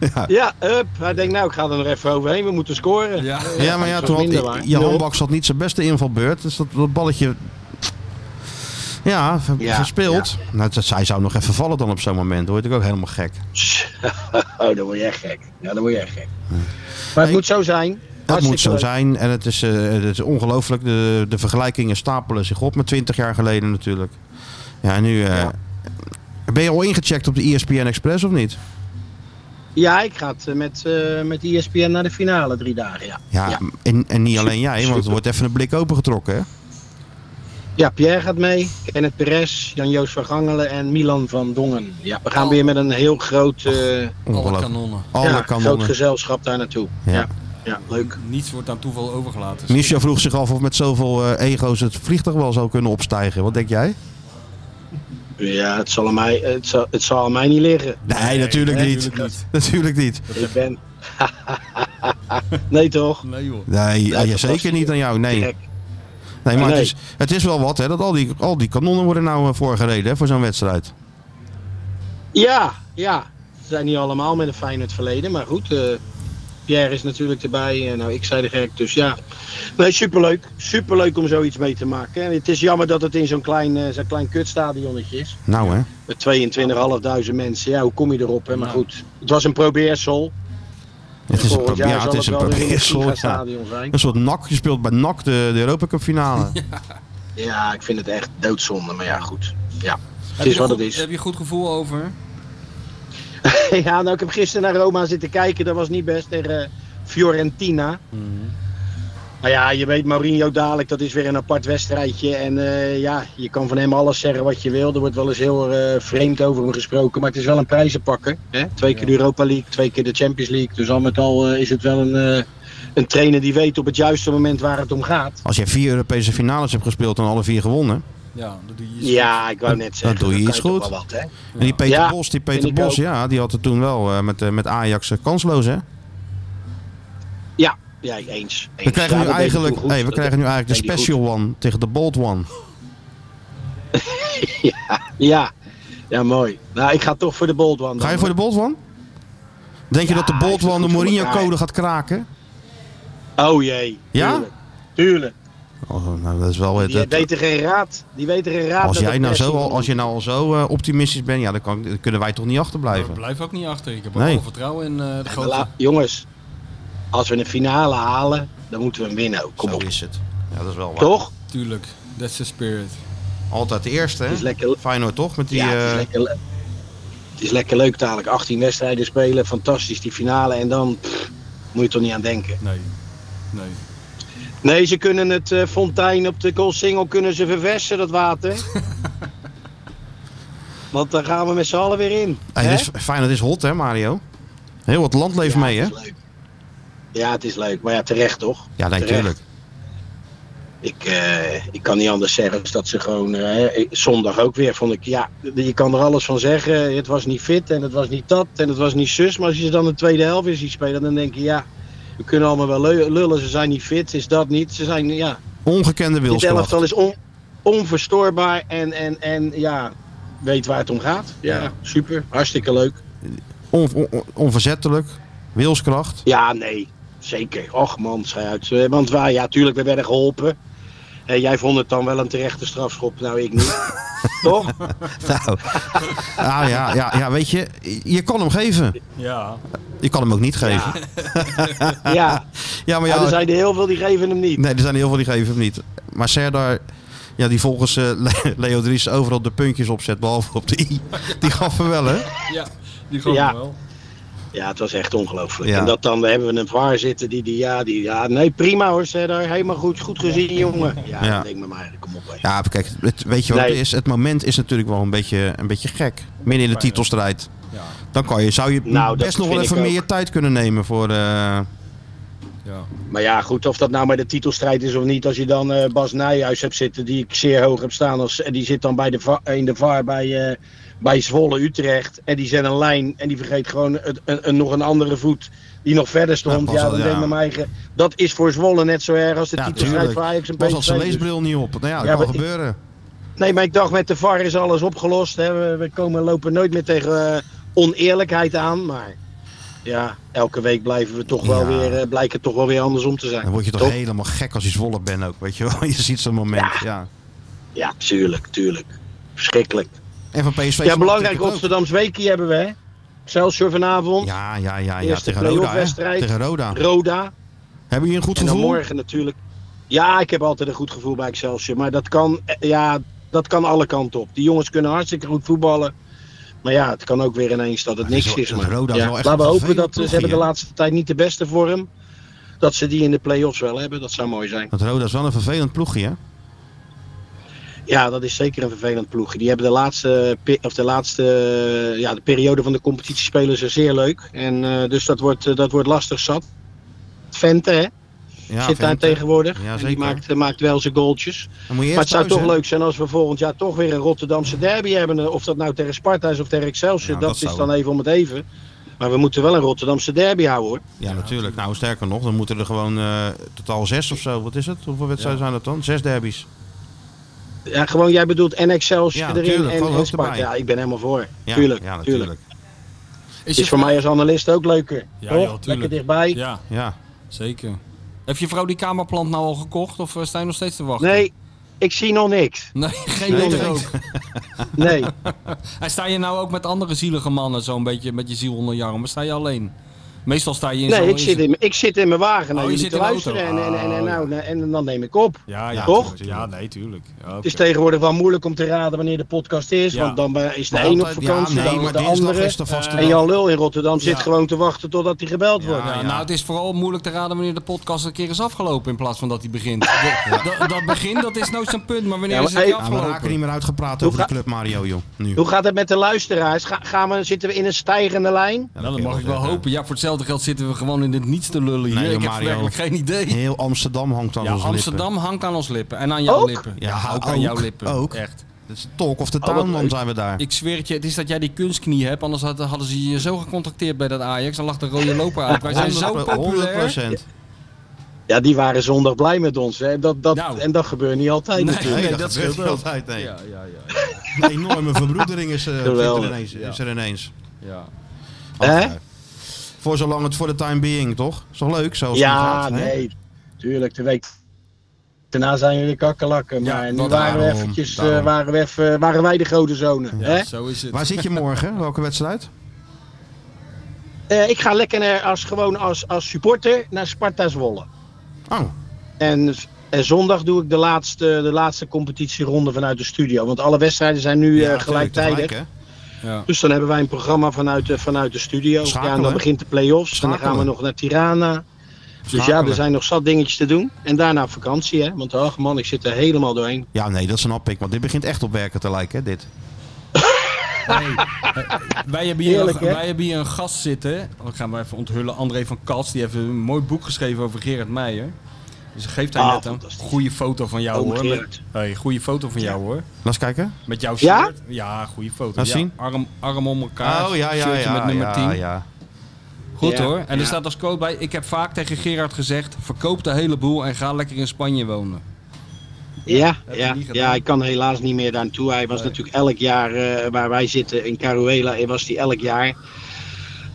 ja. Ja, up. Hij denkt, nou, ik ga er nog even overheen. We moeten scoren. Ja. ja, maar ja, Zo toen had, minder waar. je Nul. handbak zat niet zijn beste invalbeurt. Dus dat, dat balletje... Ja, ver- Ja, verspeeld. Nou, dat, zij zou nog even vallen dan op zo'n moment. hoor. word ik ook helemaal gek. Oh, dan word je echt gek. Ja, dan word je echt gek. Maar het moet zo zijn. Dat moet zo Hartstikke leuk. zijn. En het is, eh, het is ongelooflijk. De, de vergelijkingen stapelen zich op met 20 jaar geleden natuurlijk. Ja, en nu... eh, Ben je al ingecheckt op de E ESPN Express of niet? Ja, ik ga het, eh, met, eh met ESPN naar de finale drie dagen. Ja, Ja, En, en niet alleen jij, want er wordt even een blik opengetrokken. Hè? Ja, Pierre gaat mee. Kenneth Perez, Jan-Joost van Gangelen en Milan van Dongen. Ja, we gaan weer met een heel groot, eh, Alle Ongelooflijk. kanonnen. Alle ja, groot kanonnen. gezelschap daar naartoe. Ja. Ja. Ja, leuk. Niets wordt aan toeval overgelaten. Michel vroeg zich af of met zoveel eh, ego's het vliegtuig wel zou kunnen opstijgen. Wat denk jij? Ja, het zal aan mij, het zal, het zal aan mij niet liggen. Nee, natuurlijk nee, niet. natuurlijk Natuurlijk niet. Ik ben... nee toch? Nee joh. Nee, ja, dat ja, was zeker niet. niet aan jou. Nee, Gek. nee maar het Nee. is, het is wel wat hè, dat al die, al die kanonnen worden nou eh, voorgereden hè, voor zo'n wedstrijd. Ja, ja. Ze zijn niet allemaal met een Feyenoord verleden, maar goed. eh, Pierre is natuurlijk erbij. en nou, ik zei de gek, dus ja. Nee, superleuk. Superleuk om zoiets mee te maken. En het is jammer dat het in zo'n klein, eh, zo'n klein kutstadionnetje is. Nou hè. Met 22.500 mensen, ja, hoe kom je erop? Hè? Maar goed, het was een probeersel. Het is een, pro- Volgend ja, jaar het zal is een wel weer in het probeersel. ja. Stadion zijn. Een soort nak. Je speelt bij NAC de, de Europa Cup finale. Ja, ik vind het echt doodzonde, maar ja, goed. Ja, Heb het je is er wat goed- het is. Heb je een goed gevoel over? Ja, nou, ik heb gisteren naar Roma zitten kijken, dat was niet best, tegen eh, Fiorentina. Mhm. Nou ja, je weet Mourinho dadelijk, dat is weer een apart wedstrijdje. En eh, ja, je kan van hem alles zeggen wat je wil. Er wordt wel eens heel eh, vreemd over hem gesproken. Maar het is wel een prijzenpakker. Hè? Twee keer de Europa League, twee keer de Champions League. Dus al met al eh, is het wel een, eh, een trainer die weet op het juiste moment waar het om gaat. Als jij vier Europese finales hebt gespeeld en alle vier gewonnen. Ja, dat doe je iets Ja, ik wou net zeggen. doe je dat iets kan goed. toch wel wat, hè? En die Peter Ja, Bos, die vind Peter ik Bos, ook. ja, die had het toen wel eh, met, eh, met Ajax eh, kansloos hè. Ja, ja, eens. eens. We krijgen, Ja, nu dat deed hij toen eigenlijk, goed. hey, we Dat krijgen nu eigenlijk de deed hij goed. special one tegen de bold one. Ja. ja, mooi. Nou, ik ga toch voor de bold one. Ga je dan, voor de bold one? Denk je dat de Ja, bold is het one de goed voor Mourinho-code elkaar. gaat kraken? Oh jee. Ja? Tuurlijk. Tuurlijk. Oh, nou, dat is wel... Die dat- weet er geen raad. Die weet er geen raad. als, met jij de nou zo, pressing al- als je nou al zo eh, optimistisch bent, ja, dan, kan, dan kunnen wij toch niet Ik achterblijven. blijf ook niet achter. Ik heb Nee. alle vertrouwen in eh, de van- grote. La- jongens, als we een finale halen, dan moeten we hem winnen ook. Kom Zo op. is het. Ja, dat is wel waar. Toch? Tuurlijk. That's the spirit. Altijd de eerste, Het is hè? lekker, Feyenoord toch? Met die... ja, het, is eh, lekker, le- het is lekker leuk dadelijk. 18 wedstrijden spelen. Fantastisch die finale. En dan pff, moet je toch niet aan denken. Nee. Nee. Nee, ze kunnen het eh, fontein op de Koolsingel kunnen ze verversen, dat water. Want daar gaan we met z'n allen weer in. hey, hè? dit is, Feyenoord is hot, hè, Mario? Heel wat land leeft Ja, mee, hè? het is leuk. Ja, het is leuk. Maar ja, terecht toch? Ja, nee, Terecht. tuurlijk. Ik, eh, ik kan niet anders zeggen dan dat ze gewoon... eh, hè, ik- zondag ook weer vond ik... Ja, je kan er alles van zeggen. Het was niet fit en het was niet dat en het was niet zus. Maar als je ze dan de tweede helft weer ziet spelen, dan denk je... Ja, we kunnen allemaal wel leu- lullen. Ze zijn niet fit, ze is dat niet. Ze zijn, ja... Ongekende Dit wilskracht. elftal is on, onverstoorbaar en, en, en ja, weet waar het om gaat. Ja, super. Hartstikke leuk. On- on- on- onverzettelijk. Wilskracht. Ja, nee. Zeker. Och man, schei uit. Eh, Want wij, ja, tuurlijk, we werden geholpen. Hé, jij vond het dan wel een terechte strafschop, nou ik niet. Toch? Nou, ah, ja, ja, ja, weet je, je kan hem geven. Ja. Je kan hem ook niet geven. Ja. Ja, maar ja, er ja, zijn er heel veel die geven hem niet. nee, er zijn heel veel die geven hem niet. Maar Serdar, ja, die volgens eh, Le- Leo Dries overal de puntjes opzet, behalve op de i, die gaf hem wel, hè? Ja, die gewoon Ja. wel. Ja, het was echt ongelooflijk. Ja. En dat dan hebben we een VAR zitten die, die, ja, die, ja, nee prima hoor, Cedar, helemaal goed, goed gezien jongen. Ja, Ja. dat denk ik me maar, kom op. hè. Ja, kijk, het, weet je wat Nee. het is? Het moment is natuurlijk wel een beetje, een beetje gek. Midden in de titelstrijd. Ja. Dan kan je, zou je eh, Nou, dat best nog wel vind even ik ook. meer je tijd kunnen nemen voor... eh, Ja. Maar ja, goed, of dat nou maar de titelstrijd is of niet, als je dan eh, Bas Nijhuis hebt zitten, die ik zeer hoog heb staan, als, en die zit dan bij de va- in de VAR bij, eh, bij Zwolle Utrecht, en die zet een lijn en die vergeet gewoon het, een, een- nog een andere voet die nog verder stond. pas ja, al, dan ja. denk ik bij mij, eigen, dat is voor Zwolle net zo erg als de Ja, titelstrijd tuurlijk. voor Ajax en Pas had zijn PSV. leesbril niet op. Nou ja, dat Ja, kan maar ik- gebeuren. Nee, maar ik dacht met de VAR is alles opgelost. Hè. We, we komen lopen nooit meer tegen eh, oneerlijkheid aan. Maar ja, elke week blijven we toch wel Ja. weer, eh, blijkt het toch wel weer andersom te zijn. Dan word je toch Toch? helemaal gek als je Zwolle bent ook, weet je wel. Je ziet zo'n moment, ja. Ja, tuurlijk, tuurlijk. Verschrikkelijk. En van PSV... Ja, belangrijk op de. Rotterdams Weekie hebben we, hè? Excelsior vanavond, Ja, ja, ja, ja. Eerste Tegen Roda, hè. playoff-wedstrijd. Tegen Roda. Roda. Hebben jullie een goed En dan gevoel? morgen natuurlijk. Ja, ik heb altijd een goed gevoel bij Excelsior. Maar dat kan, eh, ja, dat kan alle kanten op. Die jongens kunnen hartstikke goed voetballen. Maar ja, het kan ook weer ineens dat het Maar het niks is is. wel- Maar Roda is ja, wel echt laten we een hopen dat vervelend ze hebben de ploegje, laatste tijd niet de beste vorm. Dat ze die in de play-offs wel hebben, dat zou mooi zijn. Want Roda is wel een vervelend ploegje, hè. Ja, dat is zeker een vervelend ploeg. Die hebben de laatste, pe- of de laatste eh, ja, de periode van de competitie spelen ze zeer leuk. En, eh, dus dat wordt, eh, dat wordt lastig zat. Vente, hè, Ja, zit daar Vente. tegenwoordig. Ja, en die zeker. maakt, eh, maakt wel zijn goaltjes. Dan moet je Maar het eerst zou thuis, toch hè. leuk zijn als we volgend jaar toch weer een Rotterdamse derby hebben. Of dat nou tegen Sparta is of tegen Excelsior, Ja, dat, dat zou- is dan even om het even. Maar we moeten wel een Rotterdamse derby houden hoor. Ja, natuurlijk. Nou, sterker nog, dan moeten er gewoon eh, totaal zes of zo. Wat is het? Hoeveel wedstrijden zijn dat dan? Zes derbies. Ja, gewoon, jij bedoelt en Excelsior Ja, erin tuurlijk, en, gewoon en ook Sparta. erbij. Ja, ik ben helemaal voor. Ja, tuurlijk, ja, tuurlijk. Is Het is voor mij als analist ook leuker. Ja, toch? joh, tuurlijk. Lekker dichtbij. Ja, Ja. zeker. Heeft je vrouw die kamerplant nou al gekocht of eh, sta je nog steeds te wachten? Nee, ik zie nog niks. Nee, geen nee, Nee, nee. ook. Nee. En sta je nou ook met andere zielige mannen zo'n beetje met je ziel onder je arm? Of sta je alleen? Meestal sta je in zo'n... Nee, ik zit in, ik zit in mijn wagen naar Oh, je jullie zit te in de luisteren en, auto. en, en, en, Oh, nou, en, en dan neem ik op. Ja, Ja, toch? tuurlijk. Ja, nee, tuurlijk. Ja, oké. Het is tegenwoordig wel moeilijk om te raden wanneer de podcast is, Ja. want dan eh, is de Ja, een op altijd- vakantie, ja, nee, dan maar de dinsdag andere. is de vaste en dag. Jan Lul in Rotterdam zit Ja. gewoon te wachten totdat hij gebeld wordt. Ja, Ja, nou, het is vooral moeilijk te raden wanneer de podcast een keer is afgelopen in plaats van dat hij begint. Dat- Dat, dat begin, dat is nooit zijn punt, maar wanneer Ja, is maar het keer hey- Ja, we raken afgelopen? niet meer uitgepraat Hoe over de ga- club Mario, joh. Nu. Hoe gaat het met de luisteraars? Ga, gaan we, zitten we in een stijgende lijn? Ja, nou, dat kun je mag ik wel zeggen. hopen. Ja, voor hetzelfde geld zitten we gewoon in het niets te lullen hier. Nee, ik heb Mario. werkelijk geen idee. Heel Amsterdam hangt aan Ja, onze lippen. Amsterdam hangt aan ons lippen. En aan jouw Ook? lippen. Ja, ook aan jouw ook, lippen. ook. Echt. Het is talk of the Oh, wat town, man, leuk. zijn we daar. Ik zweer het je, het is dat jij die kunstknie hebt. Anders had- hadden ze je zo gecontacteerd bij dat Ajax. Dan lag de rode loper uit. Wij zijn zo 100%. populair. 100%. Ja, die waren zondag blij met ons. Hè. Dat, dat, Nou. En dat gebeurt niet altijd natuurlijk. Nee, dat, dat gebeurt scheelt niet ook. altijd, nee. Ja, ja, ja. Een enorme verbroedering is, eh, zit er Geweldig. ineens. Is er ineens. ja. Hè? Ach, ja. Voor zolang het voor de time being, toch? Is toch leuk? Zoals Ja, nee. Tuurlijk, de week daarna zijn we weer kakkelakken. Ja, Maar nu dat- waren we, daarom, eventjes, eh, daarom. waren, we even, waren wij de grote zonen. hè? Zo is het. Waar zit je morgen? Welke wedstrijd? Eh, ik ga lekker naar, als, gewoon als, als supporter naar Sparta Zwolle. Oh, En, en zondag doe ik de laatste, de laatste competitieronde vanuit de studio. Want alle wedstrijden zijn nu eh, ja, gelijktijdig. tuurlijk, tegelijk, Ja. dus dan hebben wij een programma vanuit de, vanuit de studio. Schakelen. Ja, en dan begint de play-offs. En dan gaan Schakelen. we nog naar Tirana. Dus ja, Schakelen. er zijn nog zat dingetjes te doen. En daarna vakantie, hè. Want ach man, ik zit er helemaal doorheen. hè? Ja, nee, dat snap ik. Want dit begint echt op werken te lijken, hè, dit. Wij hebben, hier Heerlijk, een, hè? wij hebben hier een gast zitten. Oh, Ik ga hem even onthullen. André van Kats. Die heeft een mooi boek geschreven over Gerard Meijer. Dus geeft hij Ah, net een fantastisch. goede foto van jou Oom hoor. Gerard. hey, goede foto van jou hoor. Laat eens kijken. Met jouw Ja? shirt. Ja, goede foto. Laat Ja, zien. Arm, arm om elkaar. oh, ja, ja, Shirtje ja. met nummer ja, 10. ja. Goed Ja, hoor. En er ja. staat als quote bij: Ik heb vaak tegen Gerard gezegd: verkoop de hele boel en ga lekker in Spanje wonen. Ja, heb je ja, niet gedaan. ja, ik kan helaas niet meer daar naartoe. Hij was natuurlijk elk jaar eh, waar wij zitten in Caruela, eh, was hij elk jaar.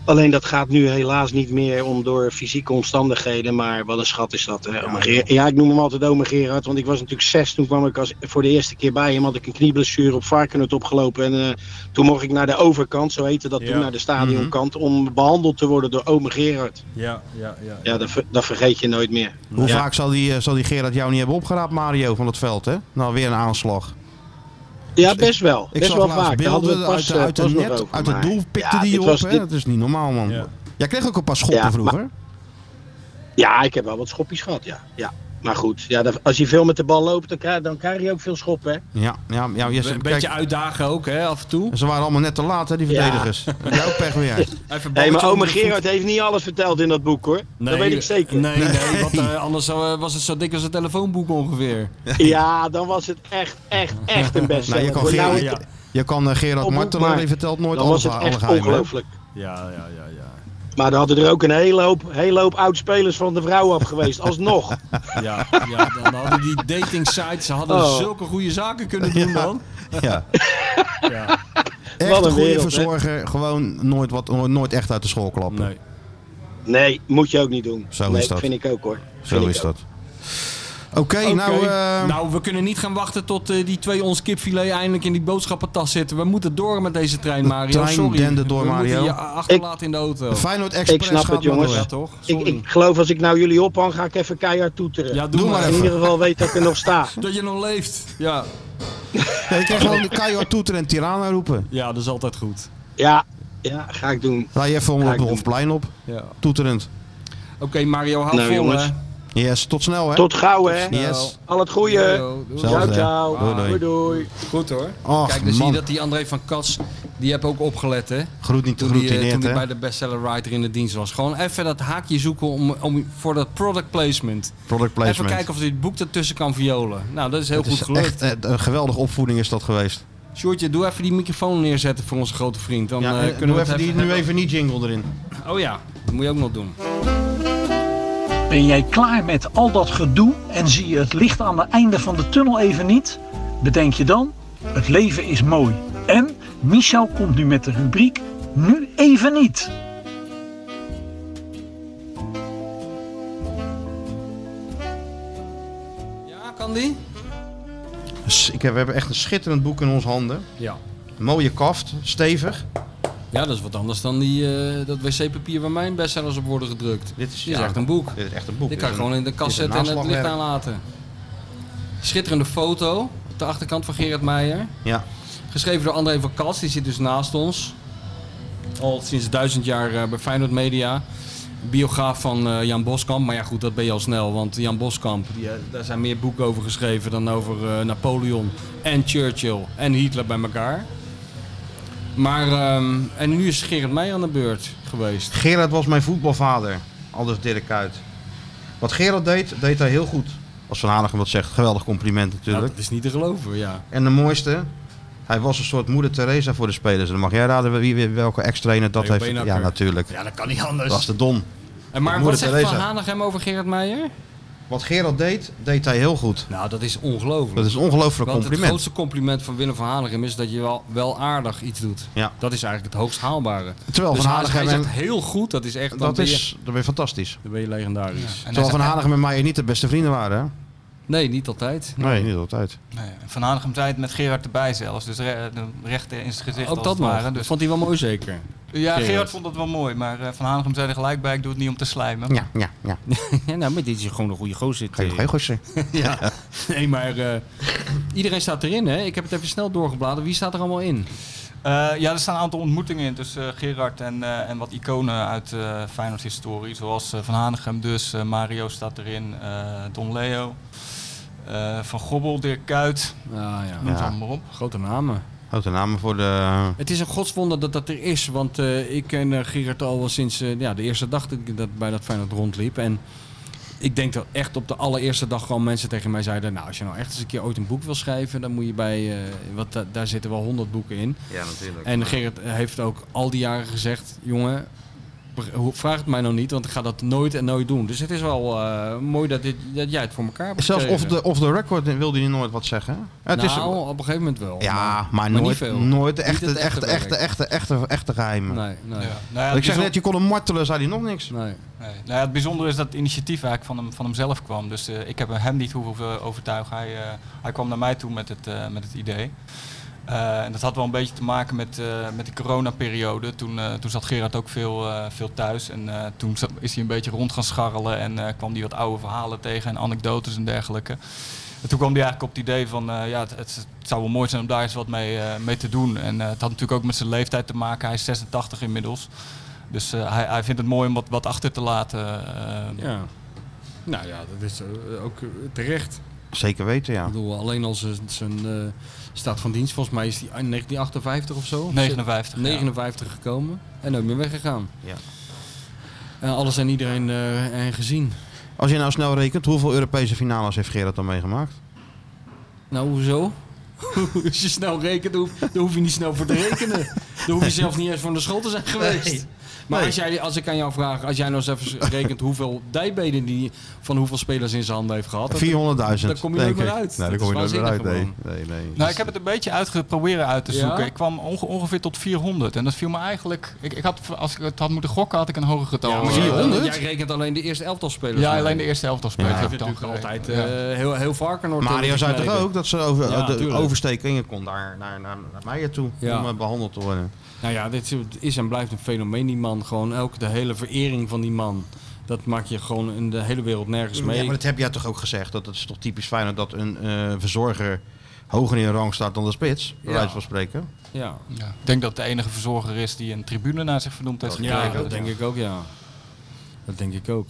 Alleen dat gaat nu helaas niet meer om door fysieke omstandigheden. Maar wat een schat is dat. Hè? Ome Ger- Ja, ik noem hem altijd Ome Gerard. Want ik was natuurlijk zes. Toen kwam ik als, voor de eerste keer bij hem. Had ik een knieblessure op varkenhut opgelopen. En eh, toen mocht ik naar de overkant. Zo heette dat Ja. Mhm. toen, naar de stadionkant. Om behandeld te worden door Ome Gerard. Ja, ja, ja. Ja, dat, ver- dat vergeet je nooit meer. Hoe Ja. vaak zal die, eh, zal die Gerard jou niet hebben opgeraapt, Mario, van het veld, hè? Nou, weer een aanslag. Ja, best wel. Ik best zag wel laatst vaak. Daar hadden we beelden het pas, uit, eh, uit, pas het nog net, over, uit het maar doel pikte ja, die dit op, was- hè? dit- Dat is niet normaal, man. Ja. Jij kreeg ook een paar schoppen Ja, vroeger. Ja, ik heb wel wat schoppies gehad, ja. ja. Maar goed, ja, dat- als je veel met de bal loopt, dan krijg, dan krijg je ook veel schoppen. Hè? Ja, ja, ja. Yes, Een kijk, beetje uitdagen ook, hè, af en toe. Ze waren allemaal net te laat, hè, die verdedigers. Jouw pech weer. Even Nee, maar ome ome Gerard heeft niet alles verteld in dat boek, hoor. dat weet ik zeker. Nee, nee, want eh, anders zou, eh, was het zo dik als een telefoonboek ongeveer. Ja, dan was het echt, echt, echt een best. Nou, je kan Gerard, ja. je kan, eh, Gerard Op hoek Martelaar, maar. die vertelt nooit Dan was alles het alle echt geheimen. hè. ongelooflijk. Ja, ja, ja, ja. Maar er hadden er ook een hele hoop, hele hoop oud-spelers van de vrouw af geweest, alsnog. Ja, ja, dan hadden die dating sites ze hadden Oh. zulke goede zaken kunnen doen, man. Ja. Ja. Echt Wat een een goede wereld, hè. verzorger. Gewoon nooit, wat, nooit echt uit de school klappen. Nee. Nee, moet je ook niet doen. Zo nee, is dat. vind ik ook, hoor. Vind Zo ik is ook. dat. Oké, nou... Oké. eh, nou, we kunnen niet gaan wachten tot eh, die twee ons kipfilet eindelijk in die boodschappentas zitten. We moeten door met deze trein, Mario. trein Sorry. dende door, We Mario. moeten je achterlaten in de auto. Feyenoord Express snap gaat het, maar jongens. door. Ja, toch? Ik, Sorry. ik geloof als ik nou jullie ophang, ga ik even keihard toeteren. ja, doe, Doe maar. maar In ieder geval weet dat ik er nog sta. Dat je nog leeft. Ja. Ja, je krijgt gewoon de keihard toeter en Tirana roepen. ja, dat is altijd goed. Ja, ja, ga ik doen. Rij je even om Ga op ik de doen. Hofplein op, Ja. toeterend. Oké, Mario, hou Nou, vol, jongens. hè. Yes, tot snel hè. Tot gauw, hè. Yes. Al het goede. Mario, doei. Zelfde, hè. Ciao, ciao. Doei, doei. Doei, doei. Goed hoor. Och, Kijk, dan zie man. je dat die André van Kas, die heb ook opgelet hè. Groet niet te Toen die, eh, groetineerd toen die hè. bij de bestseller writer in de dienst was. Gewoon even dat haakje zoeken om, om, voor dat product placement. Product placement. Even kijken of dit boek ertussen kan violen. Nou, dat is heel Het goed is gelukt. echt eh, een geweldige opvoeding is dat geweest. Sjoerdje, doe even die microfoon neerzetten voor onze grote vriend. Dan eh, Ja, eh, kunnen doe we even het die, even nu hebben. even niet jingle erin. Oh ja, dat moet je ook nog doen. Ben jij klaar met al dat gedoe en zie je het licht aan het einde van de tunnel even niet? Bedenk je dan, het leven is mooi. En Michel komt nu met de rubriek Nu even niet. Ja, kan die? S- Ik heb, we hebben echt een schitterend boek in onze handen. Ja. Mooie kaft, stevig. Ja, dat is wat anders dan die, eh, dat wc-papier waar mijn bestsellers op worden gedrukt. Dit is, Dit is ja, echt een boek. Dit is echt een boek. Dit kan Dit je is gewoon in de dit kast is een zetten en het licht naslagwerk. aanlaten. Schitterende foto op de achterkant van Gerard Meijer. een- Ja, Geschreven door André van Kast, die zit dus naast ons. Al sinds duizend jaar eh, bij Feyenoord Media. Biograaf van eh, Jan Boskamp. Maar ja, goed, dat ben je al snel. Want Jan Boskamp, die, eh, daar zijn meer boeken over geschreven dan over eh, Napoleon en Churchill en Hitler bij elkaar. Maar, ehm, en nu is Gerard Meijer aan de beurt geweest. Nou, Gerard was mijn voetbalvader, aldus Dirk Kuyt. Wat Gerard deed, deed hij heel goed. Als Van Hanegem wat zegt, geweldig compliment Ja, natuurlijk. dat is niet te geloven, ja. En de mooiste, hij was een soort moeder Teresa voor de spelers. En dan mag jij raden wie, wie- welke ex-trainer dat Leo heeft. Beenhakker. Ja, dus- natuurlijk. Ja, dat kan niet Dat anders. was de Don. en maar Moeder wat zegt Teresa. Van Hanegem over Gerard Meijer? Wat Gerard deed, deed hij heel goed. Nou, dat is ongelooflijk. Dat is een ongelooflijk Want het compliment. grootste compliment van Willem van Hanegem is dat je wel, wel aardig iets doet. Ja. Dat is eigenlijk het hoogst haalbare. Terwijl dus Van hij- hij Hanegem... zegt heel goed, dat is echt... dan Dat ben je- is, dat ben je fantastisch. dan ben je legendarisch. En Terwijl hij Van zei- Hanegem en Meijer niet de beste vrienden waren. hè? Nee, niet altijd. Nee, niet altijd. nee, Van Hanegem zei het met Gerard erbij zelfs. Dus re- recht in zijn gezicht Ook als dat het nog. ware. Dat Dus, vond hij wel mooi zeker. ja, Gerard. Gerard. vond dat wel mooi. Maar eh, Van Hanegem zei er gelijk bij, ik doe het niet om te slijmen. Ja, ja, ja. Ja, nou, maar dit is gewoon een goede gozer. Geen, geen goeie. Ja. Nee, maar eh, iedereen staat erin, hè? Ik heb het even snel doorgebladerd. Wie staat er allemaal in? Eh, ja, er staan een aantal ontmoetingen in tussen eh, Gerard en, eh, en wat iconen uit eh Feyenoord historie. Zoals eh, Van Hanegem dus, eh, Mario staat erin, eh, Don Leo, eh, Van Gobbel, Dirk Kuyt, Ah, ja. noem Ja. ze allemaal op. Grote namen. Grote namen voor de... Het is een godswonder dat dat er is, want eh, ik ken eh, Gerard al wel sinds eh, ja, de eerste dag dat ik dat bij dat Feyenoord rondliep. En ik denk dat echt op de allereerste dag gewoon mensen tegen mij zeiden... nou, als je nou echt eens een keer ooit een boek wil schrijven, dan moet je bij... eh, want da- daar zitten wel honderd boeken in. Ja, natuurlijk. En Gerard heeft ook al die jaren gezegd, jongen, hoe- vraag het mij nou niet, want ik ga dat nooit en nooit doen. Dus het is wel eh, mooi dat, dit, dat jij het voor elkaar hebt Zelfs off gekregen. the, off the record wilde hij nooit wat zeggen. Het is, nou, op een gegeven moment wel. ja, maar niet nooit, veel. nooit de Niet echte, het echte echte, echte, werk. echte, echte, echte geheimen. Nee, nee. Ja. Nou ja, ik het zeg bijzon- net, je kon hem martelen, zei hij nog niks. nee. nee. Nou ja, het bijzondere is dat het initiatief eigenlijk van, hem, van hemzelf kwam. Dus eh, ik heb hem niet hoeven eh, overtuigen. Hij, eh, hij kwam naar mij toe met het, eh, met het idee. Eh, en dat had wel een beetje te maken met, eh, met de coronaperiode. Toen, eh, toen zat Gerard ook veel, eh, veel thuis. En eh, toen zat- is hij een beetje rond gaan scharrelen. En eh, kwam hij wat oude verhalen tegen en anekdotes en dergelijke. En toen kwam hij eigenlijk op het idee van, eh, ja, het, het zou wel mooi zijn om daar eens wat mee, eh, mee te doen. En eh, het had natuurlijk ook met zijn leeftijd te maken. Hij is 86 inmiddels. Dus eh, hij, hij vindt het mooi om wat, wat achter te laten. eh. Ja. Nou ja, dat is eh, ook eh, terecht. Zeker weten, ja. Ik bedoel, alleen al zijn, zijn eh, staat van dienst, volgens mij is die in 1958 of zo. 59. 59 gekomen en nooit meer weggegaan. Ja. En alles en iedereen eh, en gezien. Als je nou snel rekent, hoeveel Europese finales heeft Gerard dan meegemaakt? Nou, hoezo? Als je snel rekent, dan hoef, dan hoef je niet snel voor te rekenen. Dan hoef je zelf niet eens van de school te zijn geweest. Maar Nee. als, jij, als ik aan jou vraag, als jij nou eens even rekent hoeveel dijbeden die van hoeveel spelers in zijn handen heeft gehad. 400.000. dat- daar kom je denk nooit meer ik. uit. Nee, daar Dat kom je is nooit meer uit. Nee, waanzinnig nee, nee. Nou, ik heb het een beetje uitgeproberen uit te Ja? zoeken. Ik kwam onge- ongeveer tot 400. En dat viel me eigenlijk... Ik, ik had, als ik het had moeten gokken, had ik een hoger getal. Ja, maar Eh, 400? Jij rekent alleen de eerste elftal spelers. Ja, alleen de eerste helft als speler. Ja, heb heeft ik dan natuurlijk altijd gereden. eh, heel, heel Varkenoord. Mario eh, zei toch geknepen. ook dat ze over, Ja, de tuurlijk. overstekingen kon daar naar, naar, naar Meijer toe Ja. om eh, behandeld te worden. Nou ja, dit is en blijft een fenomeen, die man. Gewoon elke, de hele verering van die man. Dat maak je gewoon in de hele wereld nergens mee. Ja, maar dat heb jij toch ook gezegd? Dat het is toch typisch fijn dat een eh, verzorger hoger in rang staat dan de spits, bij Ja. wijze van spreken. Ja. Ja. Ik denk dat het de enige verzorger is die een tribune naar zich vernoemd heeft gekregen. Oh, Ja, dat denk ik ook, ja. Dat denk ik ook.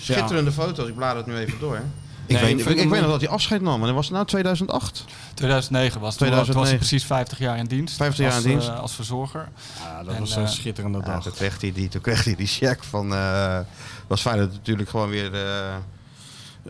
Schitterende foto's, ik blader het nu even door. Ik, ik weet, vind ik, hem ik weet mooi. nog dat hij afscheid nam. Wanneer was het nou? 2008? 2009 was het. 2009. was 2009. hij precies 50 jaar in dienst. 50 jaar als, in dienst. eh, als verzorger. Ja, dat En, was eh, een schitterende Ja, dag. toen kreeg hij die, toen kreeg hij die check van. eh was fijn dat natuurlijk gewoon weer eh,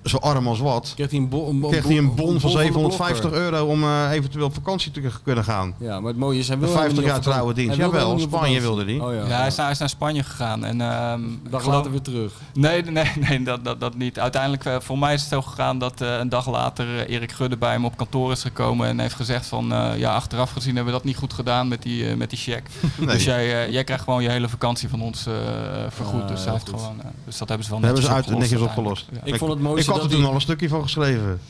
zo arm als wat. Kreeg hij een, bo- een, bo- Kreeg hij een een bon van de 750 blokker. euro om eh, eventueel op vakantie te kunnen gaan. Ja, maar het mooie is, hij wil 50 helemaal jaar niet op trouwe vakantie. dienst. Hij wil Jawel, helemaal Spanje niet op wilde die. vakantie. Oh, ja, Ja, ja. Hij, is naar, hij is naar Spanje gegaan. En, ehm, ik Dag geloof- later weer terug. Nee, nee, nee dat, dat, dat niet. Uiteindelijk, eh, voor mij is het zo gegaan dat eh, een dag later eh, Erik Gudde bij hem op kantoor is gekomen en heeft gezegd van, eh, ja, achteraf gezien hebben we dat niet goed gedaan met die, eh, met die cheque. Nee. Dus jij, eh, jij krijgt gewoon je hele vakantie van ons eh, vergoed. Ah, dus, hij heel heeft goed. gewoon, eh, dus dat hebben ze wel Daar hebben ze uit, opgelost netjes opgelost. uiteindelijk. Ik vond het mooiste ik had er dat toen hij- al een stukje van geschreven.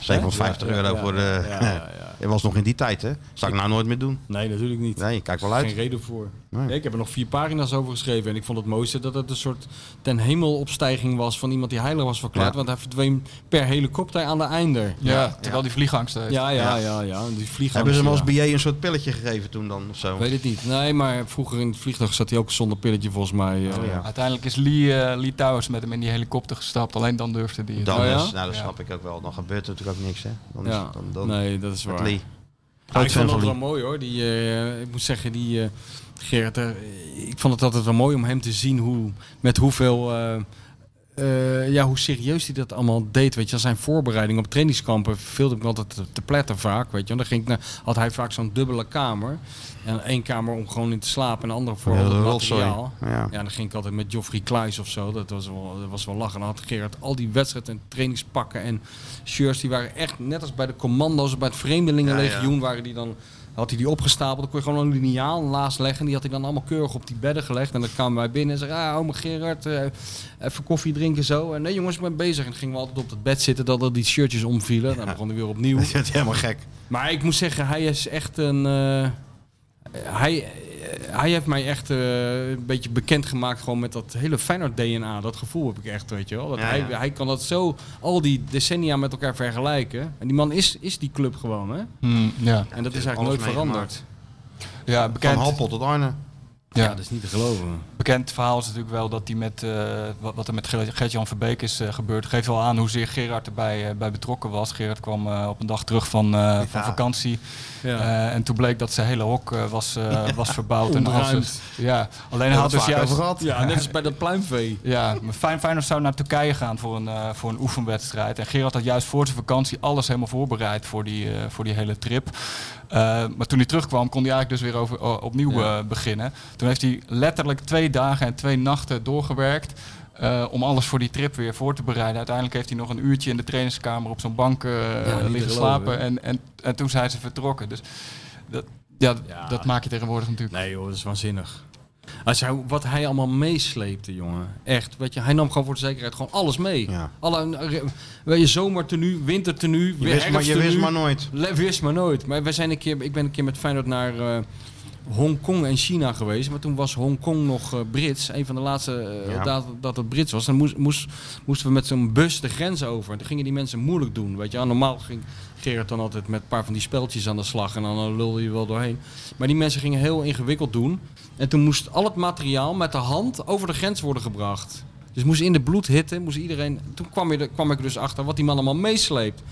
750 Ja, ja, euro ja, voor de. ja, ja, ja. Het was nog in die tijd, hè? Zou ik nou nooit meer doen? Nee, natuurlijk niet. Nee, kijk wel Er is uit. Geen reden voor. Nee. Nee, ik heb er nog vier pagina's over geschreven. En ik vond het mooiste dat het een soort ten hemel opstijging was van iemand die heilig was verklaard. Ja. Want hij verdween per helikopter aan de einder. Ja, terwijl die vliegangst heeft. Ja, ja, ja, ja. En Die vliegangst, Hebben ze hem als ja. BA een soort pilletje gegeven toen dan of zo? Weet het niet. Nee, maar vroeger in het vliegtuig zat hij ook zonder pilletje volgens mij. eh. Oh, ja. Uiteindelijk is Lee, eh, Lee Towers met hem in die helikopter gestapt. Alleen dan durfde hij het. Dan Oh ja? is, nou, dat snap ik ook wel. Dan gebeurt er natuurlijk ook niks, hè? Dan is Ja. het dan, dan nee, dat is waar. met Lee. Ja, Groot ik vond fan dat van wel Lee. mooi hoor. Die, eh, ik moet zeggen, die eh, Gerrit, eh, ik vond het altijd wel mooi om hem te zien hoe, met hoeveel, eh, eh, ja, hoe serieus hij dat allemaal deed. Weet je, aan zijn voorbereiding op trainingskampen viel ik me altijd te, te pletten vaak. Weet je, want dan ging ik naar, had hij vaak zo'n dubbele kamer. En één kamer om gewoon in te slapen en een andere voor Ja, al het dat rotzooi. materiaal. Ja. Ja, dan ging ik altijd met Geoffrey Kluis of zo. Dat was wel, dat was wel lachen. Dan had Gerard al die wedstrijden en trainingspakken en shirts. Die waren echt net als bij de commando's, bij het Vreemdelingenlegioen waren die dan... Had hij die opgestapeld, dan kon je gewoon een lineaal laatst leggen. Die had hij dan allemaal keurig op die bedden gelegd. En dan kwamen wij binnen en zeiden, ah, oma Gerard, eh, even koffie drinken zo. En nee jongens, ik ben bezig. En dan gingen we altijd op het bed zitten, dat al die shirtjes omvielen. Dan begon hij weer opnieuw. Dat is helemaal gek. Maar ik moet zeggen, hij is echt een. eh, hij, hij heeft mij echt eh, een beetje bekendgemaakt gewoon met dat hele Feyenoord DNA. Dat gevoel heb ik echt, weet je wel. Dat Ja, hij, ja. hij kan dat zo al die decennia met elkaar vergelijken. En die man is, is die club gewoon, hè? Hmm, ja. en dat is alles eigenlijk nooit meegemaakt. veranderd. ja, Van bekend, Happel tot Arne. Ja. dat is niet te geloven. bekend verhaal is natuurlijk wel dat die met, eh, wat, wat er met Ger- Gert-Jan Verbeek is eh, gebeurd. Geeft wel aan hoezeer Gerard erbij eh, bij betrokken was. Gerard kwam eh, op een dag terug van, eh, van vakantie. Ja. Eh, en toen bleek dat zijn hele hok eh, was, eh, was verbouwd. en Ontruimd. alles. Ja, alleen hij had dus juist... Ja, net als bij dat pluimvee. Ja, maar Fijn Feyenoord zou naar Turkije gaan voor een, eh, voor een oefenwedstrijd. En Gerard had juist voor zijn vakantie alles helemaal voorbereid voor die, eh, voor die hele trip. Eh, maar toen hij terugkwam, kon hij eigenlijk dus weer over, o- opnieuw eh, beginnen. Toen heeft hij letterlijk twee dagen en twee nachten doorgewerkt. eh, om alles voor die trip weer voor te bereiden. Uiteindelijk heeft hij nog een uurtje in de trainingskamer op zo'n bank eh, niet te liggen slapen. En, en, en toen zijn ze vertrokken. Dus dat, ja, Ja. dat maak je tegenwoordig natuurlijk. Nee joh, dat is waanzinnig. Als hij, wat hij allemaal meesleepte, jongen. Echt, weet je, hij nam gewoon voor de zekerheid gewoon alles mee. Ja. Alle, eh, weet je, zomertenu, wintertenu, Je wist, maar, je herfsttenu. wist maar nooit. Le- Wist maar nooit. Maar wij zijn een keer, ik ben een keer met Feyenoord naar eh, Hongkong en China geweest. Maar toen was Hongkong nog eh, Brits. Een van de laatste eh, Ja. dat, dat het Brits was. En moest, moest, moesten we met zo'n bus de grens over. En dan gingen die mensen moeilijk doen. Weet je. wel. Normaal ging Gerard dan altijd met een paar van die speltjes aan de slag. En dan eh, lulde je wel doorheen. Maar die mensen gingen heel ingewikkeld doen. En toen moest al het materiaal met de hand over de grens worden gebracht. Dus moest in de bloedhitte, moest iedereen... Toen kwam, je, er- kwam ik er dus achter wat die man allemaal meesleept.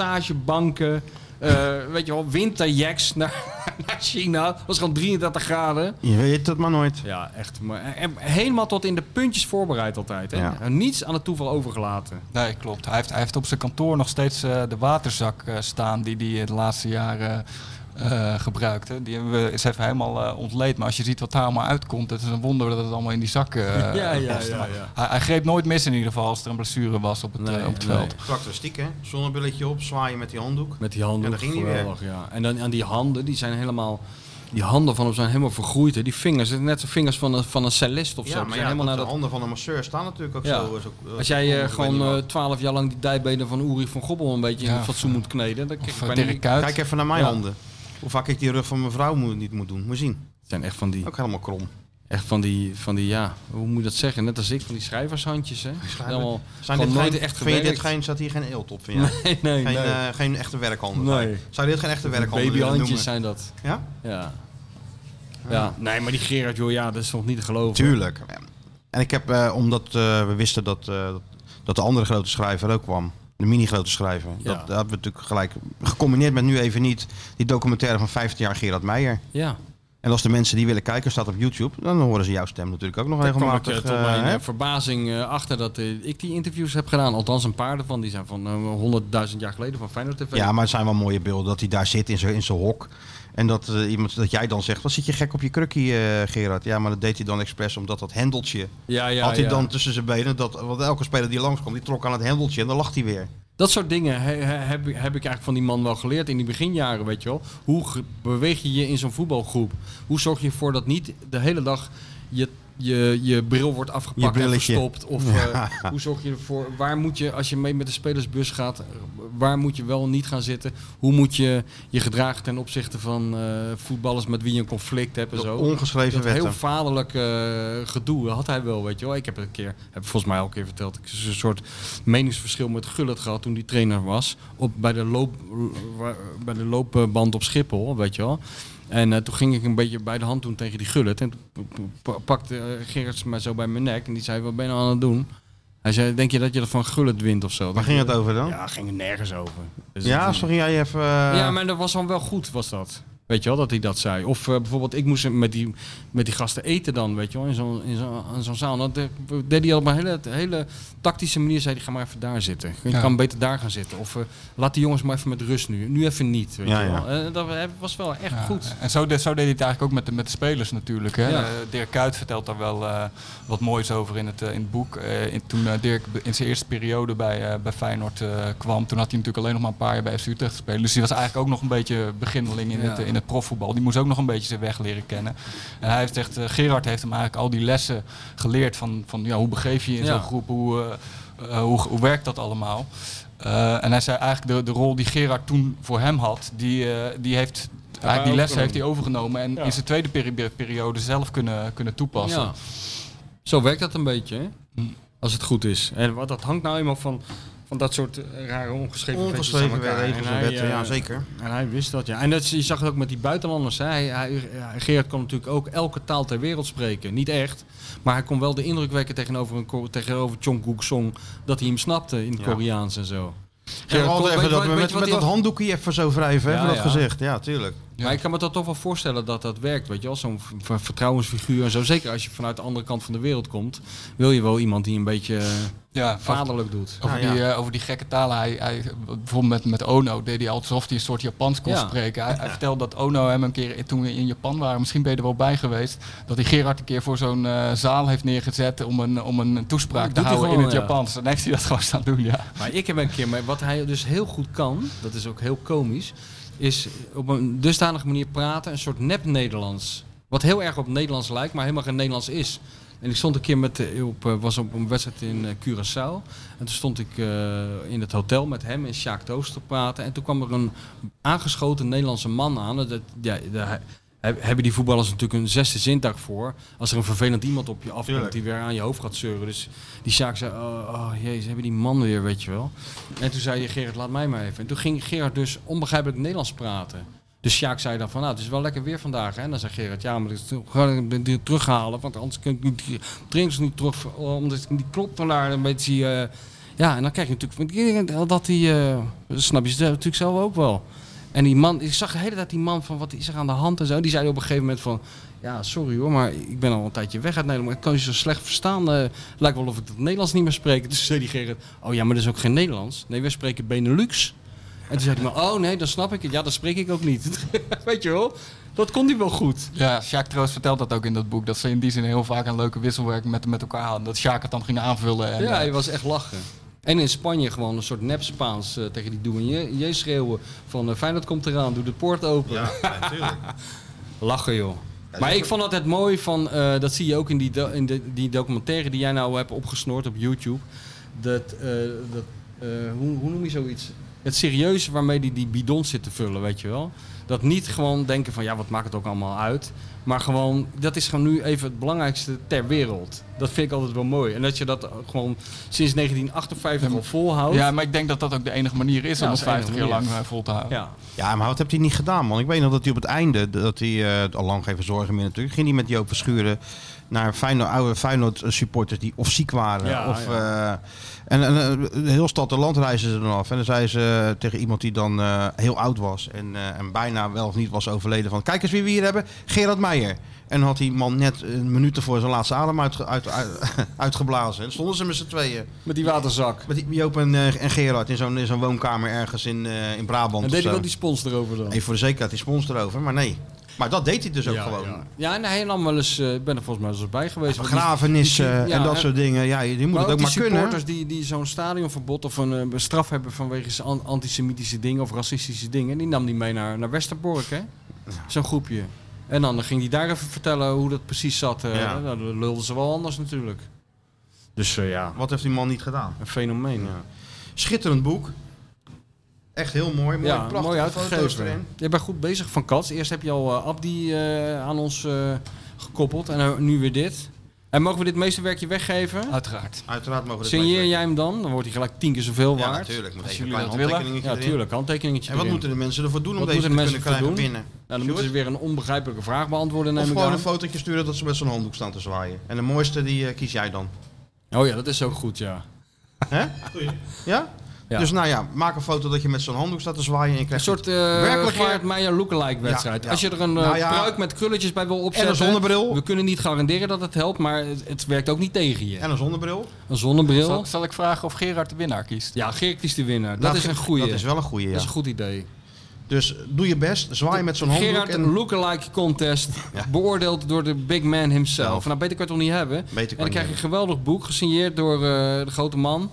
Massagebanken, eh, weet je wel, winterjacks naar, naar China. Het was gewoon 33 graden. Je weet het maar nooit. Ja, echt. Maar, en helemaal tot in de puntjes voorbereid altijd. Hè? Ja. En Niets aan het toeval overgelaten. Nee, klopt. Hij heeft, hij heeft op zijn kantoor nog steeds eh, de waterzak eh, staan die hij de laatste jaren eh, gebruikte. Die hebben we, is even helemaal eh, ontleed. Maar als je ziet wat daar allemaal uitkomt, het is een wonder dat het allemaal in die zak eh, past. Maar Hij, hij greep nooit mis in ieder geval als er een blessure was op het, Nee, eh, op het nee. veld. Karakteristiek hè? Zonnebrilletje op, zwaaien met die handdoek. Met die handen. Ja, dat ging niet meer. geweldig, ja. En dan aan die handen, die zijn helemaal. Die handen van hem zijn helemaal vergroeid. Hè. Die vingers, het zijn net zo vingers van een, van een cellist of zo. ja, Die maar zijn ja, helemaal helemaal naar de dat- handen van een masseur staan natuurlijk ook Ja. zo, zo. eh, Als jij eh, ik weet gewoon niet wat. twaalf jaar lang die dijbenen van Uri van Gobbel een beetje in Ja, het fatsoen moet kneden, dan krijg Of je eh, bijna- Dirk Kuyt. Kijk even naar mijn Ja. handen. Hoe vaak ik die rug van mijn vrouw moet, niet moet doen. Moet je zien. Het zijn echt van die, Ook helemaal krom. echt van die, van die, ja, hoe moet je dat zeggen? Net als ik, van die schrijvershandjes, hè? Helemaal, Zijn Gewoon dit nooit geen, echt vind je dit gewerkt. geen, staat hier geen eelt op? Vind jij? nee, nee, geen, nee. eh, geen echte werkhanden. Nee. zijn. Zou je dit geen echte werkhanden willen noemen? Babyhandjes zijn dat. Ja? Ja. Ja, nee, maar die Gerard, joh, ja, dat is nog niet te geloven. Tuurlijk. En ik heb, eh, omdat eh, we wisten dat, eh, dat de andere grote schrijver ook kwam. De mini-grote schrijver. Ja. Dat, dat hebben we natuurlijk gelijk gecombineerd met nu even niet. Die documentaire van 15 jaar Gerard Meijer. Ja. En als de mensen die willen kijken staat op YouTube, dan horen ze jouw stem natuurlijk ook nog Daar kwam ik eh, regelmatig. tot eh, mijn hè? eh, verbazing eh, achter dat eh, ik die interviews heb gedaan. Althans, een paar daarvan. Die zijn van eh, 100.000 jaar geleden van Feyenoord TV. ja, maar het zijn wel mooie beelden dat hij daar zit in zijn in zijn hok. En dat, eh, iemand, dat jij dan zegt, wat zit je gek op je krukkie eh, Gerard? Ja, maar dat deed hij dan expres omdat dat hendeltje ja, ja, had hij ja. dan tussen zijn benen. Dat, want elke speler die langskwam, die trok aan het hendeltje en dan lacht hij weer. Dat soort dingen he- he- heb, ik- heb ik eigenlijk van die man wel geleerd in die beginjaren, weet je wel. Hoe ge- beweeg je je in zo'n voetbalgroep? Hoe zorg je ervoor dat niet de hele dag je, je, je bril wordt Je afgepakt en brilletje. verstopt? Of eh, hoe zorg je ervoor, waar moet je, als je mee met de spelersbus gaat, waar moet je wel en niet gaan zitten? Hoe moet je je gedragen ten opzichte van eh, voetballers met wie je een conflict hebt en De zo? ongeschreven dat heel wetten. vaderlijk eh, gedoe had hij wel, weet je wel. Ik heb een keer, heb volgens mij al een keer verteld, ik een soort meningsverschil met Gullit gehad toen die trainer was. Op, bij, de loop, bij de loopband op Schiphol, weet je wel. En eh, toen ging ik een beetje bij de hand doen tegen die Gullit. En toen p- p- pakte eh, Gerrits mij zo bij mijn nek en die zei, wat ben je nou aan het doen? Hij zei, denk je dat je er van Gullit wint of zo? Waar ging het over dan? Ja, ging er nergens over. Dus Ja, dat- sorry, jij even. eh, ja, maar dat was dan wel goed, was dat. Weet je wel, dat hij dat zei. Of eh, bijvoorbeeld, ik moest met die, met die gasten eten dan, weet je wel, in zo'n in zo'n in zo'n zaal. Dat eh, deed hij op een hele, hele tactische manier, zei hij, ga maar even daar zitten. Je Ja. kan beter daar gaan zitten. Of eh, laat die jongens maar even met rust nu. Nu even niet, weet Ja, je ja. wel. Eh, dat eh, was wel echt Ja, goed. En zo, de- zo deed hij het eigenlijk ook met de, met de spelers natuurlijk. Hè? Ja. Eh, Dirk Kuyt vertelt daar wel eh, wat moois over in het, eh, in het boek. Eh, in- toen eh, Dirk be- in zijn eerste periode bij, eh, bij Feyenoord eh, kwam, toen had hij natuurlijk alleen nog maar een paar jaar bij FC Utrecht gespeeld. Dus hij was eigenlijk ook nog een beetje beginneling in, Ja. het, eh, in het profvoetbal. Die moest ook nog een beetje zijn weg leren kennen. En hij heeft echt, eh, Gerard heeft hem eigenlijk al die lessen geleerd van, van ja, hoe begeef je je in Ja. zo'n groep, hoe, eh, eh, hoe, hoe werkt dat allemaal. Eh, en hij zei eigenlijk de, de rol die Gerard toen voor hem had, die, eh, die heeft eigenlijk die lessen heeft hij overgenomen en in zijn tweede peri- periode zelf kunnen, kunnen toepassen. Ja. Zo werkt dat een beetje, hè? Hm. als het goed is. En wat, dat hangt nou eenmaal van, van dat soort eh, rare ongeschreven wetjes aan Ongeschreven elkaar. regels En en hij, wetten, eh, ja zeker. En hij wist dat, ja. En dat, je zag het ook met die buitenlanders. Hè. Hij, hij, hij- Gerard kon natuurlijk ook elke taal ter wereld spreken. Niet echt. Maar hij kon wel de indruk wekken tegenover, een, Ko- tegenover Chong Guk Song dat hij hem snapte in het Ja. Koreaans en zo. Ja, Gerard kon- altijd even weet- dat, weet- met, weet met, je wat hij dat had? handdoekje even zo wrijven, Ja, even dat ja. gezicht. Ja, tuurlijk. Maar ik kan me dat toch wel voorstellen dat dat werkt, weet je wel. Zo'n v- v- vertrouwensfiguur en zo. Zeker als je vanuit de andere kant van de wereld komt, wil je wel iemand die een beetje... eh, Ja, vaderlijk doet. Over, Ja, die, eh, over die gekke talen. Hij, hij, bijvoorbeeld met, met Ono deed hij altijd alsof hij een soort Japans kon Ja. spreken. Hij, hij vertelde dat Ono hem een keer, toen we in Japan waren, misschien ben je er wel bij geweest, dat hij Gerard een keer voor zo'n eh, zaal heeft neergezet om een, om een Dat toespraak te Oh, doet hij houden in gewoon, het ja. Japans. En heeft hij dat gewoon staan doen, ja. Maar ik heb een keer, maar wat hij dus heel goed kan, dat is ook heel komisch, is op een dusdanige manier praten, een soort nep-Nederlands. Wat heel erg op Nederlands lijkt, maar helemaal geen Nederlands is. En ik stond een keer met, eh, op, eh, was op een wedstrijd in eh, Curaçao. En toen stond ik eh, in het hotel met hem en Sjaak Toos te praten. En toen kwam er een aangeschoten Nederlandse man aan. Dat, ja, daar he- hebben die voetballers natuurlijk een zesde zintuig voor. Als er een vervelend iemand op je afkomt Tuurlijk. die weer aan je hoofd gaat zeuren. Dus die Sjaak zei, oh, oh jezus, hebben die man weer, weet je wel. En toen zei je, Gerard, laat mij maar even. En toen ging Gerard dus onbegrijpelijk Nederlands praten. Dus Sjaak zei dan van, nou, het is wel lekker weer vandaag. Hè? En dan zei Gerard, ja, maar dat ga ik dit terughalen. Want anders kan ik niet- die drinks niet terug. Omdat die kloppelaar een beetje... eh, ja, en dan krijg je natuurlijk van, dat die... eh, dat snap je zelf- natuurlijk zelf ook wel. En die man, ik zag de hele tijd die man van, wat is er aan de hand en zo. Die zei op een gegeven moment van, ja, sorry hoor, maar ik ben al een tijdje weg uit Nederland. Maar ik kan je zo slecht verstaan. eh, lijkt wel of ik dat Nederlands niet meer spreek. Toen zei die Gerrit, oh ja, maar dat is ook geen Nederlands. Nee, wij spreken Benelux. En toen zei hij maar, oh nee, dan snap ik het. Ja, dat spreek ik ook niet. Weet je wel, dat kon hij wel goed. Ja, Sjaak Troost vertelt dat ook in dat boek. Dat ze in die zin heel vaak een leuke wisselwerking met, met elkaar hadden. Dat Sjaak het dan ging aanvullen. En, ja, eh, hij was echt lachen. En in Spanje gewoon een soort nep-Spaans eh, tegen die douanier je schreeuwen van eh Feyenoord komt eraan, doe de poort open. Ja, natuurlijk. Lachen joh. Maar ik vond altijd mooi van, eh, dat zie je ook in, die, do- in de, die documentaire die jij nou hebt opgesnoord op YouTube. Dat, eh, dat eh, hoe, hoe noem je zoiets? Het serieuze waarmee die die bidon zit te vullen, weet je wel. Dat niet gewoon denken van, ja wat maakt het ook allemaal uit. Maar gewoon, dat is gewoon nu even het belangrijkste ter wereld. Dat vind ik altijd wel mooi. En dat je dat ook gewoon sinds 1958 al volhoudt. ja, maar ik denk dat dat ook de enige manier is Ja, om dat het is de enige 50 jaar lang manier. eh, vol te houden. ja. Ja, maar wat heeft hij niet gedaan, man? Ik weet nog dat hij op het einde, dat hij eh, al lang geen zorgen meer natuurlijk, ging hij met Joop Verschuren naar Feyenoord, oude Feyenoord supporters die of ziek waren. Ja, of, eh, en en, eh, de heel stad en land reizen ze dan af. En dan zei ze eh, tegen iemand die dan eh, heel oud was en, eh, en bijna wel of niet was overleden van, kijk eens wie we hier hebben, Gerard Meijer. En had die man net een minuut voor zijn laatste adem uitge- uit, uit- uitgeblazen. En stonden ze met z'n tweeën. Met die waterzak. Met die- Joop en, eh, en Gerard in zo'n in zo'n woonkamer ergens in, eh, in Brabant. En of deed ik zo. ook die spons erover dan. Oh. Even voor de zekerheid die spons erover, maar nee. Maar dat deed hij dus ook gewoon. Ja, en hij nam wel eens, eh, ik ben er volgens mij wel eens bij geweest. want die- Begrafenissen die- die- ja, en dat hè. soort dingen. Ja, je, je moet maar het ook maar die kunnen. supporters die, die zo'n stadionverbod of een eh, straf hebben vanwege zijn an- antisemitische dingen of racistische dingen, die nam die mee naar, naar Westerbork, hè? Zo'n groepje. En dan ging hij daar even vertellen hoe dat precies zat. eh, Ja. nou, dan lulden ze wel anders natuurlijk. Dus eh, ja, Wat heeft die man niet gedaan? een fenomeen. Ja, Ja. Schitterend boek. Echt heel mooi. Mooi, ja prachtige mooi foto's uitgegeven. erin. Je bent goed bezig van Kats. Eerst heb je al eh, Abdi eh, aan ons eh, gekoppeld en eh, nu weer dit. En mogen we dit meesterwerkje weggeven? Uiteraard. Uiteraard mogen we dit Signeer leuk jij hem dan? Dan wordt hij gelijk tien keer zoveel doen. Ja, waard. natuurlijk. Moet Als even een jullie klein dat willen. handtekeningetje Ja, erin. tuurlijk. Handtekeningetje En wat erin. moeten de mensen ervoor doen om Wat deze moeten te de kunnen mensen krijgen ervoor binnen? Nou, dan moeten ze weer een onbegrijpelijke vraag beantwoorden, Of neem ik gewoon aan. een fotootje sturen dat ze met zo'n handdoek staan te zwaaien. En de mooiste die eh, kies jij dan. Oh ja, dat is ook goed, ja. Ja? Ja. Dus nou ja, maak een foto dat je met zo'n handdoek staat te zwaaien. En je Een krijgt soort eh Werkelijk, Gerard Meijer lookalike wedstrijd. Ja, ja. Als je er een eh, Nou ja. pruik met krulletjes bij wil en opzetten... een zonnebril. We kunnen niet garanderen dat het helpt, maar het, het werkt ook niet tegen je. En een zonnebril. Een zonnebril. Zal, zal ik vragen of Gerard de winnaar kiest? Ja, Geert is de winnaar. Dat, Laat is ge- een goeie. Dat is wel een goeie, Dat ja. is een goed idee. Dus doe je best, zwaai met zo'n handdoek. Gerard, en... een lookalike contest. Ja. Beoordeeld door de big man himself. Zelf. Nou, beter kan je het toch niet hebben? Beter en dan kan krijg je niet een geweldig boek, gesigneerd door eh, de grote man.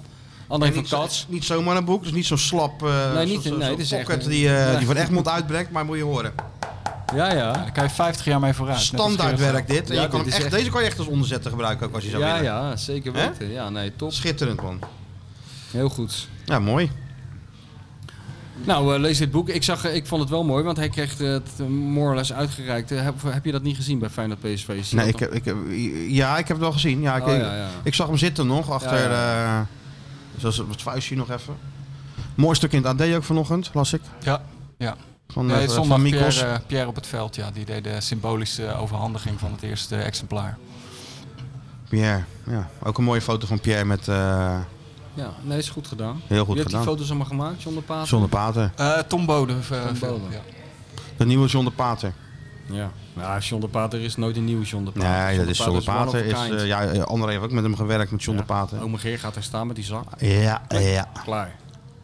André En van niet, zo- Kats. niet zomaar een boek, dus niet zo'n slap eh Nee, niet- zo- zo- nee, zo'n het is echt pocket een- die, eh ja. die van Egmond uitbrengt, maar moet je horen. Ja, Ja, ja. Daar kan je 50 jaar mee vooruit. net als Gerard. Standaardwerk dit. En Ja, je kan dit hem is echt, echt- Deze kan je echt als onderzetter gebruiken, ook als je zou Ja, willen. ja, zeker Hè? weten. Ja, nee, top. Schitterend, man. Heel goed. Ja, mooi. Nou, eh, lees dit boek. Ik, zag, eh, ik vond het wel mooi, want hij kreeg eh, het eh, more or less uitgereikt. Eh, heb, heb je dat niet gezien bij Feyenoord PSV? Zie je Nee, ik, dat heb- ik, heb- ja, ik heb het wel gezien. Ja, ik, Oh, ja, ja. ik zag hem zitten nog, achter... Ja, eh, zoals het vuistje nog even. Mooi stuk in het AD ook vanochtend, las ik. Ja, ja. Van, eh, Nee, van zondag Mikos. Pierre, eh, Pierre op het veld, ja, die deed de symbolische overhandiging van het eerste exemplaar. eh. Pierre. Ja, ook een mooie foto van Pierre met... eh, dan? Ja, nee, is goed gedaan. heel je goed hebt die gedaan. foto's allemaal gemaakt, John de Pater? John de Pater. Eh Tom Bode. eh, Tom Bode. ja. De nieuwe John de Pater. Ja. Nou, John de Pater is nooit een nieuwe John de Pater. Nee, dat is John de Pater. Is, one of a kind. eh, ja, eh, André heeft ook met hem gewerkt, met John Ja. de Pater. Ome Geer gaat daar staan met die zak. Ja, eh, ja. Klaar. Ah.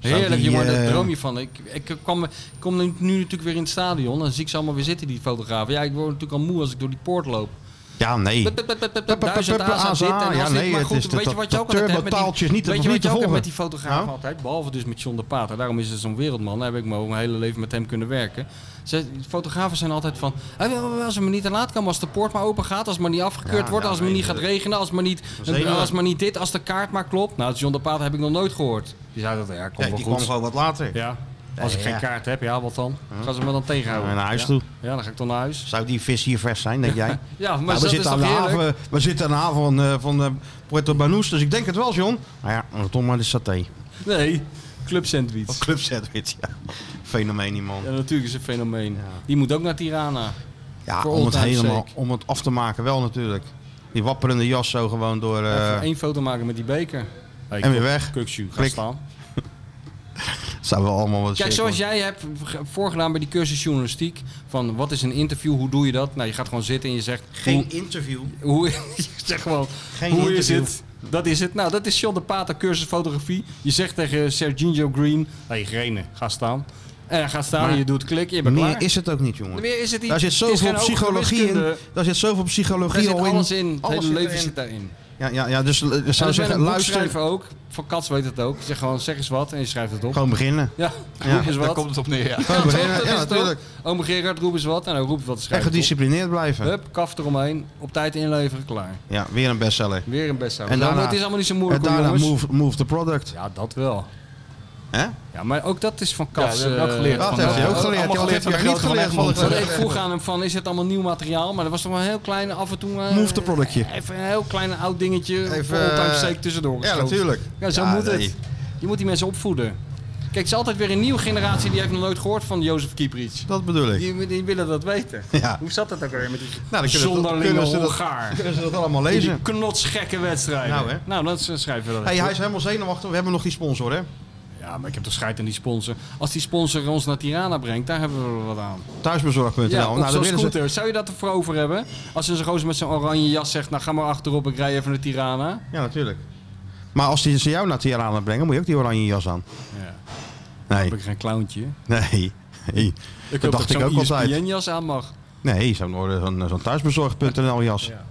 Zou Heerlijk, die, jongen, daar eh, droom je van. Ik, ik, kwam, ik kom nu, nu natuurlijk weer in het stadion. Dan zie ik ze allemaal weer zitten, die fotografen. Ja, ik word natuurlijk al moe als ik door die poort loop. Ja, nee. Pep, pep, pep, pep, pep, pep, pep, Duizend pep, A's aan A's dit en aan. als Ja, dit. nee, Maar het goed, is dat- weet je wat je dat ook altijd hebt met die- turbotaaltje is niet Weet te- je niet wat te je ook volgen. hebt met die fotograaf Nou? altijd? Behalve dus met John de Pater. Daarom is het zo'n wereldman. Daar heb ik mijn hele leven met hem kunnen werken. Ze, fotografen zijn altijd van... "Eh, Als het me niet te laat kan, als de poort maar open gaat... als het maar niet afgekeurd Ja, wordt, ja, als het maar nee, niet gaat dat- regenen... als het maar niet, is helemaal- als het maar niet dit, als de kaart maar klopt. Nou, John de Pater heb ik nog nooit gehoord. Die zei dat, ja, komt Nee, wel die kwam goed. gewoon wat later. Ja. Als ik Ja. geen kaart heb, ja, wat dan? Gaan ze me dan tegenhouden? Ja, naar huis Ja. toe. Ja, dan ga ik dan naar huis. Zou die vis hier vers zijn, denk jij? Ja, maar Nou, we, dat is zitten aan toch de heerlijk? haven, we zitten aan de haven van, eh, van eh, Puerto Banús, dus ik denk het wel, John. Nou ja, toch maar de saté. Nee, club sandwich. Of club sandwich, ja. Fenomeen, die man. Ja, natuurlijk is een fenomeen. Die moet ook naar Tirana. Ja, voor om het, all-time helemaal, sake. om het af te maken wel natuurlijk. Die wapperende jas zo gewoon door... eh, Even één foto maken met die beker. Hey, En weer Kuk- weg. Kukshoe, ga Klik. staan. Zijn we allemaal wat Kijk, cirkel- zoals jij hebt ge- voorgedaan bij die cursus journalistiek. Van wat is een interview, hoe doe je dat? Nou, je gaat gewoon zitten en je zegt... Geen interview. Hoe, hoe, je zegt gewoon, Geen hoe is interview. het? Dat is het. Nou, dat is John de Pater, cursus fotografie. Je zegt tegen Serginho Green... hey, Grene, ga staan. En hij gaat staan en je doet klik en je bent Meer klaar. is het ook niet, jongen. Meer is het niet. Daar zit Het is zoveel geen hogere psychologie in. wiskunde. Daar zit zoveel Daar psychologie zit al in. alles in. Het Alles hele zit leven erin. zit daarin. Ja, ja, ja dus eh, En zou als jij zeggen, een boek luister. schrijven ook. Van Kats weet het ook. Je zegt gewoon, zeg eens wat en je schrijft het op. Gewoon beginnen. Ja, Ja. roep eens Daar wat. komt het op neer, ja. Gewoon toch? beginnen. Dat Ja, is het natuurlijk. ook. Ome Gerard, roep eens wat. En dan roep eens wat, En schrijf het op. gedisciplineerd blijven. Hup, kaf eromheen. Op tijd inleveren, klaar. Ja, weer een bestseller. Weer een bestseller. En Nou, daarna- het is allemaal niet zo En moeilijk, hoor, daarna jongens. move, move the product. Ja, dat wel. Hè? Ja, maar ook dat is van Kats. Ja, dat heb ik ook eh, geleerd. Dat Van, heeft eh, hij ook geleerd. Ja, allemaal dat geleerd heeft van hij de niet grote van geleerd van Egmond. de- Want ik vroeg aan hem van, is het allemaal nieuw materiaal? Maar dat was toch wel een heel klein, af en toe... eh, Move the productje. Even een heel klein oud dingetje. Even, Even, all-time eh, sake tussendoor Ja, geschoten. natuurlijk. Ja, zo moet nee. het. Je moet die mensen opvoeden. Kijk, het is altijd weer een nieuwe generatie die heeft nog nooit gehoord van Jozef Kieprits. Dat bedoel ik. Die, die willen dat weten. Ja. Hoe zat dat ook weer met die Nou, dan kunnen, zonderlinge kunnen ze dat, Hongaar? kunnen ze dat allemaal Die lezen. knotsgekke wedstrijden. Nou, hè. nou dan schrijven we dat Hey, even hij op. is helemaal zenuwachtig. We hebben nog die sponsor, hè? Ja, maar ik heb toch scheid aan die sponsor. Als die sponsor ons naar Tirana brengt, daar hebben we wel wat aan. Thuisbezorg.nl. Ja, op nou, zo'n dan willen ze... scooter. Zou je dat er voor over hebben? Als een gozer met zijn oranje jas zegt, nou ga maar achterop, ik rij even naar Tirana. Ja, natuurlijk. Maar als die ze jou naar Tirana brengen, moet je ook die oranje jas aan. Ja, Nee, heb ik geen clowntje. nee. nee. Ik Dat hoop dacht ik zo'n E ook altijd. ESPN-jas aan mag. Nee, zo'n eh, zo'n- zo'n thuisbezorg.nl jas. Ja.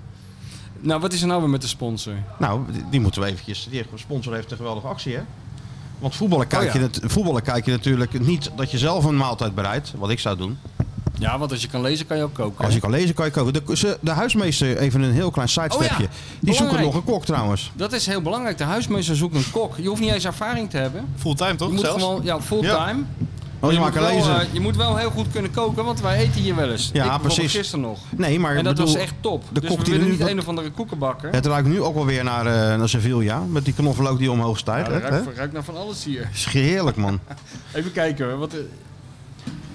Nou, wat is er nou weer met de sponsor? Nou, die- die moeten we eventjes. Die sponsor heeft een geweldige actie, hè? Want voetballen kijk, Oh ja. je, nat- voetballen kijk je natuurlijk niet dat je zelf een maaltijd bereidt, wat ik zou doen. Ja, want als je kan lezen, kan je ook koken. Als hè? je kan lezen, kan je koken. De, ze- de huismeester, even een heel klein sidestepje. Oh ja, die zoeken belangrijk. nog een kok trouwens. Oh, Dat is heel belangrijk. De huismeester zoekt een kok. Je hoeft niet eens ervaring te hebben. Fulltime toch? Je moet zelfs? gewoon, ja, fulltime. Oh, je je, maakt moet wel, lezen. eh, je moet wel heel goed kunnen koken, want wij eten hier wel eens. Ja, Ik bijvoorbeeld precies. gisteren nog. nee, maar En ik dat was bedoel, echt top. de dus kok we die willen er nu- niet een of andere koekenbakker. het ruikt nu ook wel weer naar, eh naar Sevilla. Met die knoflook die omhoog Ja, stijgt. dat hè? ruikt, ruikt naar van alles hier. Is heerlijk, man. Even kijken hoor. Wat, eh,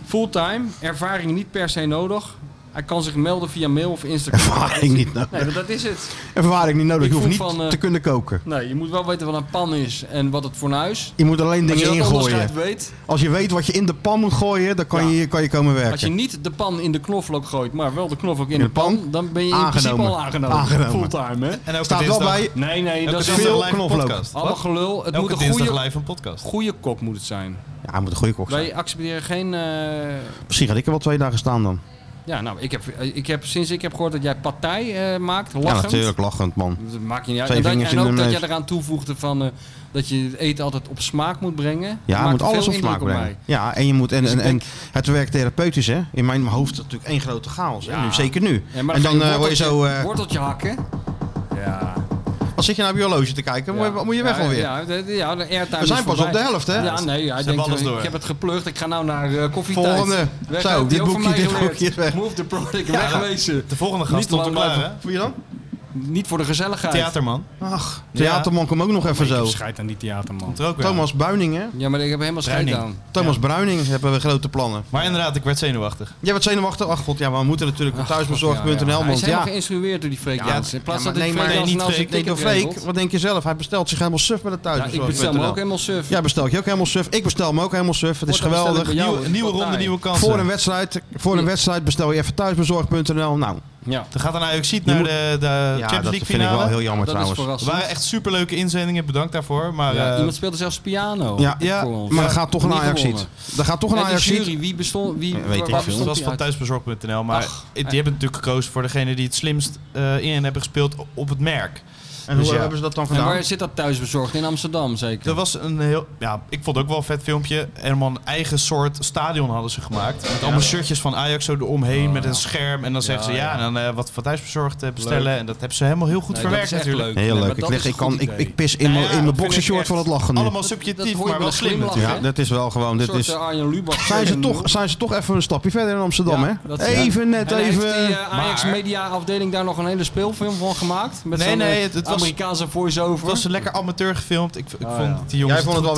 fulltime, ervaring niet per se nodig. Hij kan zich melden via mail of Instagram. Ervaring niet nodig. Nee, want dat is het. Ervaring niet nodig. Ik Je hoeft niet voel van, eh, te kunnen koken. Nee, je moet wel weten wat een pan is en wat het fornuis. Je moet alleen Als je dingen dat ingooien. onderscheid weet, Als je weet wat je in de pan moet gooien, dan kan, Ja. je, kan je komen werken. Als je niet de pan in de knoflook gooit, maar wel de knoflook in, In de, de pan, pan? dan ben je in Aangenomen. principe al aangenomen. Aangenomen. Fulltime, hè? En elke staat wel dinsdag- bij. Nee, nee, dat Elke is veel dinsdag live knoflook. podcast. allemaal gelul. Het Elke moet een dinsdag goede, live een podcast. goede kok moet het zijn. Ja, hij moet een goede kok zijn. Wij accepteren geen... eh, Misschien had ik er wel twee dagen staan dan. Ja, nou, ik heb, ik heb, sinds ik heb gehoord dat jij partij eh, maakt, lachend. Ja, natuurlijk, lachend, man. Dat maakt je niet uit. Twee En, dat- vingers en in ook de dat neus. jij eraan toevoegde van, eh, dat je het eten altijd op smaak moet brengen. Ja, Maakt moet veel alles op indruk smaak mij. brengen. Ja, en, je moet, en, Dus ik en, en denk- het werkt therapeutisch, hè? In mijn hoofd is dat natuurlijk één grote chaos. Hè? Ja. Nu, zeker nu. Ja, maar en dan ga eh, word je zo... worteltje- eh, Worteltje hakken. Ja. wat zit je nou op je horloge te kijken? Moet, je, moet je weg ja, alweer? Ja, de, de- ja, de airtime We zijn is pas voorbij. op de helft, hè? Ja, nee, hij hebben denkt, alles eh, door. ik heb het geplukt, ik ga nou naar eh, koffietijd. Volgende. Weg Zo, uit, die dit ook van boekje, mij dit geleerd. boekje is weg. Move the product, wegwezen. De volgende gast Niet stond er lang klaar, blijven. hè? Voel je dan? Niet voor de gezelligheid. Theaterman. Ach, theaterman kom ook nog even Maar ik heb zo. scheid aan die theaterman. Komt er ook weer Thomas Bruining, hè? Ja, maar ik heb helemaal scheid Bruining. aan. Thomas Bruining hebben we grote plannen. aan. Maar inderdaad, ik werd zenuwachtig. Jij wordt zenuwachtig? Ach god, ja, maar we moeten natuurlijk op Ach, thuisbezorgd.nl, god, ja, ja. Hij want is helemaal ja. geïnstrueerd door die Freek Ja, Jansen. In plaats ja, maar dat ik nee, Freek maar Jansen niet nou zijn Freek. Nee, ticket door Freek, regelt. wat denk je zelf? Hij bestelt zich helemaal suf bij de Ja, ik bestel thuisbezorgd.nl. hem ook helemaal surf. Jij bestelt je ook helemaal suf. Ik bestel hem ook helemaal suf. Het is Wordt dan geweldig. bestel ik bij jou, Nieuwe, hoor. nieuwe Wat ronde, taai. nieuwe kansen. Voor een, wedstrijd, voor een Ja. wedstrijd bestel je even thuisbezorgd.nl. Nou, Ja, Dan gaat er naar ziet naar moet- de, de ja, Champions dat League vind ik wel finale. heel jammer dat is trouwens. Het verrassend. waren echt superleuke inzendingen, bedankt daarvoor. Maar Ja, eh, iemand speelde zelfs piano. Ja, ja, voor ons. maar er gaat toch een Niet ajax gewonnen. Er gaat toch een En de ajax jury, wie bestond... Wie, Ja, weet ik waar veel. het bestond was die van uit? thuisbezorgd.nl. Maar Ach, die hebben natuurlijk gekozen voor degene die het slimst eh, in hebben gespeeld op het merk. En hoe Dus ja. hebben ze dat dan En gedaan? waar zit dat thuisbezorgd? In Amsterdam zeker? Er was een heel. Ja, ik vond het ook wel een vet filmpje. Helemaal een eigen soort stadion hadden ze gemaakt. Met allemaal shirtjes van Ajax zo eromheen. met een scherm. En dan zeggen ze ja, en dan eh, wat van thuisbezorgd eh, bestellen. En dat hebben ze helemaal heel goed Nee, dat verwerkt is echt natuurlijk. leuk. Heel Nee, leuk. maar Ik, dat leg, is een ik, kan, goed ik, idee. ik pis in Nou mijn, ja, in mijn dat vind boxershort ik van het echt lachen nu. Allemaal Dat hoor subjectief, je maar bij wel de slim glimlach, natuurlijk. ja, hè? dat is wel gewoon. Dit Een soort, is, eh, Arjen Lubach. zijn, ze Eh, toch, zijn ze toch even een stapje verder in Amsterdam, Ja, hè? dat is- Even net, En heeft even... die eh, Ajax Media afdeling daar nog een hele speelfilm van gemaakt? Met Nee, zo'n, eh, nee, het- het was- Amerikaanse voice-over. Het was lekker amateur gefilmd. Ik, ik Ah, vond ja. die jongens. goed, eh, ja, vond het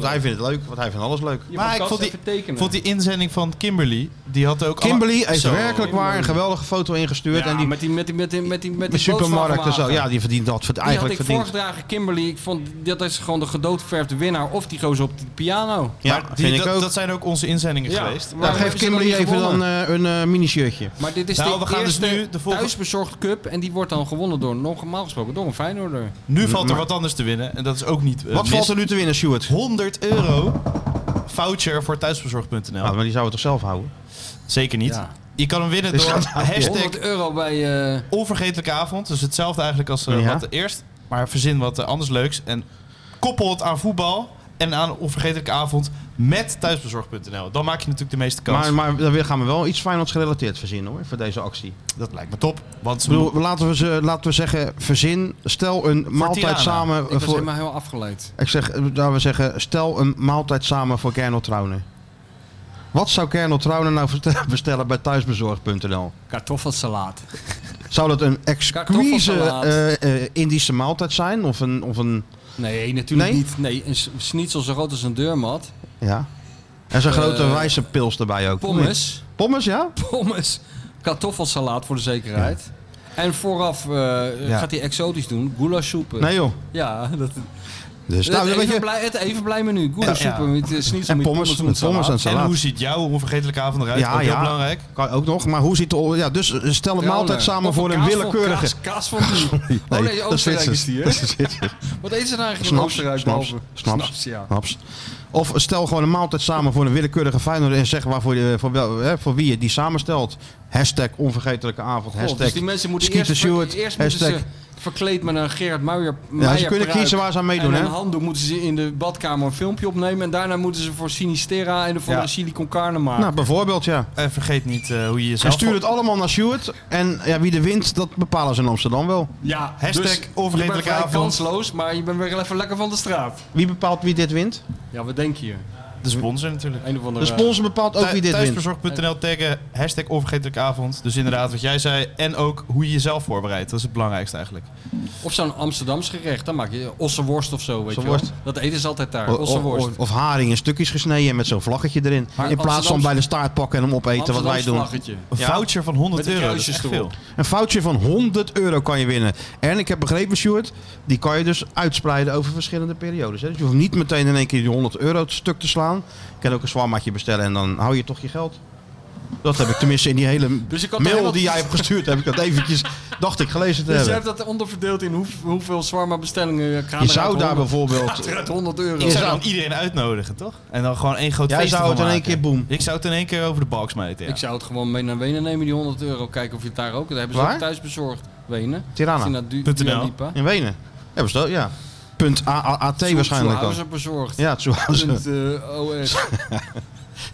wel. hij vindt het leuk, want hij vindt alles leuk. Je maar moet ik kast vond die- even tekenen. Ik vond die inzending van Kimberly. Die had ook. Kimberly heeft Zo. werkelijk waar een geweldige foto ingestuurd. Ja, en die, met die, met die, met die, met die, met de die supermarkt en zo. boodschappenwagen. Ja, die verdient dat. verd- Die had Eigenlijk ik verdient... voorgedragen, Kimberly. Ik vond dat is gewoon de gedoodverfde winnaar. Of die gozer op de piano. Ja, Maar die- vind ik dat, ook. dat zijn ook onze inzendingen geweest. Nou, hebben geef ze Kimberly nog niet even dan gewonnen? eh, een eh, mini-shirtje. Maar dit is Nou, de we gaan dus eerste nu de volgende- thuisbezorgd cup. En die wordt dan gewonnen door, normaal gesproken, door een Feyenoorder. Nu valt er wat anders te winnen. En dat is ook niet. eh, Wat mis. valt er nu te winnen, Stuart? 100 euro voucher voor thuisbezorgd.nl. Nou, maar die zouden we toch zelf houden? Zeker niet. Ja. Je kan hem winnen Dus door gaat- hashtag 100 euro bij... eh onvergetelijke avond. Dus hetzelfde eigenlijk als eh, Ja. wat eerst. Maar verzin wat eh, anders leuks. En koppel het aan voetbal en aan onvergetelijke avond met thuisbezorgd.nl. Dan maak je natuurlijk de meeste kans. Maar, maar dan gaan we wel iets Feyenoords gerelateerd verzinnen hoor, voor deze actie. Dat lijkt me top. Want ze Ik bedoel, laten we, ze, laten we zeggen, verzin, stel een maaltijd Tirana. samen ik was voor... helemaal heel afgeleid. Ik zeg, eh, laten we zeggen, stel een maaltijd samen voor Gernot Trouwner. Wat zou Gernot Trouwner nou vertel- bestellen bij thuisbezorgd.nl? Kartoffelsalaat. Zou dat een exquise Kartoffelsalade. eh, eh, Indische maaltijd zijn? Of een, of een Nee, natuurlijk Nee? niet. Nee, een s- schnitzel zo groot als een deurmat. ja. En zo'n Eh, grote wijze pils erbij ook. Pommes. Pommes, ja? Pommes. Kartoffelsalaat voor de zekerheid. En vooraf eh, Ja. gaat hij exotisch doen. Goulashsoepen. Nee joh. Ja, dat, Dus nou, het, weet even je, eh, blij, het even blij menu. Goulashsoepen Ja. met eh, schnitzel en met pommes, met met pommes en salaat. En salade. hoe ziet jouw onvergetelijke avond eruit? Ja, Ja, ja. heel belangrijk. Kan ook nog, maar hoe ziet de... Ja, dus eh, stel een maaltijd samen Of voor een kaas willekeurige... Kaas, kaas van die. Oh nee, dat is Oostenrijk is Zwitsers. die, hè? Dat is Zwitsers. Wat eten ze daar eigenlijk in Snaps, Oostenrijk? snaps, behalve- snaps. ja. Haps. Of stel gewoon een maaltijd samen voor een willekeurige Feyenoorder en zeg waarvoor je, voor, wel, hè, voor wie je die samenstelt. Hashtag onvergetelijke avond. God, hashtag dus die mensen moeten Skeeter eerst, ver- Stewart, eerst moeten hashtag- ze verkleed met een Gerard Meijer ja, ze kunnen kiezen waar ze aan meedoen. En Hè? een handdoek moeten ze in de badkamer een filmpje opnemen. En daarna moeten ze voor Sinistera en voor Ja. de Silicon Carne maken. Nou, bijvoorbeeld ja. En vergeet niet eh, hoe je Ze jezelf... sturen het allemaal naar Stuart. En ja, wie de wint, dat bepalen ze in Amsterdam wel. ja, dus hashtag je bent onvergetelijke vrij avond. kansloos, maar je bent weer even lekker van de straat. Wie bepaalt wie dit wint? Ja, wat denk je? De sponsor natuurlijk. Een of andere... De sponsor eh, bepaalt ook wie dit wint. Thuisbezorgd.nl taggen, hashtag onvergetelijke avond. Dus inderdaad wat jij zei. En ook hoe je jezelf voorbereidt. Dat is het belangrijkste eigenlijk. Of zo'n Amsterdams gerecht. Dan maak je ossenworst of zo, weet je wel. Ossenworst. Dat eten ze altijd daar, O- o- ossenworst. o- Of haring in stukjes gesneden en met zo'n vlaggetje erin. Maar in plaats van Amsterdams- bij de staart pakken en hem opeten, wat wij Amsterdams doen. vlaggetje. Een Ja. voucher van 100 Met de euro. Dat is echt kruisjes veel. erop. Een voucher van 100 euro kan je winnen. En ik heb begrepen, Stuart, die kan je dus uitspreiden over verschillende periodes. Hè? Dus je hoeft niet meteen in één keer die 100 euro het stuk te slaan. Je kan ook een zwarmaatje bestellen en dan hou je toch je geld. Dat heb ik tenminste in die hele Dus ik had mail toch wel- die jij hebt gestuurd, heb ik dat eventjes, dacht ik, gelezen te Dus je hebt hebben. dat onderverdeeld in hoe, hoeveel zwarma bestellingen gaan Je er uit zou daar 100 bijvoorbeeld... uit 100 euro. Ik Is zou dat- dan iedereen uitnodigen, toch? En dan gewoon één groot Jij feest zou ervan het in één maken. keer boem. Ik zou het in één keer over de balk smijten, ja. Ik zou het gewoon mee naar Wenen nemen, die 100 euro. Kijken of je het daar ook... Daar hebben ze Waar? ook thuis bezorgd, Wenen. Tirana, Sina Du- .nl. Dua Lipa. in Wenen. Ja, bestel, ja. Punt A- A- AT waarschijnlijk dan. Zoethouser bezorgd. Ja, dus, Tsuhausen. Punt, eh, OS.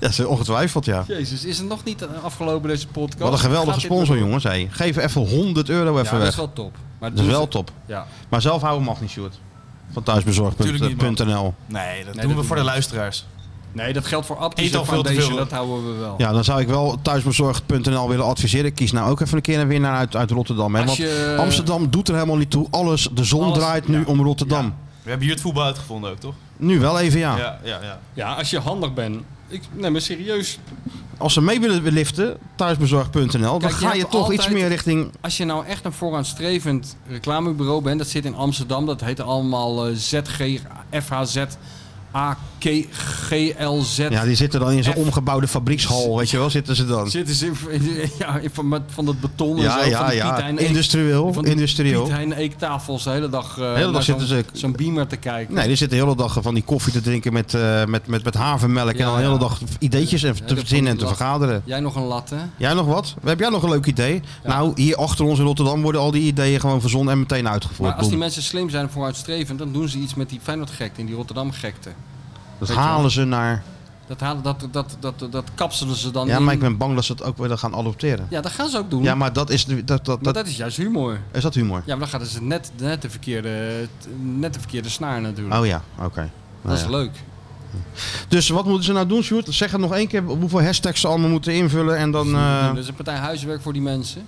Ja, ze- ongetwijfeld, ja. Jezus, is het nog niet afgelopen deze podcast? Wat een geweldige Gaat dit sponsor, nog- jongens. hé. Geef even 100 euro even Ja, dat weg. is wel top. Maar Dat is doen wel ze- top. Ja. Maar zelf houden mag niet, Sjoerd. Van Tuurlijk niet, man. thuisbezorgd.nl. Nee, dat dat doen we doen voor we de luisteraars. Nee, dat geldt voor Atlas Eet al veel te Foundation, veel. dat houden we wel. Ja, dan zou ik wel thuisbezorgd.nl willen adviseren. Kies nou ook even een keer een winnaar uit, uit Rotterdam. Hè? Als Want je- Amsterdam doet er helemaal niet toe. Alles, de zon Alles, draait nu ja. om Rotterdam. We hebben hier het voetbal uitgevonden ook, toch? Nu wel even, ja. Ja, ja, ja. Ja, als je handig bent. Ik, nee, maar serieus. Als ze mee willen liften, thuisbezorgd.nl, dan Kijk, je ga je hebt toch altijd- iets meer richting... Als je nou echt een vooraanstrevend reclamebureau bent, dat zit in Amsterdam, dat heet allemaal eh, ZG, FHZ, AK, GLZ. Ja, die zitten dan in zo'n F. omgebouwde fabriekshal, weet je wel, zitten ze dan. Zitten ze in, in- ja, in- van, met- van dat beton en Ja, zo, van ja, die Piet ja. Hein Eek- Industrieel, van die industrieel. Piet Hein Eektafels de hele dag, eh, hele dag naar zo'n- zitten ze- zo'n beamer te kijken. Nee, die zitten de hele dag van die koffie te drinken met, eh, met, met, met havermelk. Ja, en dan de hele ja. dag ideetjes en Ja, te dat vond verzinnen en ik te wel- vergaderen. Jij nog een lat, hè? Jij nog wat? Heb jij nog een leuk idee? Nou, hier achter ons in Rotterdam worden al die ideeën gewoon verzonnen en meteen uitgevoerd. Maar als die Boem. mensen slim zijn en vooruitstrevend, dan doen ze iets met die Feyenoord-gekte en die Rotterdam-gekte. dat weet je wel. halen ze naar... Dat, halen, dat, dat, dat, dat kapselen ze dan Ja, in. maar ik ben bang dat ze het ook willen gaan adopteren. Ja, dat gaan ze ook doen. Ja, maar, maar dat is, de- dat, dat, dat... dat, is juist humor. is dat humor? Ja, maar dan gaan ze net, net, de, verkeerde, net de verkeerde snaar natuurlijk. Oh ja, oké. dat Nou is ja. leuk. Dus wat moeten ze nou doen, Sjoerd? Zeg het nog één keer op hoeveel hashtags ze allemaal moeten invullen. En dan, eh, Dat is een partij huiswerk voor die mensen.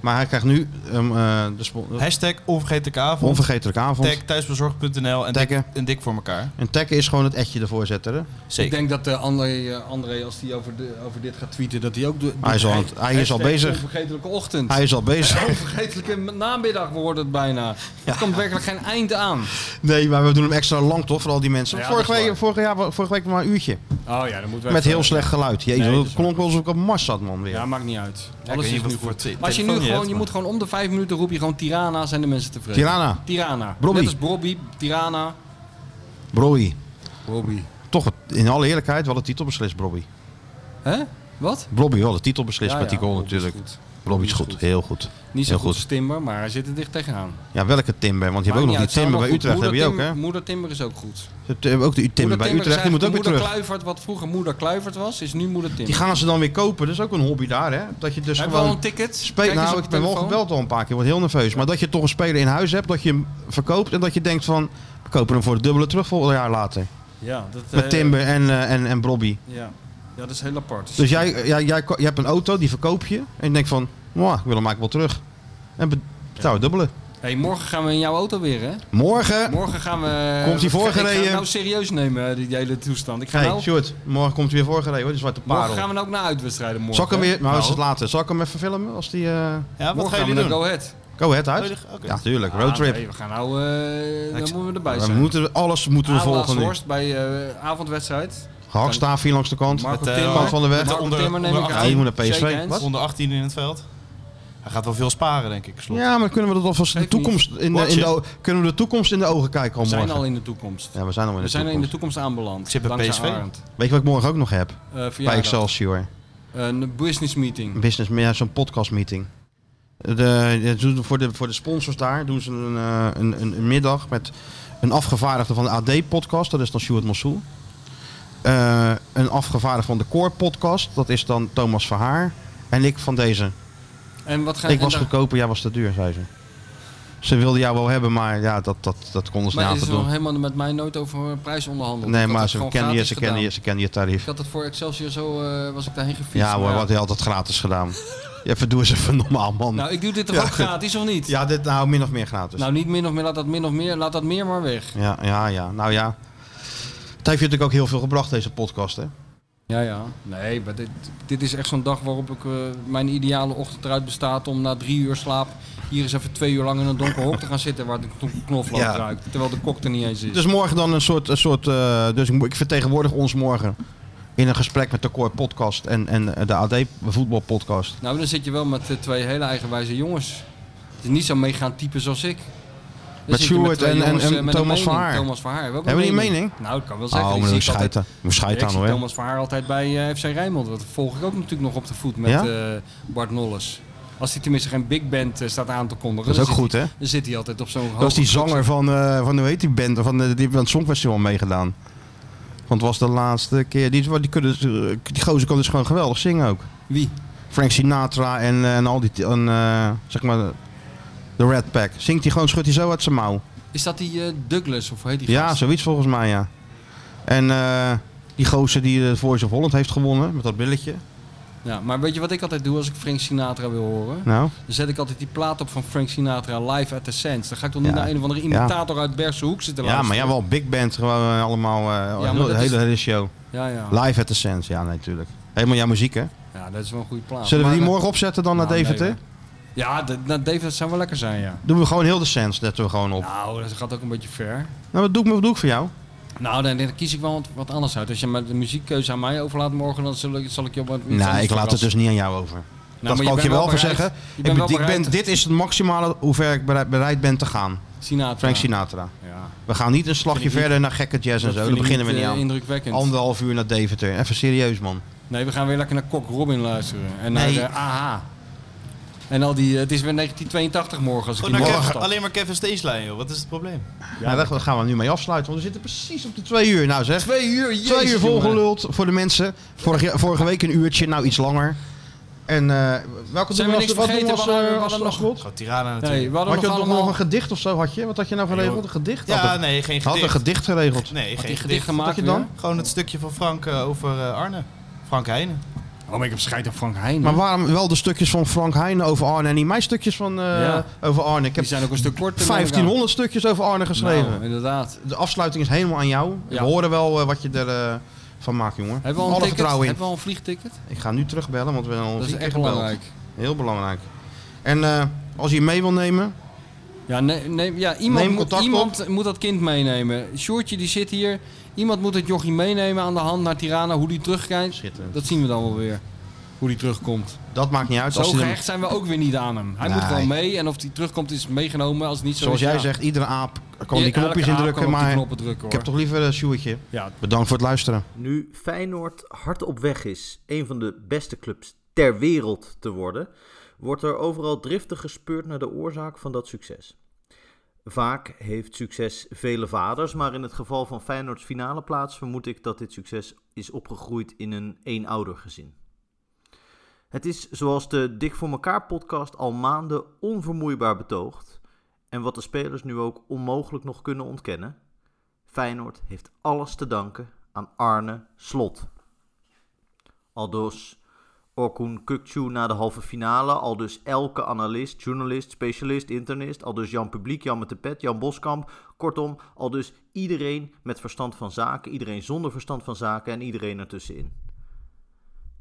maar hij krijgt nu ehm, eh, de spo- Hashtag onvergetelijke avond. onvergetelijke avond. Tag thuisbezorgd.nl Taggen. en dik, en dik voor elkaar. En taggen is gewoon het etje ervoor zetten. Hè? Ik denk dat eh, André, eh, André, als hij over, de- over dit gaat tweeten, dat hij ook... doet- Hij is al aan het- hij is al Hashtag bezig. Onvergetelijke ochtend. Hij is al bezig. Onvergetelijke namiddag wordt het bijna. Het komt werkelijk geen eind aan. Nee, maar we doen hem extra lang toch, voor al die mensen. Ja, vorige, dat is week, vorige, jaar, vorige week maar een uurtje. Oh ja, dan moeten we Met even- heel slecht geluid. Jezus, Nee, dat dat is klonk wel alsof ik op Mars zat, man. Weer. Ja, maakt niet uit. weet Alles niet is wat nu voor goed. te- Als je nu telefoon je gewoon, hebt, je maar- moet gewoon om de vijf minuten roep je gewoon Tirana, zijn de mensen tevreden. Tirana, Tirana. Brobby. Net als Brobby, Tirana. Brobby. Brobby. Toch, het- in alle eerlijkheid, wel de titel beslist, Brobby. Hè? Wat? Brobby wel de titel beslist Ja, met die ja, goal Brobby is natuurlijk. goed. Brobby is goed, heel goed. Niet zo Heel goed goed. als Timber, maar hij zit er dicht tegenaan. Ja, welke Timber? Want je hebt ook nog die Timber bij Utrecht, heb je ook, hè? Moeder Timber is ook goed. Je hebt eh, ook de Timber bij Utrecht, die moet ook weer Moeder terug. Kluivert, wat vroeger Moeder Kluivert was, is nu Moeder Timber. Die gaan ze dan weer kopen, dat is ook een hobby daar, hè? Dat je dus Hebben we al gewoon... een ticket? Spe- Kijk eens nou, op ik je ben wel telefoon. gebeld al een paar keer, word heel nerveus. Maar dat je toch een speler in huis hebt, dat je hem verkoopt en dat je denkt van... We kopen hem voor het dubbele terug volgend jaar later. Ja, dat, eh, Met Timber en, eh, en, en Brobby. Ja. ja, dat is heel apart. Dus jij, jij, jij, ko- jij hebt een auto, die verkoop je. En je denkt van, "Mwah, ik wil hem eigenlijk wel terug. En be- betaal het dubbele. hey, morgen gaan we in jouw auto weer, hè? Morgen... Morgen gaan we... Komt hij voorgereden? Ik ga hem nou serieus nemen, die hele toestand. Ik ga Hey, nou... Sjoerd, morgen komt hij weer voorgereden hoor, die zwarte Morgen parel. gaan we nou ook naar uitwedstrijden morgen. Zal ik hem weer... Nou, is Nou. het later. Zal ik hem even filmen als die... eh Ja, wat Morgen gaan gaan we jullie naar doen? Go Ahead. Go ahead Oh, uit? die- oké. Ja, tuurlijk. Roadtrip. Ah, nee, we gaan nou... eh, Ik- dan moeten we erbij we zijn. Ah, moeten, alles moeten we Adelaarshorst volgen nu. bij eh, avondwedstrijd. Hakstaaf hier langs de kant. Marco eh, Timmer. Kant van de weg. Marco Onder- Timmer neem onder ik 18. aan. Ja, die moet naar PSV. Shake hands. Wat? Onder 18 in het veld. Hij gaat wel veel sparen, denk ik. Slot. Ja, maar kunnen we dat alvast de Geeft toekomst in de, Watch in de, it. o- kunnen we de toekomst in de ogen kijken al We zijn morgen? al in de toekomst. Ja, we zijn al in de We zijn in de toekomst. toekomst aanbeland. Ik zit bij Dankzij PSV. Arend. Weet je wat ik morgen ook nog heb? Eh, Bij verjaardag. Excelsior. Een business meeting. Een business, ja, zo'n podcast meeting. De, dat doen ze voor, de, voor de sponsors daar doen ze een, eh, een, een, een middag met een afgevaardigde van de AD-podcast, dat is dan Stuart Mossoel. Eh, een afgevaardigde van de Core-podcast, dat is dan Thomas Verhaar. En ik van deze. En wat gaan Ik was en dan- goedkoper, jij was te duur, zei ze. Ze wilden jou wel hebben, maar ja, dat, dat, dat konden ze Maar niet is aan te er nog doen. helemaal met mij nooit over prijs onderhandeld. Ik Nee, had maar het ze gewoon kenden je, gratis ze kenden je, gedaan. ze kenden je Ik tarief. had het voor Excelsior zo, eh, was ik daarheen gefietst. Ja maar hoor, wat hij altijd gratis gedaan. Ja, verdoe eens even normaal, man. Nou, ik doe dit toch Ja. ook gratis, of niet? Ja, dit nou min of meer gratis. Nou, niet min of meer, laat dat min of meer, laat dat meer maar weg. Ja, ja, ja. Nou ja. Het heeft je natuurlijk ook heel veel gebracht, deze podcast, hè? Ja, ja. Nee, maar dit, dit is echt zo'n dag waarop ik eh, mijn ideale ochtend eruit bestaat om na drie uur slaap hier eens even twee uur lang in een donker hok te gaan zitten waar de kn- knoflook Ja. ruikt. Terwijl de kok er niet eens is. Dus morgen dan een soort... Een soort eh, dus ik, moet- ik vertegenwoordig ons morgen in een gesprek met de Core Podcast en, en de AD Voetbal Podcast. Nou, dan zit je wel met eh, twee hele eigenwijze jongens. Het is niet zo meegaan type zoals ik. Dan zit je Sjoerd twee en- en- jongens, en eh, met Thomas een mening. Verhaar. Thomas Verhaar. Hebben we ook Hebben die een mening? Nou, dat kan wel zeggen. Oh, Die maar zie dan ik altijd- schijt aan. Moet schijt Ik aan, zie hoor. Thomas Verhaar altijd bij eh, FC Rijnmond. Dat volg ik ook natuurlijk nog op de voet met Ja? eh, Bart Nolles. Als hij tenminste geen big band eh, staat aan te kondigen. Dat is dan ook zit goed, hij- hè? Dan zit hij altijd op zo'n hoog. Dat was die zanger van, eh van hoe heet die band? Van, de, die heeft aan het Songfestival meegedaan. Want het was de laatste keer. Die, die, kunnen, die gozer kan dus gewoon geweldig zingen ook. Wie? Frank Sinatra en, eh, en al die... En, eh, zeg maar... De Red Pack. Zingt hij gewoon, schudt hij zo uit zijn mouw. Is dat die eh, Douglas of hoe heet die Ja, gast? zoiets volgens mij, ja. En eh, Die gozer die de Voice of Holland heeft gewonnen met dat billetje. Ja, maar weet je wat ik altijd doe als ik Frank Sinatra wil horen? Nou, Dan zet ik altijd die plaat op van Frank Sinatra live at the Sands. Dan ga ik toch niet Ja. naar een of andere imitator uit Bergse Hoek zitten ja, maar luisteren. ja, wel big band gewoon eh, allemaal. eh, maar heel- de dat hele, is- hele show. Ja, ja. Live at the Sands, ja, nee, natuurlijk. Helemaal jouw muziek, hè? ja, dat is wel een goede plaat. Zullen we Nou, Maar, die eh, morgen opzetten dan naar nou, nee, Deventer? Ja, de- nou, David, dat zou wel lekker zijn, ja. Doen we gewoon heel de Sands, zetten we gewoon op. Nou, dat gaat ook een beetje ver. Nou, wat doe, ik, wat doe ik voor jou? Nou, dan, dan kies ik wel wat, wat anders uit. Als je maar de muziekkeuze aan mij overlaat morgen, dan zal ik, zal ik je op wat iets Nee, anders ik laat het verrassen. dus niet aan jou over. Nou, maar dat kan ik je bent wel voor bereid- zeggen. Je Ik, bent ben, wel ik ben- bereid- dit is het maximale hoe ver ik bereid, bereid ben te gaan. Sinatra. Frank Sinatra. Ja We gaan niet een slagje Vind ik niet- verder naar gekke jazz en Dat zo. vind Daar ik beginnen we niet, niet eh, aan. Indrukwekkend. Anderhalf uur naar Deventer. Even serieus, man. nee, we gaan weer lekker naar Kok Robin luisteren. En naar Nee. de AH. En al die, eh, het is weer 1982 morgen als ik Goed, die naar morgen Kev- stap. alleen maar Kevin Steeslijn, joh. Wat is het probleem? nou, daar gaan we nu mee afsluiten, want we zitten precies op de twee uur. Nou zeg, Twee uur, jezus, twee uur jongen. volgeluld voor de mensen. Vorige, vorige week een uurtje, nou iets langer. En eh welke Zijn doen we niks als- wat doen vergeten? we als, We hadden- eh, we als hadden nog- slagwoord? Gewoon Tirana natuurlijk. Nee, we hadden Had je nog ook nog allemaal een gedicht of zo? Had je? Wat had je nou geregeld? Een gedicht? ja, had een- nee, geen had gedicht. een gedicht geregeld. nee, geen die gedicht. gedichten maken je weer. dan? Gewoon het stukje van Frank eh, over eh, Arne. Frank Heijnen. Oh, maar ik heb scheid op Frank Heijn. Maar hè. waarom wel de stukjes van Frank Heijn over Arne en niet mijn stukjes van, eh, Ja. over Arne? Ik die heb zijn ook een stuk korter. dan elkaar. 1500 stukjes over Arne geschreven. Nou, inderdaad. De afsluiting is helemaal aan jou. Ja. We horen wel eh, wat je er eh, van maakt, jongen. Hebben we al Alle een ticket? vertrouwen in. Hebben we al een vliegticket? Ik ga nu terugbellen, want we hebben al Dat is drie echt keer gebeld. belangrijk. Heel belangrijk. En eh, als je mee wil nemen, Ja, nee, nee, ja iemand, Neem moet, contact iemand moet dat kind meenemen. Sjoertje die zit hier. Iemand moet het jochie meenemen aan de hand naar Tirana. Hoe die terugkijkt, Schitterend. dat zien we dan wel weer. Hoe die terugkomt. dat maakt niet uit. Zo Als hij hem- gehecht zijn we ook weer niet aan hem. Hij moet Nee. gewoon mee en of hij terugkomt is meegenomen. Als het niet zo zoals is, jij ja. zegt, iedere aap kan Ja, die elke knopjes aap indrukken. kan op die Maar knoppen drukken, ik hoor. heb toch liever een Sjoertje. Ja. Bedankt voor het luisteren. Nu Feyenoord hard op weg is een van de beste clubs ter wereld te worden, wordt er overal driftig gespeurd naar de oorzaak van dat succes. Vaak heeft succes vele vaders, maar in het geval van Feyenoords finale plaats vermoed ik dat dit succes is opgegroeid in een eenoudergezin. Het is zoals de Dik voor elkaar podcast al maanden onvermoeibaar betoogt en wat de spelers nu ook onmogelijk nog kunnen ontkennen. Feyenoord heeft alles te danken aan Arne Slot. Aldus Orkun Kukcu na de halve finale, aldus elke analist, journalist, specialist, internist, aldus Jan Publiek, Jan met de pet, Jan Boskamp, kortom, aldus iedereen met verstand van zaken, iedereen zonder verstand van zaken en iedereen ertussenin.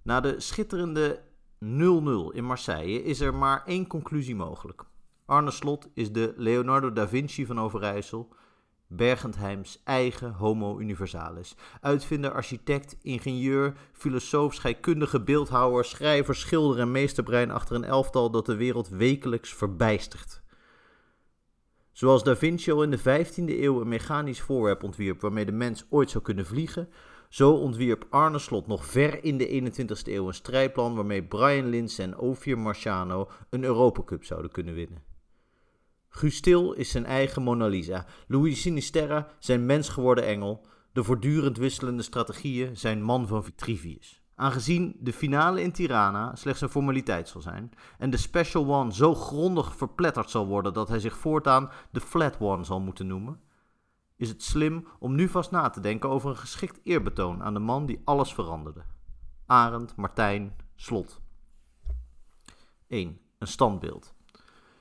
Na de schitterende 0-0 in Marseille is er maar één conclusie mogelijk. Arne Slot is de Leonardo da Vinci van Overijssel Bergentheim's eigen Homo Universalis. Uitvinder, architect, ingenieur, filosoof, scheikundige, beeldhouwer, schrijver, schilder en meesterbrein achter een elftal dat de wereld wekelijks verbijstert. Zoals Da Vinci al in de 15e eeuw een mechanisch voorwerp ontwierp waarmee de mens ooit zou kunnen vliegen, zo ontwierp Arne Slot nog ver in de 21e eeuw een strijdplan waarmee Brian Linz en Ophir Marciano een Europacup zouden kunnen winnen. Guus Til is zijn eigen Mona Lisa. Louis Sinisterra zijn mens geworden engel. De voortdurend wisselende strategieën zijn man van Vitruvius. Aangezien de finale in Tirana slechts een formaliteit zal zijn en de Special One zo grondig verpletterd zal worden dat hij zich voortaan de Flat One zal moeten noemen, is het slim om nu vast na te denken over een geschikt eerbetoon aan de man die alles veranderde. Arend Martijn Slot. 1. Een standbeeld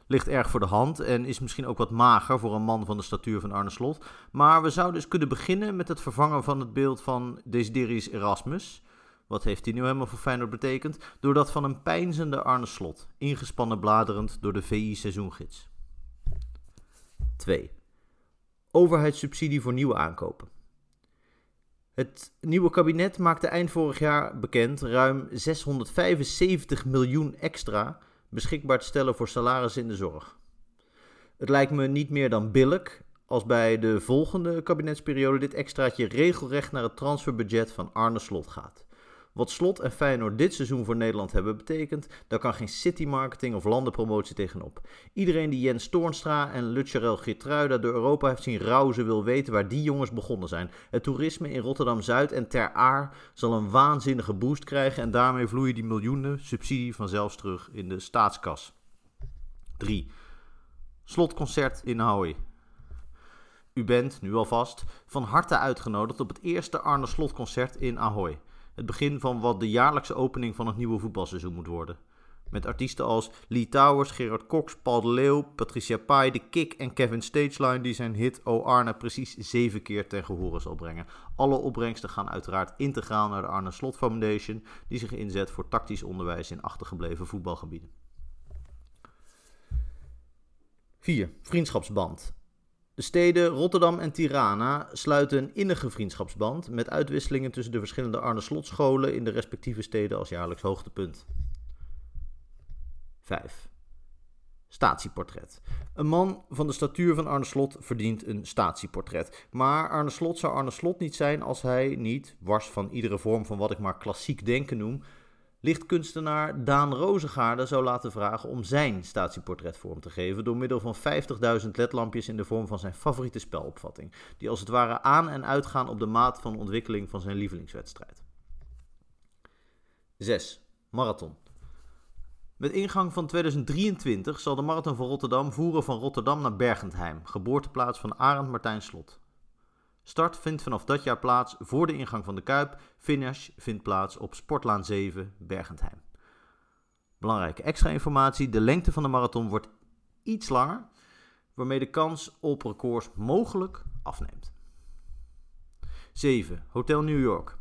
ligt erg voor de hand en is misschien ook wat mager voor een man van de statuur van Arne Slot. Maar we zouden dus kunnen beginnen met het vervangen van het beeld van Desiderius Erasmus. Wat heeft die nu helemaal voor Feyenoord betekend? Door dat van een pijnzende Arne Slot, ingespannen bladerend door de VI-seizoengids. 2. Overheidssubsidie voor nieuwe aankopen. Het nieuwe kabinet maakte eind vorig jaar bekend ruim 675 miljoen extra beschikbaar te stellen voor salarissen in de zorg. Het lijkt me niet meer dan billig als bij de volgende kabinetsperiode dit extraatje regelrecht naar het transferbudget van Arne Slot gaat. Wat Slot en Feyenoord dit seizoen voor Nederland hebben betekend, daar kan geen citymarketing of landenpromotie tegenop. Iedereen die Jens Toornstra en Lucharel Gertruida door Europa heeft zien rauzen wil weten waar die jongens begonnen zijn. Het toerisme in Rotterdam-Zuid en Ter Aar zal een waanzinnige boost krijgen en daarmee vloeien die miljoenen subsidie vanzelf terug in de staatskas. 3. Slotconcert in Hooi. U bent, nu alvast, van harte uitgenodigd op het eerste Arne Slot concert in Ahoy. Het begin van wat de jaarlijkse opening van het nieuwe voetbalseizoen moet worden. Met artiesten als Lee Towers, Gerard Cox, Paul de Leeuw, Patricia Pai, The Kick en Kevin Stageline die zijn hit O Arne precies zeven keer ten gehore zal brengen. Alle opbrengsten gaan uiteraard integraal naar de Arne Slot Foundation die zich inzet voor tactisch onderwijs in achtergebleven voetbalgebieden. 4. Vriendschapsband. De steden Rotterdam en Tirana sluiten een innige vriendschapsband met uitwisselingen tussen de verschillende Arne Slot scholen in de respectieve steden als jaarlijks hoogtepunt. 5. Statieportret. Een man van de statuur van Arne Slot verdient een statieportret. Maar Arne Slot zou Arne Slot niet zijn als hij niet, wars van iedere vorm van wat ik maar klassiek denken noem, lichtkunstenaar Daan Rozengaarde zou laten vragen om zijn statieportret vorm te geven door middel van 50.000 ledlampjes in de vorm van zijn favoriete spelopvatting, die als het ware aan en uitgaan op de maat van ontwikkeling van zijn lievelingswedstrijd. 6. Marathon. Met ingang van 2023 zal de Marathon van Rotterdam voeren van Rotterdam naar Bergentheim, geboorteplaats van Arend Martijn Slot. Start vindt vanaf dat jaar plaats voor de ingang van de Kuip. Finish vindt plaats op Sportlaan 7, Bergentheim. Belangrijke extra informatie: de lengte van de marathon wordt iets langer, waarmee de kans op records mogelijk afneemt. 7. Hotel New York.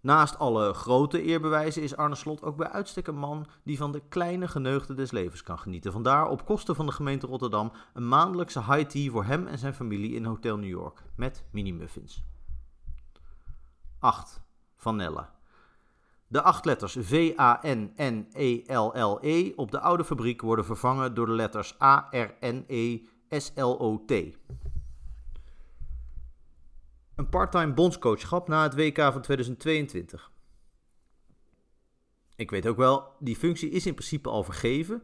Naast alle grote eerbewijzen is Arne Slot ook bij uitstek een man die van de kleine geneugden des levens kan genieten. Vandaar op kosten van de gemeente Rotterdam een maandelijkse high tea voor hem en zijn familie in Hotel New York met mini muffins. 8. Vanella. De acht letters E V-A-N-N-E-L-L-E op de oude fabriek worden vervangen door de letters E A-R-N-E-S-L-O-T. Een part-time bondscoachschap na het WK van 2022. Ik weet ook wel, die functie is in principe al vergeven.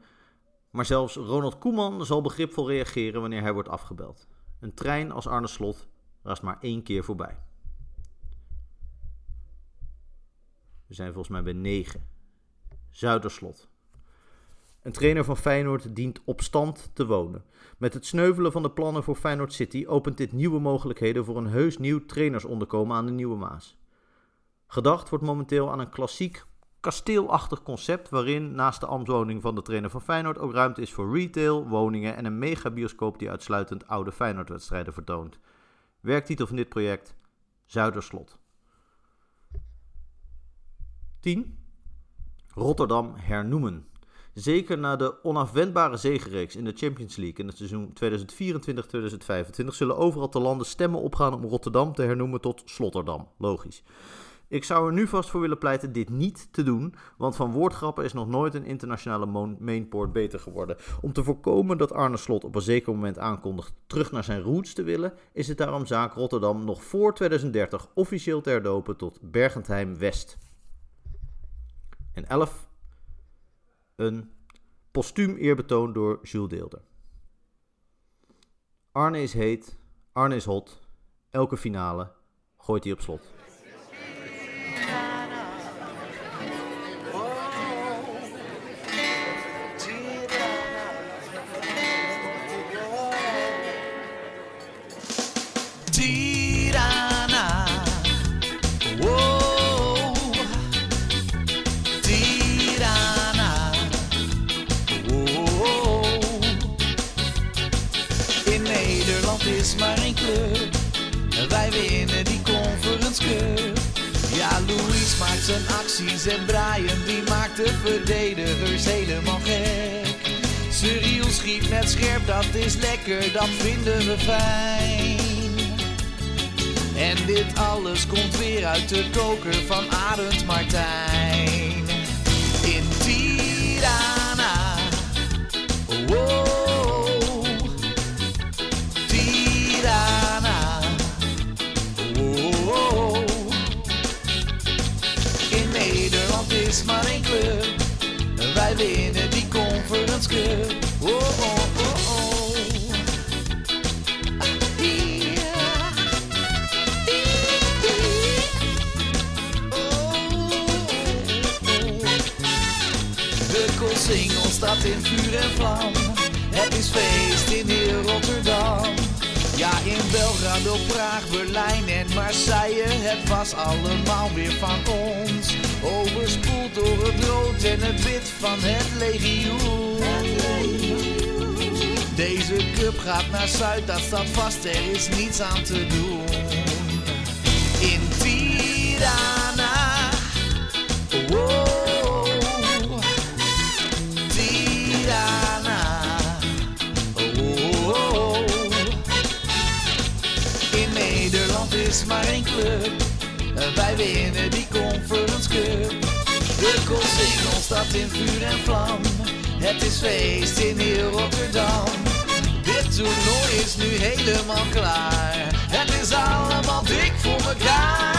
Maar zelfs Ronald Koeman zal begripvol reageren wanneer hij wordt afgebeld. Een trein als Arne Slot raast maar één keer voorbij. We zijn volgens mij bij 9. Zuiderslot. Een trainer van Feyenoord dient op stand te wonen. Met het sneuvelen van de plannen voor Feyenoord City opent dit nieuwe mogelijkheden voor een heus nieuw trainersonderkomen aan de Nieuwe Maas. Gedacht wordt momenteel aan een klassiek kasteelachtig concept waarin naast de ambtswoning van de trainer van Feyenoord ook ruimte is voor retail, woningen en een megabioscoop die uitsluitend oude Feyenoordwedstrijden vertoont. Werktitel van dit project: Zuiderslot. 10. Rotterdam hernoemen. Zeker na de onafwendbare zegenreeks in de Champions League in het seizoen 2024-2025 zullen overal te landen stemmen opgaan om Rotterdam te hernoemen tot Slotterdam. Logisch. Ik zou er nu vast voor willen pleiten dit niet te doen, want van woordgrappen is nog nooit een internationale mainport beter geworden. Om te voorkomen dat Arne Slot op een zeker moment aankondigt terug naar zijn roots te willen, is het daarom zaak Rotterdam nog voor 2030 officieel te herdopen tot Bergentheim West. En 11 een postuum eerbetoon door Jules Deelder. Arne is heet, Arne is hot. Elke finale gooit hij op slot. Tirana. Wow. Tirana. Wow. In Nederland is maar één club. Wij winnen die Conference Cup. Ja, Louis maakt zijn acties en Brian die maakt de verdedigers helemaal gek. Cyril schiet net scherp, dat is lekker, dat vinden we fijn. En dit alles komt weer uit de koker van Arend Martijn. In Tirana. Wow. Tirana. Wow. In Nederland is maar één club. Wij winnen die Conference Cup. Oh, oh, oh, Ah, oh. Ja. De Koolsingel staat in vuur en vlam. Het is feest in heel Rotterdam. Ja, in Belgrado, Praag, Berlijn en Marseille. Het was allemaal weer van ons. Overspoeld door het rood en het wit van het legioen. Deze cup gaat naar Zuid, dat staat vast. Er is niets aan te doen. In Tirana. Oh, Wow. Tirana. Oh, In Nederland is maar één club. Wij winnen die Conference Cup. De Koolsingel staat in vuur en vlam. Het is feest in heel Rotterdam. Dit toernooi is nu helemaal klaar. Het is allemaal dik voor elkaar. Oh, oh.